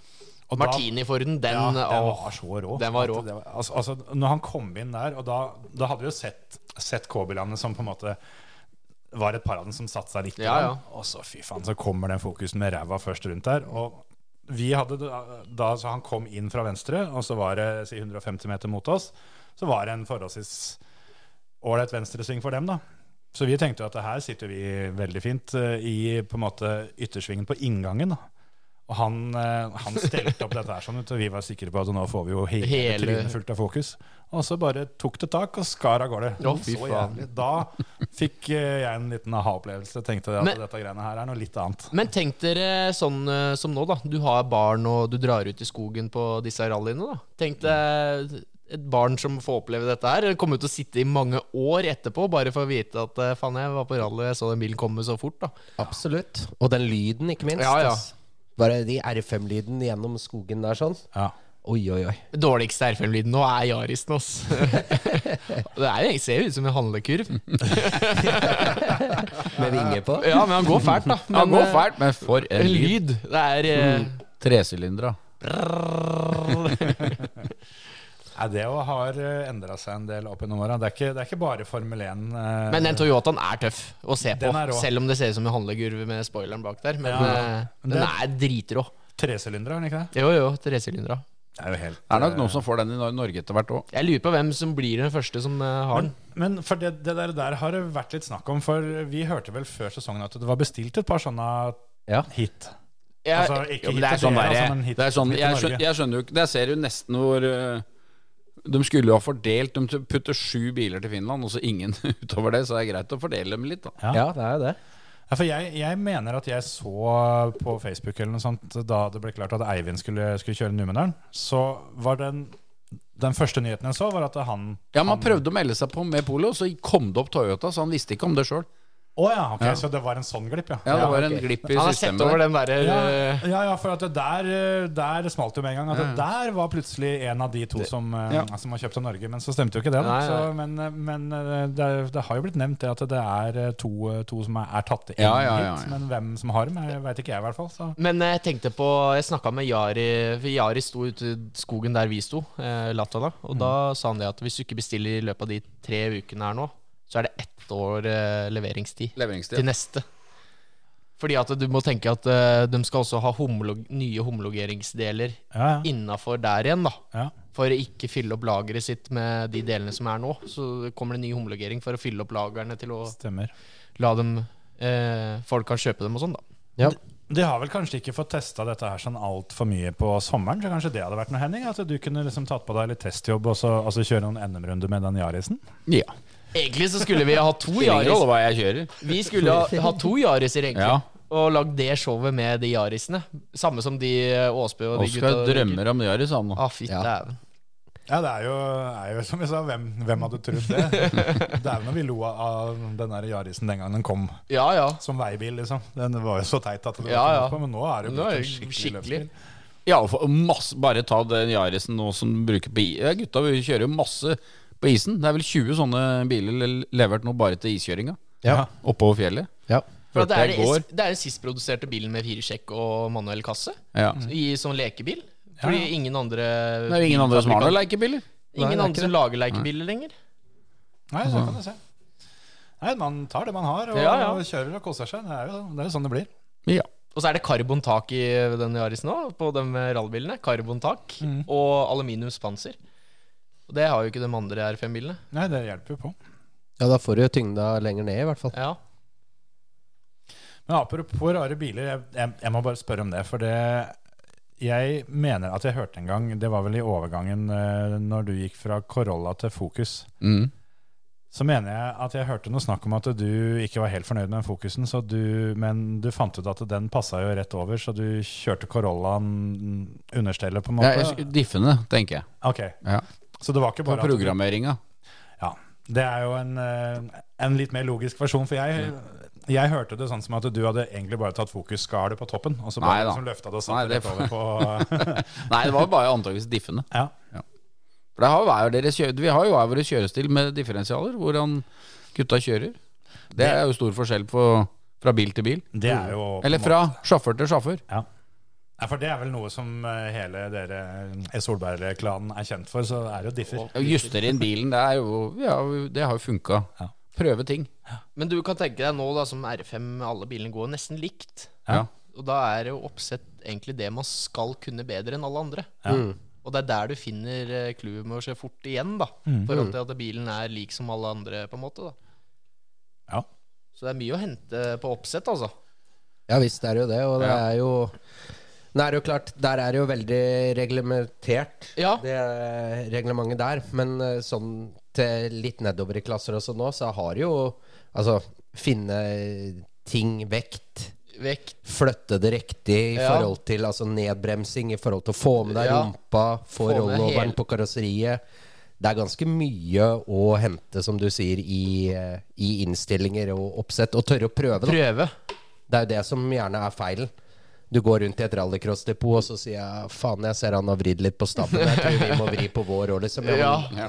B: og da-
C: Martini-Forden, den,
B: ja, den
C: åh.
B: var så rå.
C: Den var rå.
B: At det var- altså, altså, når han kom inn der, og da, da hadde vi jo sett, sett K-bilene som på en måte var et par av dem som satte seg litt.
C: Ja,
B: grann. Og så fy faen, så kommer den fokusen med ræva først rundt der. Og vi hadde da, da så han kom inn fra venstre, og så var det si 150 meter mot oss, så var det en forholdsvis ålreit venstresving for dem, da. Så vi tenkte jo at her sitter vi veldig fint eh, i på en måte yttersvingen på inngangen. da og han, eh, han stelte opp dette her sånn, vet du, og vi var sikre på at nå får vi jo hele,
C: Hele-
B: trynet fullt av fokus. Og så bare tok det tak og skar av gårde.
C: Å, fy
B: Så
C: faen.
B: jævlig. Da fikk eh, jeg en liten aha-opplevelse. Tenkte at
C: Men-
B: dette greiene her er noe litt annet.
C: Men tenk dere sånn eh, som nå, da. Du har barn, og du drar ut i skogen på disse rallyene. da Tenk deg et barn som får oppleve dette her. Det Kommer til å sitte i mange år etterpå bare for å vite at eh, faen, jeg var på rally, jeg så den bilen komme så fort. da
E: Absolutt. Og den lyden, ikke minst.
C: Ja, ja.
E: ass. Bare de R5-lyden gjennom skogen der sånn.
B: Ja.
E: Oi, oi, oi.
C: Dårligste R5-lyden nå er Yarisen, ass. det er jo, jeg ser jo ut som en handlekurv.
E: Med vinger på.
C: Ja, men han går fælt, da. Men,
D: Han går
C: eh,
D: fælt, men for en
C: En
D: lyd.
C: lyd. Det er eh,
D: Tresylindere.
B: Nei, det jo har endra seg en del opp gjennom åra. Det, er ikke- det er ikke bare Formel 1. eh,
C: Men den Toyotaen er tøff å se på,
B: Den er rå.
C: selv om det ser ut som en handlegurv med spoileren bak der. Men
B: Ja.
C: eh, den er dritrå.
B: Tresylindere, er den ikke det?
C: Jo, jo, tresylindere.
B: Det er jo helt
D: Det er nok
B: eh,
D: noen som får den i Nor- Norge etter hvert òg.
C: Jeg lurer på hvem som blir den første som eh,
B: Men,
C: har den.
B: men for det, det der, der har det vært litt snakk om, for vi hørte vel før sesongen at det var bestilt et par sånne
E: Ja.
B: hit.
C: Jeg,
B: altså, ikke
D: Jo,
B: hit
D: men det er
B: til
D: sånn
B: dere,
D: der,
B: altså, men hit-
D: det er sånn,
B: hit til
D: jeg,
B: Norge.
D: skjønner, jeg skjønner jo ikke Der ser du nesten hvor øh, De skulle jo ha fordelt De putter sju biler til Finland, og så ingen (laughs) utover det. Så det er greit å fordele dem litt, da.
B: Ja.
E: Ja, det er jo det.
B: Ja, for jeg, jeg mener at jeg så på Facebook eller noe sånt da det ble klart at Eivind skulle, skulle kjøre Numedalen, så var den den første nyheten jeg så, var at han
D: Ja, Man prøvde å melde seg på med Polo, så kom det opp Toyota, så han visste ikke om det sjøl.
B: Å ja, ok, så det var en sånn glipp, ja.
D: Ja, det var
E: ok.
D: en glipp i
C: han har sett
D: systemet.
C: over
D: der.
C: den derre
B: Ja,
C: eh,
B: ja, ja, for at det der, eh, der smalt det jo med en gang. At det der var plutselig en av de to som, eh,
D: Mm. Ja.
B: som var kjøpt av Norge. Men så stemte jo ikke det. Da.
C: Nei, nei.
B: Så, men eh, men eh, det, er- det har jo blitt nevnt det at det er eh, to, to som er, er tatt inn
D: Ja, ja, ja,
B: hit.
D: ja.
B: Men hvem som har dem, veit ikke jeg i hvert fall. Så.
C: Men eh, jeg tenkte på Jeg snakka med Jari, for Jari sto ute i skogen der vi sto, eh, Latvala. Og da sa han det at hvis du ikke bestiller i løpet av de tre ukene her nå, så er det ett år eh, leveringstid til
D: Leveringstid.
C: neste. Fordi at du må tenke at eh, de skal også ha homolog nye homologeringsdeler
B: Ja, ja.
C: innafor der igjen, da.
B: Ja.
C: For å ikke fylle opp lageret sitt med de delene som er nå. Så kommer det ny homologering for å fylle opp lagrene til å
B: Stemmer.
C: la dem eh, Folk kan kjøpe dem og sånn, da.
E: Ja.
B: De har vel kanskje ikke fått testa dette her sånn altfor mye på sommeren, så kanskje det hadde vært noe, Henning? At du kunne liksom tatt på deg litt testjobb og så og så kjøre noen NM-runder med den Yarisen?
D: Ja.
C: Egentlig så skulle vi ha to
D: Ingen rolle
C: Yaris.
D: hva jeg kjører.
C: Vi skulle ha, ha to Yariser, egentlig.
D: Ja.
C: Og lagd det showet med de Yarisene. Samme som de eh, Åsbø og de gutta.
D: Oskar drømmer om Yaris, han nå.
C: Ah, fy
E: Ja.
C: dæven.
B: Ja, det er jo, er jo som vi sa, hvem, hvem hadde trodd
C: (laughs)
B: det? Dæven når vi lo av den der Yarisen den gangen den kom
C: Ja, ja.
B: som veibil, liksom. Den var jo så teit at det var
C: Ja,
B: ikke
C: ja.
B: noe på, men nå er det jo
C: Nå
B: blitt
C: er
B: en
C: det
B: skikkelig,
C: skikkelig.
B: løpsbil.
D: Ja, og for- masse, bare ta den Yarisen nå som de bruker på i- ja, Gutta vi kjører jo masse på isen. Det er vel 20 sånne biler le- levert nå bare til iskjøringa.
E: Ja.
D: Oppover fjellet.
E: Ja.
C: For at det, er
D: Hørte jeg i går.
C: det, det er den sistproduserte bilen med fire sjekk og manuell kasse.
D: Ja.
E: Mm.
C: I sånn lekebil. Fordi ingen andre
D: Mm. Det er jo ingen andre som har noen lekebiler.
E: Nei, det
C: Ingen
E: er
C: andre
E: ikke
C: som lager lekebiler lenger.
B: Nei, så kan du se. Nei, man tar det man har, og,
C: Ja, ja.
B: og kjører og koser seg. Det er jo, det er jo sånn det blir.
D: Ja.
C: Og så er det karbontak i den Yarisen nå, på de rallbilene. Karbontak
E: Mm.
C: og aluminiumspanser. Og det har jo ikke de andre R5-bilene.
B: Nei, det hjelper jo på.
E: ja, da får du jo tyngda lenger ned, i hvert fall.
C: Ja.
B: Men apropos rare biler, jeg, jeg, jeg må bare spørre om det. For det Jeg mener at jeg hørte en gang, det var vel i overgangen eh, når du gikk fra Corolla til Focus,
D: Mm.
B: så mener jeg at jeg hørte noe snakk om at du ikke var helt fornøyd med den Focusen, så du, men du fant ut at den passa jo rett over, så du kjørte Corollaen understellet, på en
D: Ja,
B: måte?
D: jeg- diffene, tenker jeg.
B: Ok,
D: Ja.
B: Så det var ikke
D: På
B: bare at du
D: programmeringa. (laughs)
B: Ja, det er jo en, eh, en litt mer logisk versjon, for jeg Jeg hørte det sånn som at du hadde egentlig bare tatt fokusskalet på toppen, og så
D: Nei
B: bare
D: da.
B: liksom løfta det og
D: Nei,
B: satt
D: det
B: rett over
D: (laughs)
B: på
D: Nei, det var bare antakeligvis diffene.
B: Ja.
D: For det har jo hver deres kjø Vi har jo hver våre kjørestil med differensialer, hvordan gutta kjører. Det er jo stor forskjell på, fra bil til bil.
B: Det er jo på en
D: Eller
B: måte-
D: fra sjåfør til sjåfør.
B: Nei, for det er vel noe som eh, hele dere eh, Solberg-klanen er kjent for, så er det jo differ.
D: Å Justere inn bilen, det, er jo, ja, det har jo funka.
B: Ja.
D: Prøve ting.
C: Men du kan tenke deg nå da som R5 alle bilene går nesten likt.
D: Ja.
C: Og da er jo oppsett egentlig det man skal kunne bedre enn alle andre. Mm. Og det er der du finner eh, clouet med å se fort igjen, da. I
E: Mm.
C: forhold til at bilen er lik som alle andre, på en måte. da
B: Ja.
C: Så det er mye å hente på oppsett, altså.
E: Ja visst det er jo det, og det
D: Ja.
E: er jo det er jo klart, Der er det jo veldig reglementert,
C: Ja.
E: det eh, reglementet der. Men eh, sånn til litt nedover i klasser også nå, så har jo Altså, finne ting, vekt,
C: Vekt.
E: flytte det riktig i
C: Ja.
E: forhold til altså nedbremsing, i forhold til å få med deg
C: Ja.
E: rumpa, få,
C: Få med
E: rolloveren
C: hele-
E: på karosseriet. Det er ganske mye å hente, som du sier, i, eh, i innstillinger og oppsett. Og tørre å prøve, da.
C: Prøve.
E: Det er jo det som gjerne er feilen. Du går rundt i et rallycrossdepot, og så sier jeg faen, jeg ser han har vridd litt på stabben. Jeg tror vi må vri på vår òg, liksom. Ja, men,
D: Ja.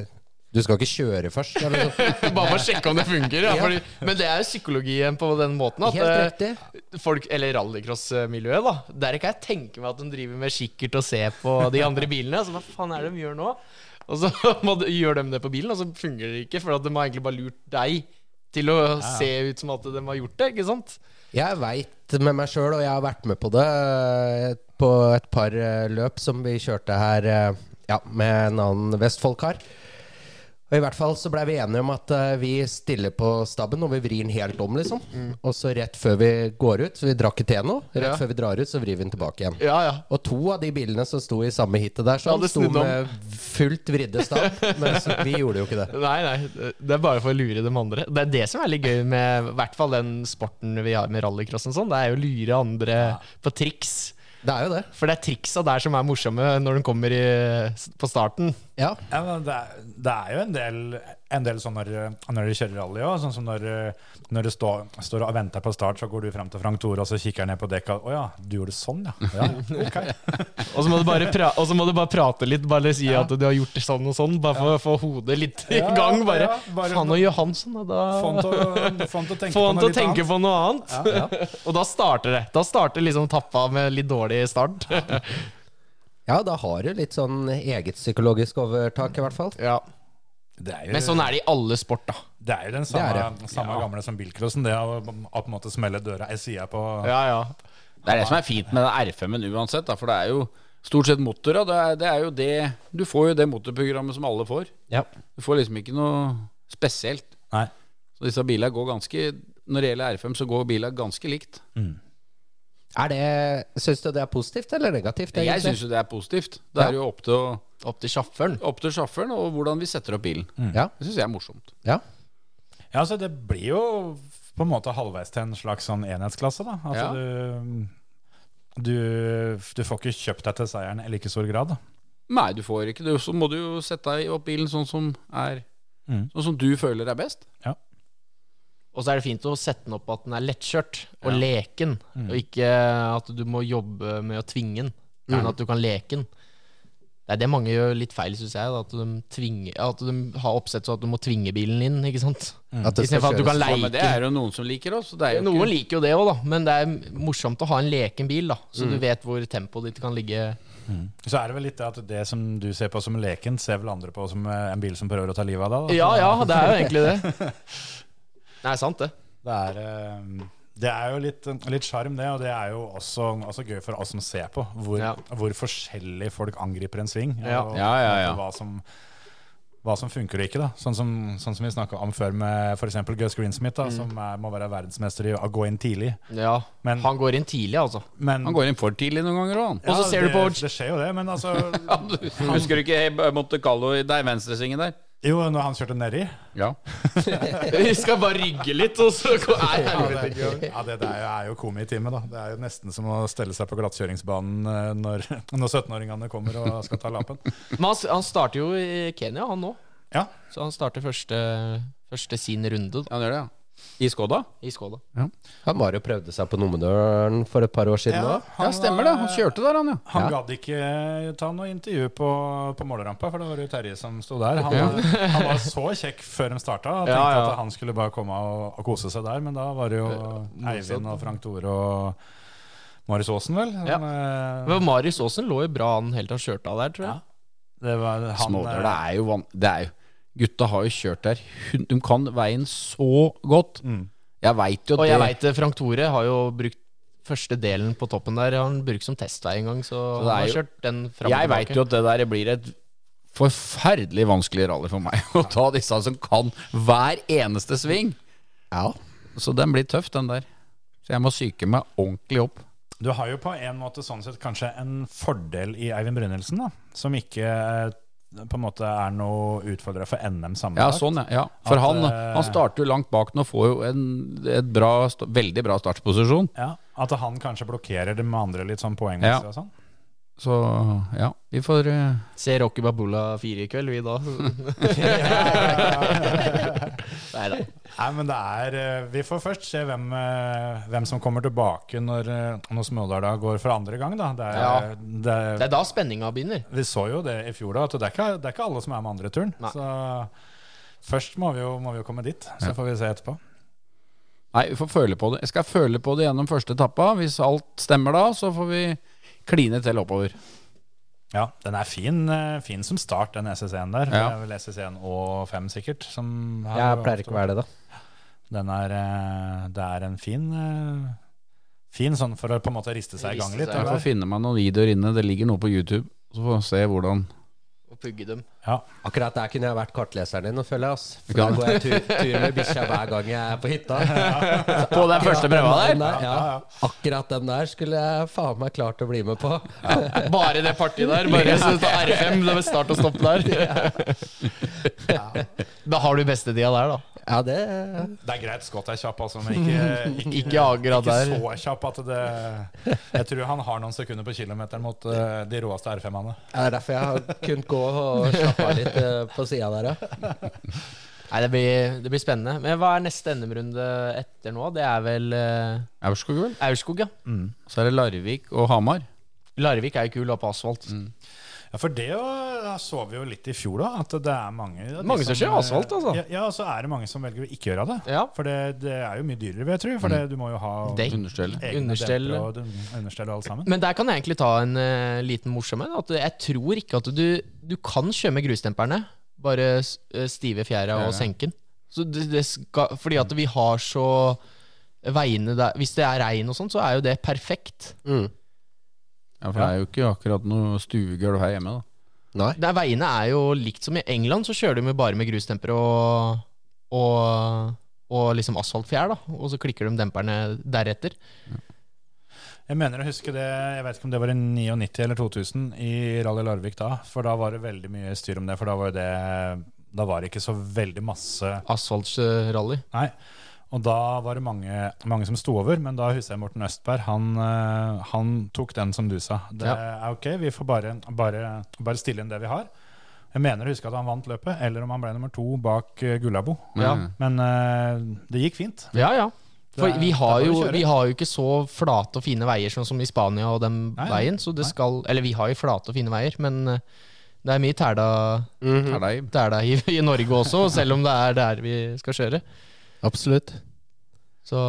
E: eh, du skal ikke kjøre først. ja, Liksom.
C: (laughs) Bare for å sjekke om det funker. Ja. Fordi, men det er jo psykologien på den måten. At
E: Helt
C: eh, folk, eller rallycross-miljøet, da. Der kan jeg tenke meg at de driver med kikkert og ser på de andre bilene. Så hva faen er det de gjør nå? Og så (laughs) må de, gjør de det på bilen, og så fungerer det ikke. For at de har egentlig bare lurt deg til å se ut som at de har gjort det. Ikke sant?
E: Jeg veit med meg sjøl, og jeg har vært med på det eh, på et par eh, løp som vi kjørte her eh, ja, med en annen Vestfold-kar. Og I hvert fall så blei vi enige om at eh, vi stiller på stabben og vi vrir den helt om. liksom Og så rett før vi går ut, så vi drakk ikke te nå, rett
C: Ja.
E: før vi drar ut, så vrir vi den tilbake igjen.
C: Ja, ja.
E: Og to av de bilene som sto i samme hitet der, sånn,
C: Ja, det
E: sto
C: snudde om.
E: med fullt vridde stav. Mens vi gjorde jo ikke det.
C: Nei, nei, det er bare for å lure de andre. Det er det som er litt gøy med i hvert fall den sporten vi har med rallycrossen. Sånn. Det er jo å lure andre på triks.
E: Det er jo det.
C: For det er triksa der som er morsomme når de kommer i, på starten.
E: Ja.
B: Ja, men det, er, det er jo en del, en del sånn når, når du kjører rally òg. Sånn som når, når du står, står og venter på start, så går du fram til Frank Tore og så kikker han ned på dekka. Å ja, du gjorde sånn, ja. ja ok.
C: Og så må, du bare pra- og så må du bare prate litt, bare si at du har gjort det sånn og sånn. Bare for å få hodet litt i
B: Ja,
C: gang. Bare,
B: ja, bare-
C: Faen, og Johansson, da,
B: (laughs) Få han
C: da
B: til å- få han til å tenke
C: Få
B: på noe
C: han til å
B: litt
C: tenke
B: annet.
C: på noe annet. (laughs) og da starter det. Da starter liksom tappa med litt dårlig start.
E: ja, da har du litt sånn eget psykologisk overtak, i hvert fall.
C: ja.
B: Det er jo,
C: Men sånn er det i alle sport, da.
B: det er jo den
E: er
B: samme, samme gamle som bilcrossen. Det å å på en måte smelle døra i sida på
C: Ja, ja.
D: Det er det som er fint med den R5-en uansett, da, for det er jo stort sett motor. da. Det er, det er jo det Du får jo det motorprogrammet som alle får.
E: Ja.
D: Du får liksom ikke noe spesielt.
B: Nei.
D: Så disse bilene går ganske Når det gjelder R5, så går bilene ganske likt.
E: Er det, Syns du det er positivt eller negativt?
D: Jeg syns jo det er positivt. Det er jo opp til, å-
C: Opp til sjåføren.
D: opp til sjåføren og hvordan vi setter opp bilen.
E: Ja.
D: Det syns jeg er morsomt.
E: ja.
B: Ja, altså det blir jo på en måte halvveis til en slags sånn enhetsklasse, da. Altså du, du, du får ikke kjøpt deg til seieren i like stor grad, da.
D: Nei, du får ikke det. Så må du jo sette deg opp bilen sånn som er
B: Mm.
D: Sånn som du føler er best.
C: Og så er det fint å sette den opp at den er lettkjørt og leken, og ikke at du må jobbe med å tvinge den, men at du kan leke den. Det er det mange gjør litt feil, syns jeg. Da, at, de tvinger, at de har oppsett så at du må tvinge bilen inn, ikke sant.
E: At det skal
C: Istedenfor at du
E: kjøres.
C: kan
D: Ja, men det
C: leike.
D: er jo noen som liker oss. Det er jo
C: Noen
D: ikke,
C: liker jo det òg, da, men det er morsomt å ha en leken bil, da, så du vet hvor tempoet ditt kan ligge.
B: Så er det vel litt det at det som du ser på som leken, ser vel andre på som eh, en bil som prøver å ta livet av deg. Da.
C: Ja ja, det er jo egentlig det. (laughs) Nei, sant det.
B: Det, er, eh, det er jo litt, litt sjarm, det, og det er jo også, også gøy for oss som ser på, hvor,
C: Ja.
B: hvor forskjellig folk angriper en sving.
C: Ja.
B: og
D: Ja, ja, ja.
B: Hva som, hva som funker og ikke. da Sånn som, sånn som vi snakka om før med f.eks. Gus Greensmith,
C: Mm.
B: da, som er, må være verdensmester i å gå inn tidlig.
C: Ja.
B: Men-
C: Han går inn tidlig, altså.
B: Men,
D: Han går inn for tidlig noen ganger òg,
B: Ja,
C: Og så ser
B: det,
C: du på
B: Det skjer jo det, men altså
D: han. (laughs) Du, husker du ikke Monte Carlo i den venstresvingen der?
B: Jo, når han kjørte nedi
D: (laughs) Ja.
C: Vi skal bare rygge litt, og så Nei,
B: Ja,
C: helvete.
B: det, ja, det der er jo komitimen, da. Det er jo nesten som å stelle seg på glattkjøringsbanen eh, når, (laughs) når 17-åringene kommer og skal ta lappen.
C: Men han, han starter jo i Kenya, han nå.
B: Ja.
C: Så han starter første, første sin runde. Da.
D: Han gjør det, ja. I Skoda?
C: i Skoda.
E: Han var og prøvde seg på Numedøren for et par år siden
B: Ja.
E: òg.
D: Ja, stemmer det. Han kjørte der, han, ja.
B: Han gadd ikke eh, ta noe intervju på, på målerampa, for det var jo Terje som sto der. Han, (laughs) han var så kjekk før de starta. og Tenkte
C: Ja, ja.
B: at han skulle bare komme og, og kose seg der, men da var det jo Eivind og Frank Tore og Marius Aasen, vel?
C: Ja.
B: Men, eh,
C: Men Marius Aasen lå jo bra an helt til han kjørte av der, tror jeg.
B: Det var han
D: Småler,
B: eh,
D: det er jo van... Det er jo Gutta har jo kjørt der. Hun- De kan veien så godt. Jeg veit jo
C: Og
D: det.
C: jeg veit Frank Tore har jo brukt første delen på toppen der. Han brukt som testvei en gang, så,
D: det
C: han
D: er
C: har
D: jo-
C: kjørt den fram
D: Jeg
C: og
D: veit
C: tilbake.
D: jo at det der blir et forferdelig vanskelig rally for meg (laughs) å ta disse som kan hver eneste sving.
E: Ja.
D: Så den blir tøff, den der. Så jeg må psyke meg ordentlig opp.
B: Du har jo på en måte sånn sett kanskje en fordel i Eivind Brynildsen, da. Som ikke eh, på en måte er noe utfordra for NM
D: Ja,
B: sammenlagt.
D: sånn, ja. ja. For
B: At,
D: han,
B: eh,
D: han starter jo langt bak nå og får jo en et bra, sta- veldig bra startposisjon.
B: Ja, At han kanskje blokkerer det med andre litt sånn poengmessig
D: Ja.
B: og sånn.
D: Så ja, vi får eh,
C: Se Rocky Babula 4 i kveld, vi da. (laughs) Nei da.
B: Nei, men det er eh, Vi får først se hvem, eh, hvem som kommer tilbake når, eh, når Smådala går for andre gang, da. Det er,
C: Ja.
B: det,
C: Det er da spenninga begynner.
B: vi så jo det i fjor, da. At det er ikke, det er ikke alle som er med andre turen.
C: Nei.
B: Så først må vi jo må vi jo komme dit. Så får vi se etterpå.
D: Nei, vi får føle på det. Jeg skal føle på det gjennom første etappa. Hvis alt stemmer da, så får vi kline til oppover.
B: Ja, den er fin, eh, fin som start, den SSC-en der. Det
D: Ja.
B: er vel SSC-en og 5 sikkert. Som har-
E: Jeg pleier ikke å være det, da.
B: Den er, eh, det er en fin eh, Fin sånn for å på en måte riste seg i gang
C: Riste
B: litt.
C: seg
B: den
D: Jeg får
B: der.
D: finne meg noen videoer inne. Det ligger noe på YouTube. Så får vi se hvordan
C: Å pugge dem.
B: Ja.
E: Akkurat der kunne jeg vært kartleseren din, nå føler jeg. ass For
D: Du
E: Da
D: kan-
E: går jeg tur, tur med bikkja hver gang jeg er på hytta.
D: På den første prøva
E: Akkurat den
D: der?
E: ja. Akkurat den der skulle jeg faen meg klart å bli med på.
C: (laughs) Bare det partiet der. Bare så ta R5, det er start og stopp (laughs) der. Da har du beste tida der, da.
E: Ja, det
B: Det er greit Scott er kjapp, altså, men
C: (laughs)
B: ikke, ikke,
C: Ikke sånn akkurat
B: ikke
C: der.
B: så kjapp at det Jeg tror han har noen sekunder på kilometeren mot eh, de råeste R5-ene.
E: Det er derfor jeg har kunnet gå og slappe av litt eh, på sida der, ja.
C: Nei, det blir, det blir spennende. Men hva er neste NM-runde etter nå? Det er vel eh,
D: Aurskog, vel.
C: Aurskog, ja.
D: Så er det Larvik og Hamar.
C: Larvik er jo kul å ha på asfalt.
B: Ja, for det jo- så vi jo litt i fjor, da. At det er mange av de eh,
C: Mange som kjører asfalt, altså.
B: Ja, ja, og så er det mange som velger å ikke gjøre det.
C: Ja.
B: For det, det er jo mye dyrere, vil jeg tro. For
C: Mm.
B: det, du må jo ha
C: Dekk.
D: Understell.
B: egne
C: Understell.
B: dempere og dun- understell og alt sammen.
C: Men der kan jeg egentlig ta en eh, liten morsom en. At jeg tror ikke at du, du kan kjøre med grustemperne. Bare s- eh, stive fjæra og senke den. Så det, det skal, fordi at vi har så veiene der Hvis det er regn og sånn, så er jo det perfekt.
D: Ja, for det er jo ikke akkurat noe stuegulv her hjemme, da.
E: Nei.
C: Der veiene er jo likt som i England, så kjører de jo bare med grustemper og, og, og liksom asfaltfjær, da. Og så klikker de demperne deretter.
B: Jeg mener å huske det, jeg vet ikke om det var i 99 eller 2000 i Rally Larvik da, for da var det veldig mye styr om det, for da var jo det da var det ikke så veldig masse
C: Asfaltrally.
B: Nei. Og da var det mange, mange som sto over, men da husker jeg Morten Østberg. Han, eh, han tok den som du sa. Det er ok, vi får bare, bare, bare stille inn det vi har. Jeg mener å huske at han vant løpet, eller om han ble nummer to bak eh, Gullabo.
C: Ja.
B: Men eh, det gikk fint.
C: Ja, ja. For
B: Det er-
C: vi har,
B: der kan du
C: jo,
B: kjøre.
C: vi har jo ikke så flate og fine veier sånn som i Spania og den
B: Nei, nei.
C: veien. Så det
B: Nei.
C: skal Eller vi har jo flate og fine veier, men eh, det er mye tæla
D: Er det-
C: Mhm. tæla i, (laughs) i Norge også, selv om det er der vi skal kjøre.
E: Absolutt.
C: Så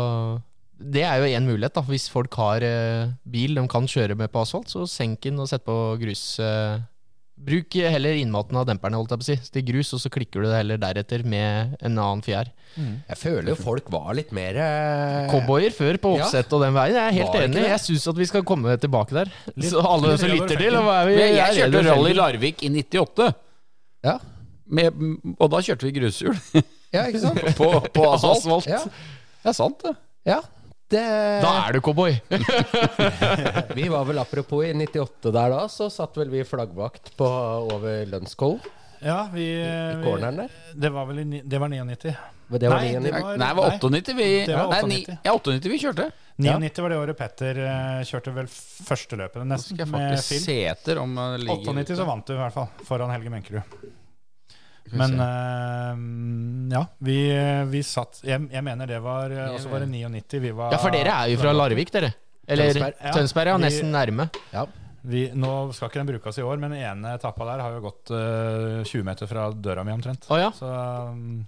C: det er jo én mulighet, da. Hvis folk har eh, bil de kan kjøre med på asfalt, så senk den og sett på grus. eh, bruk heller innmaten av demperne holdt jeg på å si, til grus, og så klikker du det heller deretter med en annen fjær.
E: Jeg føler jo folk var litt mer eh,
C: Cowboyer før på
E: Ja.
C: oppsett og den veien. Jeg er helt
E: Var det ikke
C: enig.
E: det?
C: Jeg syns at vi skal komme tilbake der. Så alle som
B: litt
C: lytter
B: over
C: til, og hva er vi?
D: Men
C: Jeg
D: jeg
C: er
D: kjørte
C: helt
D: rally
C: over
D: Larvik i 98,
E: Ja.
D: med, og da kjørte vi grushjul (laughs)
E: ja, ikke sant?
D: på, på asfalt.
C: Asfalt.
E: Ja.
D: Det er sant, det.
E: ja. Det,
C: Da er du cowboy.
E: vi var vel apropos i 98 der da, så satt vel vi flaggvakt på over Lønskålen.
B: Ja, vi, eh,
E: I corneren der?
B: Det var vel i, ni- det var 99.
E: Det var
B: Nei,
E: det
B: det
E: igjen.
B: var-
D: Nei, det var 98 vi,
B: Det var
D: nei, ni-
B: 98.
D: ja, 98 vi kjørte.
B: 99 var det året Petter eh, kjørte vel første løpet,
D: Nå
B: nesten,
D: skal jeg
B: med
D: faktisk
B: Phil.
D: se etter om det eh, ligger
B: 98 så vant du i hvert fall, foran Helge Menkerud.
C: Skal vi
B: Men
C: se.
B: eh, ja, vi, vi satt Jeg, jeg mener det var eh, også var det 99. Vi var
C: Ja, for dere er jo fra Larvik, dere. Eller
E: Tønsberg.
C: Tønsberg,
B: Ja.
C: ja. Tønsberg ja,
B: Vi-
C: nesten nærme.
E: Ja.
B: vi, Nå skal ikke den brukes i år, men den ene etappa der har jo gått eh, 20 meter fra døra mi omtrent.
C: Å ja.
B: Så um,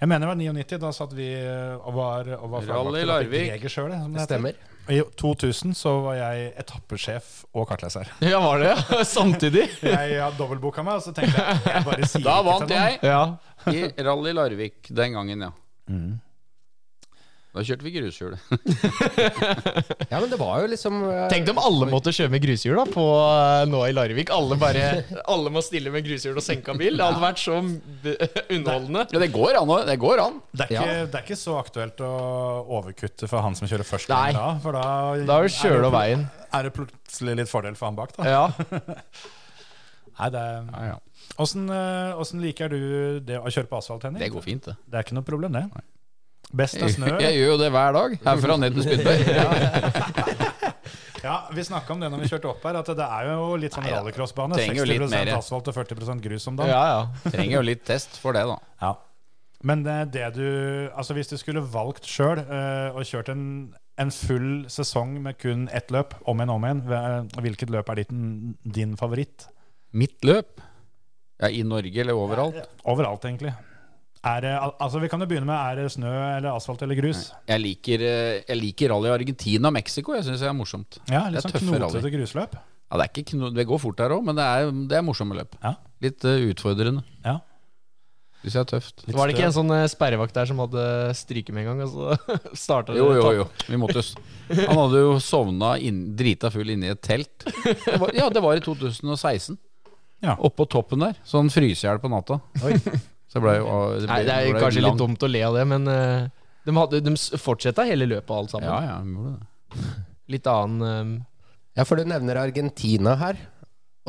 B: jeg mener det var 99. Da satt vi eh, og var, og var
D: Rally
B: fagvakter oppe i
D: Larvik.
B: Greger selv, det, som det
E: Det
B: heter.
E: stemmer.
B: I 2000 så var jeg etappesjef og kartleser.
C: Ja, var det ja. (laughs) Samtidig?
B: Jeg hadde dobbeltboka meg, og så tenkte jeg jeg bare sier
D: Da
B: ikke
D: vant
B: til noen.
D: jeg
C: Ja.
D: i Rally Larvik den gangen, ja. Mm. Da kjørte vi grushjul.
E: Ja, men det var jo liksom eh,
C: Tenk om alle måtte kjøre med grushjul da, på, eh, nå i Larvik. Alle, bare, alle må stille med grushjul og senka bil. Det (laughs) hadde vært så b- underholdende.
D: Ja, det går an. å- Det går an.
B: Det er, ikke, det er ikke så aktuelt å overkutte for han som kjører først. lenger
C: Nei.
B: Da, for da,
C: Da er det
B: er
C: kjøl og veien.
B: pl- er det plutselig litt fordel for han bak, da.
C: Ja.
B: Nei, det er, Åssen, eh, åssen liker du det å kjøre på asfalt, Henning?
D: Det går fint, det.
B: Det er ikke noe problem, det. Best av
D: Jeg,
B: snø.
D: (laughs) jeg gjør jo det hver dag. Herfra ned til (laughs) Spydeberg.
B: Ja, Vi snakka om det når vi kjørte opp her, at det er jo litt sånn
D: Nei, ja.
B: rallycrossbane.
D: Trenger jo litt
B: 60
D: mer.
B: asfalt og 40 grus om dagen.
C: ja, ja.
D: Trenger jo litt test for det, da.
B: Ja. Men det, det du Altså hvis du skulle valgt sjøl og kjørt en, en full sesong med kun ett løp, om igjen, om igjen, hva- hvilket løp er ditt, din favoritt?
D: Mitt løp? Ja, I Norge eller overalt?
B: Overalt, egentlig. Er det, al- altså Vi kan jo begynne med er det snø eller asfalt eller grus.
D: Jeg liker, eh, jeg liker rally Argentina og Mexico. Jeg syns det er morsomt.
B: Ja, Litt
D: Det er
B: sånn
D: tøffe rally.
B: knotete grusløp.
D: Ja, det, er ikke kno det går fort der òg, men det er, det er morsomme løp.
B: Ja.
D: Litt eh, utfordrende.
B: Ja.
D: Syns jeg er tøft.
B: Litt
C: Var det ikke
B: støv.
C: en sånn eh, sperrevakt der som hadde stryke med en gang? Og så (laughs) startet det
D: Jo, jo, jo. Vi måtte s- Han hadde jo sovna inn, drita full inni et telt. Det var, ja, det var i 2016.
B: Ja.
D: Oppå toppen der. Så han fryser i hjel på natta. Så det ble jo eh, det ble,
C: Nei, det
D: ble
C: er kanskje
D: lang-
C: litt dumt å le av det, men eh, de, hadde, de s- fortsetta hele løpet og alt sammen.
D: Ja, ja, han gjorde det.
C: Litt annen eh,
E: Ja, for du nevner Argentina her.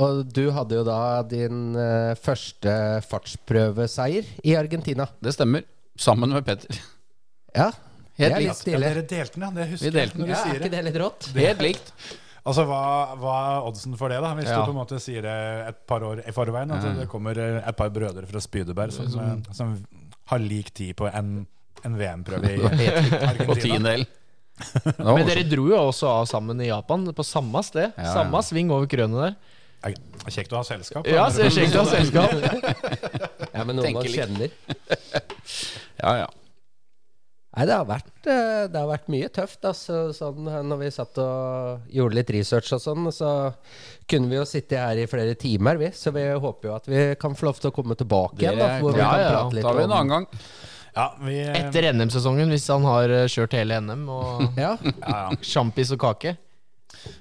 E: Og du hadde jo da din eh, første fartsprøveseier i Argentina.
D: Det stemmer. Sammen med
B: (laughs)
D: Petter.
E: Ja, det
D: Helt
E: er litt
D: likt.
B: Ja,
E: stille.
B: dere delte den, ja. Det husker
D: Vi delte den,
E: Ja,
B: jeg.
E: er
B: når du sier
E: ikke
B: det.
E: det litt rått?
D: Helt likt.
B: Altså, hva, hva er oddsen for det, da? Hvis
D: Ja. Mm.
B: du på en måte sier det et par år i forveien, at det kommer eh, et par brødre fra Spydeberg som, eh,
D: sånn-
B: som har lik tid på en, en VM-prøve
D: (laughs)
B: i
D: På
B: Argentina.
D: tiendedel.
C: Men dere dro jo også av sammen i Japan, på samme sted.
D: Ja, ja.
C: Samme sving over krønet der.
B: Ja, Kjekt å ha selskap.
C: Ja,
B: da.
C: så kjekt å ha selskap.
E: Ja, men noen man
D: Tenker litt.
E: kjenner.
D: Ja, ja.
E: Nei, det har vært, eh, det har vært mye tøft. Altså, sånn, eh, når vi satt og gjorde litt research og sånn, så kunne vi jo sitte her i flere timer, vi. Så vi håper jo at vi kan få lov til å komme tilbake igjen, da,
D: Det-
E: hvor vi
D: ja,
E: kan
D: ja,
E: prate litt
D: tar vi en annen
E: om
D: gang.
B: Ja, vi, eh,
C: Etter NM-sesongen, hvis han har eh, kjørt hele
D: (laughs)
C: NM, og
E: ja,
B: ja, ja.
C: sjampis og kake.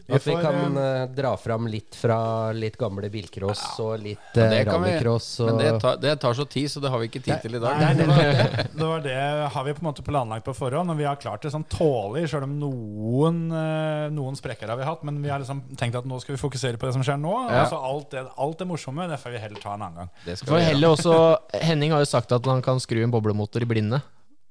B: Vi
E: At vi
B: får,
E: kan eh, dra fram litt fra litt gamle bilcross og litt uh,
D: Det kan vi-
E: rallycross og
D: Men det tar, det tar så tid, så det har vi ikke tid til i dag.
B: Nei, det, var
D: (laughs)
B: det, det var det har vi på en måte planlagt på forhånd, og vi har klart det sånn tålelig, selv om noen, eh, noen sprekker har vi hatt. Men vi har liksom tenkt at nå skal vi fokusere på det som skjer nå.
D: Ja.
B: Og så alt, det, alt det morsomme det får vi heller ta en annen gang.
D: Det skal
C: For
D: vi gjøre.
C: heller også Henning har jo sagt at han kan skru en boblemotor i blinde.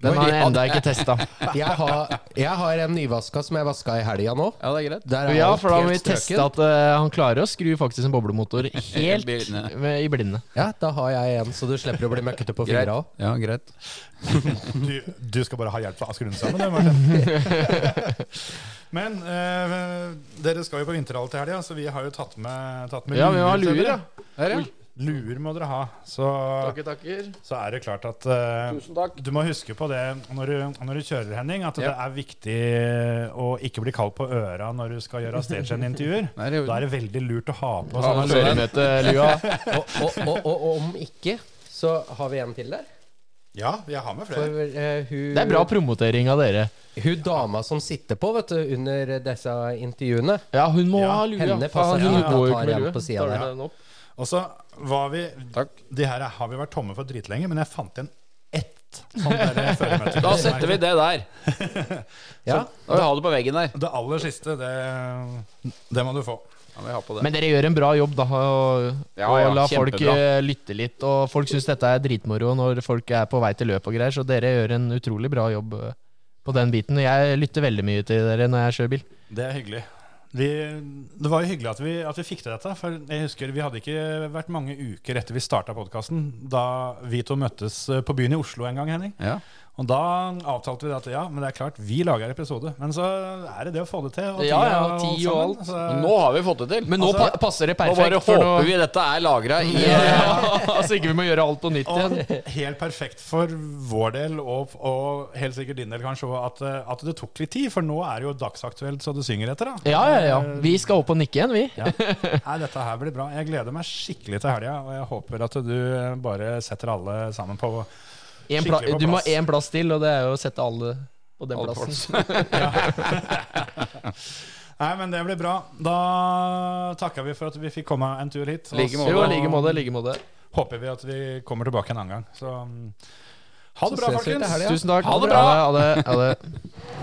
C: Den har jeg enda ikke (laughs) testa.
E: jeg, har, jeg har en nyvaska som jeg vaska i helga nå.
D: Ja, det er greit.
E: Der er
C: Ja,
E: alt
C: for da må
E: helt
C: vi teste
E: strøken.
C: at eh, han klarer å skru faktisk en (laughs) boblemotor helt
D: blinde.
C: med- i blinde.
E: Ja, da har jeg en, så du slipper å bli møkkete på
D: Greit.
E: fingra òg.
D: Ja, greit.
B: Du, du skal bare ha hjelp fra Asker Lund sammen, du, Martin.
D: (laughs)
B: Men eh, dere skal jo på vinterhall til helga, så vi har jo tatt med, tatt med
C: Ja, vi har
B: til
C: luer,
B: dere.
C: ja. Der, ja.
B: Luer må dere ha. Så,
C: Takker, takker.
B: så er det klart at eh, du må huske på det når du, når du kjører, Henning, at det
D: Ja.
B: er viktig å ikke bli kald på øra når du skal gjøre stagehand-intervjuer.
D: Nei, det er jo-
B: Da er det veldig lurt å ha på
D: Ja,
B: sånne
D: men-
C: Føremøtelua.
E: Og, og, og, og, og om ikke, så har vi en til der.
B: Ja, jeg har med
E: For
B: flere.
E: eh, hun,
C: Det er bra promotering av dere.
E: hun dama som sitter på vet du, under disse intervjuene
C: Ja, hun må
B: Ja,
C: ha lue.
E: henne
C: Faen,
E: passer
C: hun
E: det.
C: går jo
E: Da tar
C: ikke
E: jeg
C: med
E: den på
C: lue.
E: siden
C: Tar
E: der.
C: du den opp?
B: Og så var vi
D: Takk.
B: De her har vi vært tomme for dritlenge, men jeg fant igjen ett sånt
D: (laughs)
B: der føremøte.
D: Da setter vi det der.
E: Ja,
D: Da vil vi ha det på veggen der.
B: Det aller siste, det, det må du få.
D: Ja, vi har på det.
C: Men dere gjør en bra jobb, da. Og,
D: Ja,
C: og
D: ja,
C: la folk
D: kjempebra.
C: eh, lytte litt. Og folk syns dette er dritmoro når folk er på vei til løp og greier, så dere gjør en utrolig bra jobb eh, på den biten. Og jeg lytter veldig mye til dere når jeg kjører bil.
B: Det er hyggelig. Vi, det var jo hyggelig at vi, at vi fikk til dette. For jeg husker Vi hadde ikke vært mange uker etter vi starta podkasten, da vi to møttes eh, på byen i Oslo en gang, Henning.
D: Ja.
B: Og da avtalte vi det at ja, men det er klart, vi lager episode. Men så er det det å få det til. Og
C: Ja,
B: tida
C: ja, og tid og
B: sammen,
C: alt.
B: så-
D: Men nå har vi fått det til.
C: Men nå
B: Altså,
C: pa passer det
D: nå
C: perfekt.
D: bare
C: for
D: håper
C: nå-
D: vi dette er lagra i
C: Ja, (laughs) altså ikke vi må gjøre alt på nytt
B: Og
C: igjen.
B: helt perfekt for vår del, og, og helt sikkert din del kanskje, også, at, eh, at det tok litt tid. For nå er det jo dagsaktuelt så du synger etter, da.
C: Ja, ja, ja. Vi skal opp og nikke igjen, vi.
B: Ja. Nei, dette her blir bra. Jeg gleder meg skikkelig til helga, og jeg håper at du eh, bare setter alle sammen på (laughs)
C: En
B: Skikkelig
C: pla
B: på
C: du må
B: plass.
C: ha én plass til, og det er jo å sette alle på den
D: Alle
C: plassen.
B: Nei, men det blir bra. Da takker vi for at vi fikk komme en tur hit. og
D: Like måte.
B: så
C: Jo, i like måte. i Like måte.
B: Håper vi at vi kommer tilbake en annen gang. Så mm, ha det bra,
E: ses vi til
B: folkens.
E: helga.
C: Tusen takk.
D: Ha det bra.
C: Ha det. Ha det.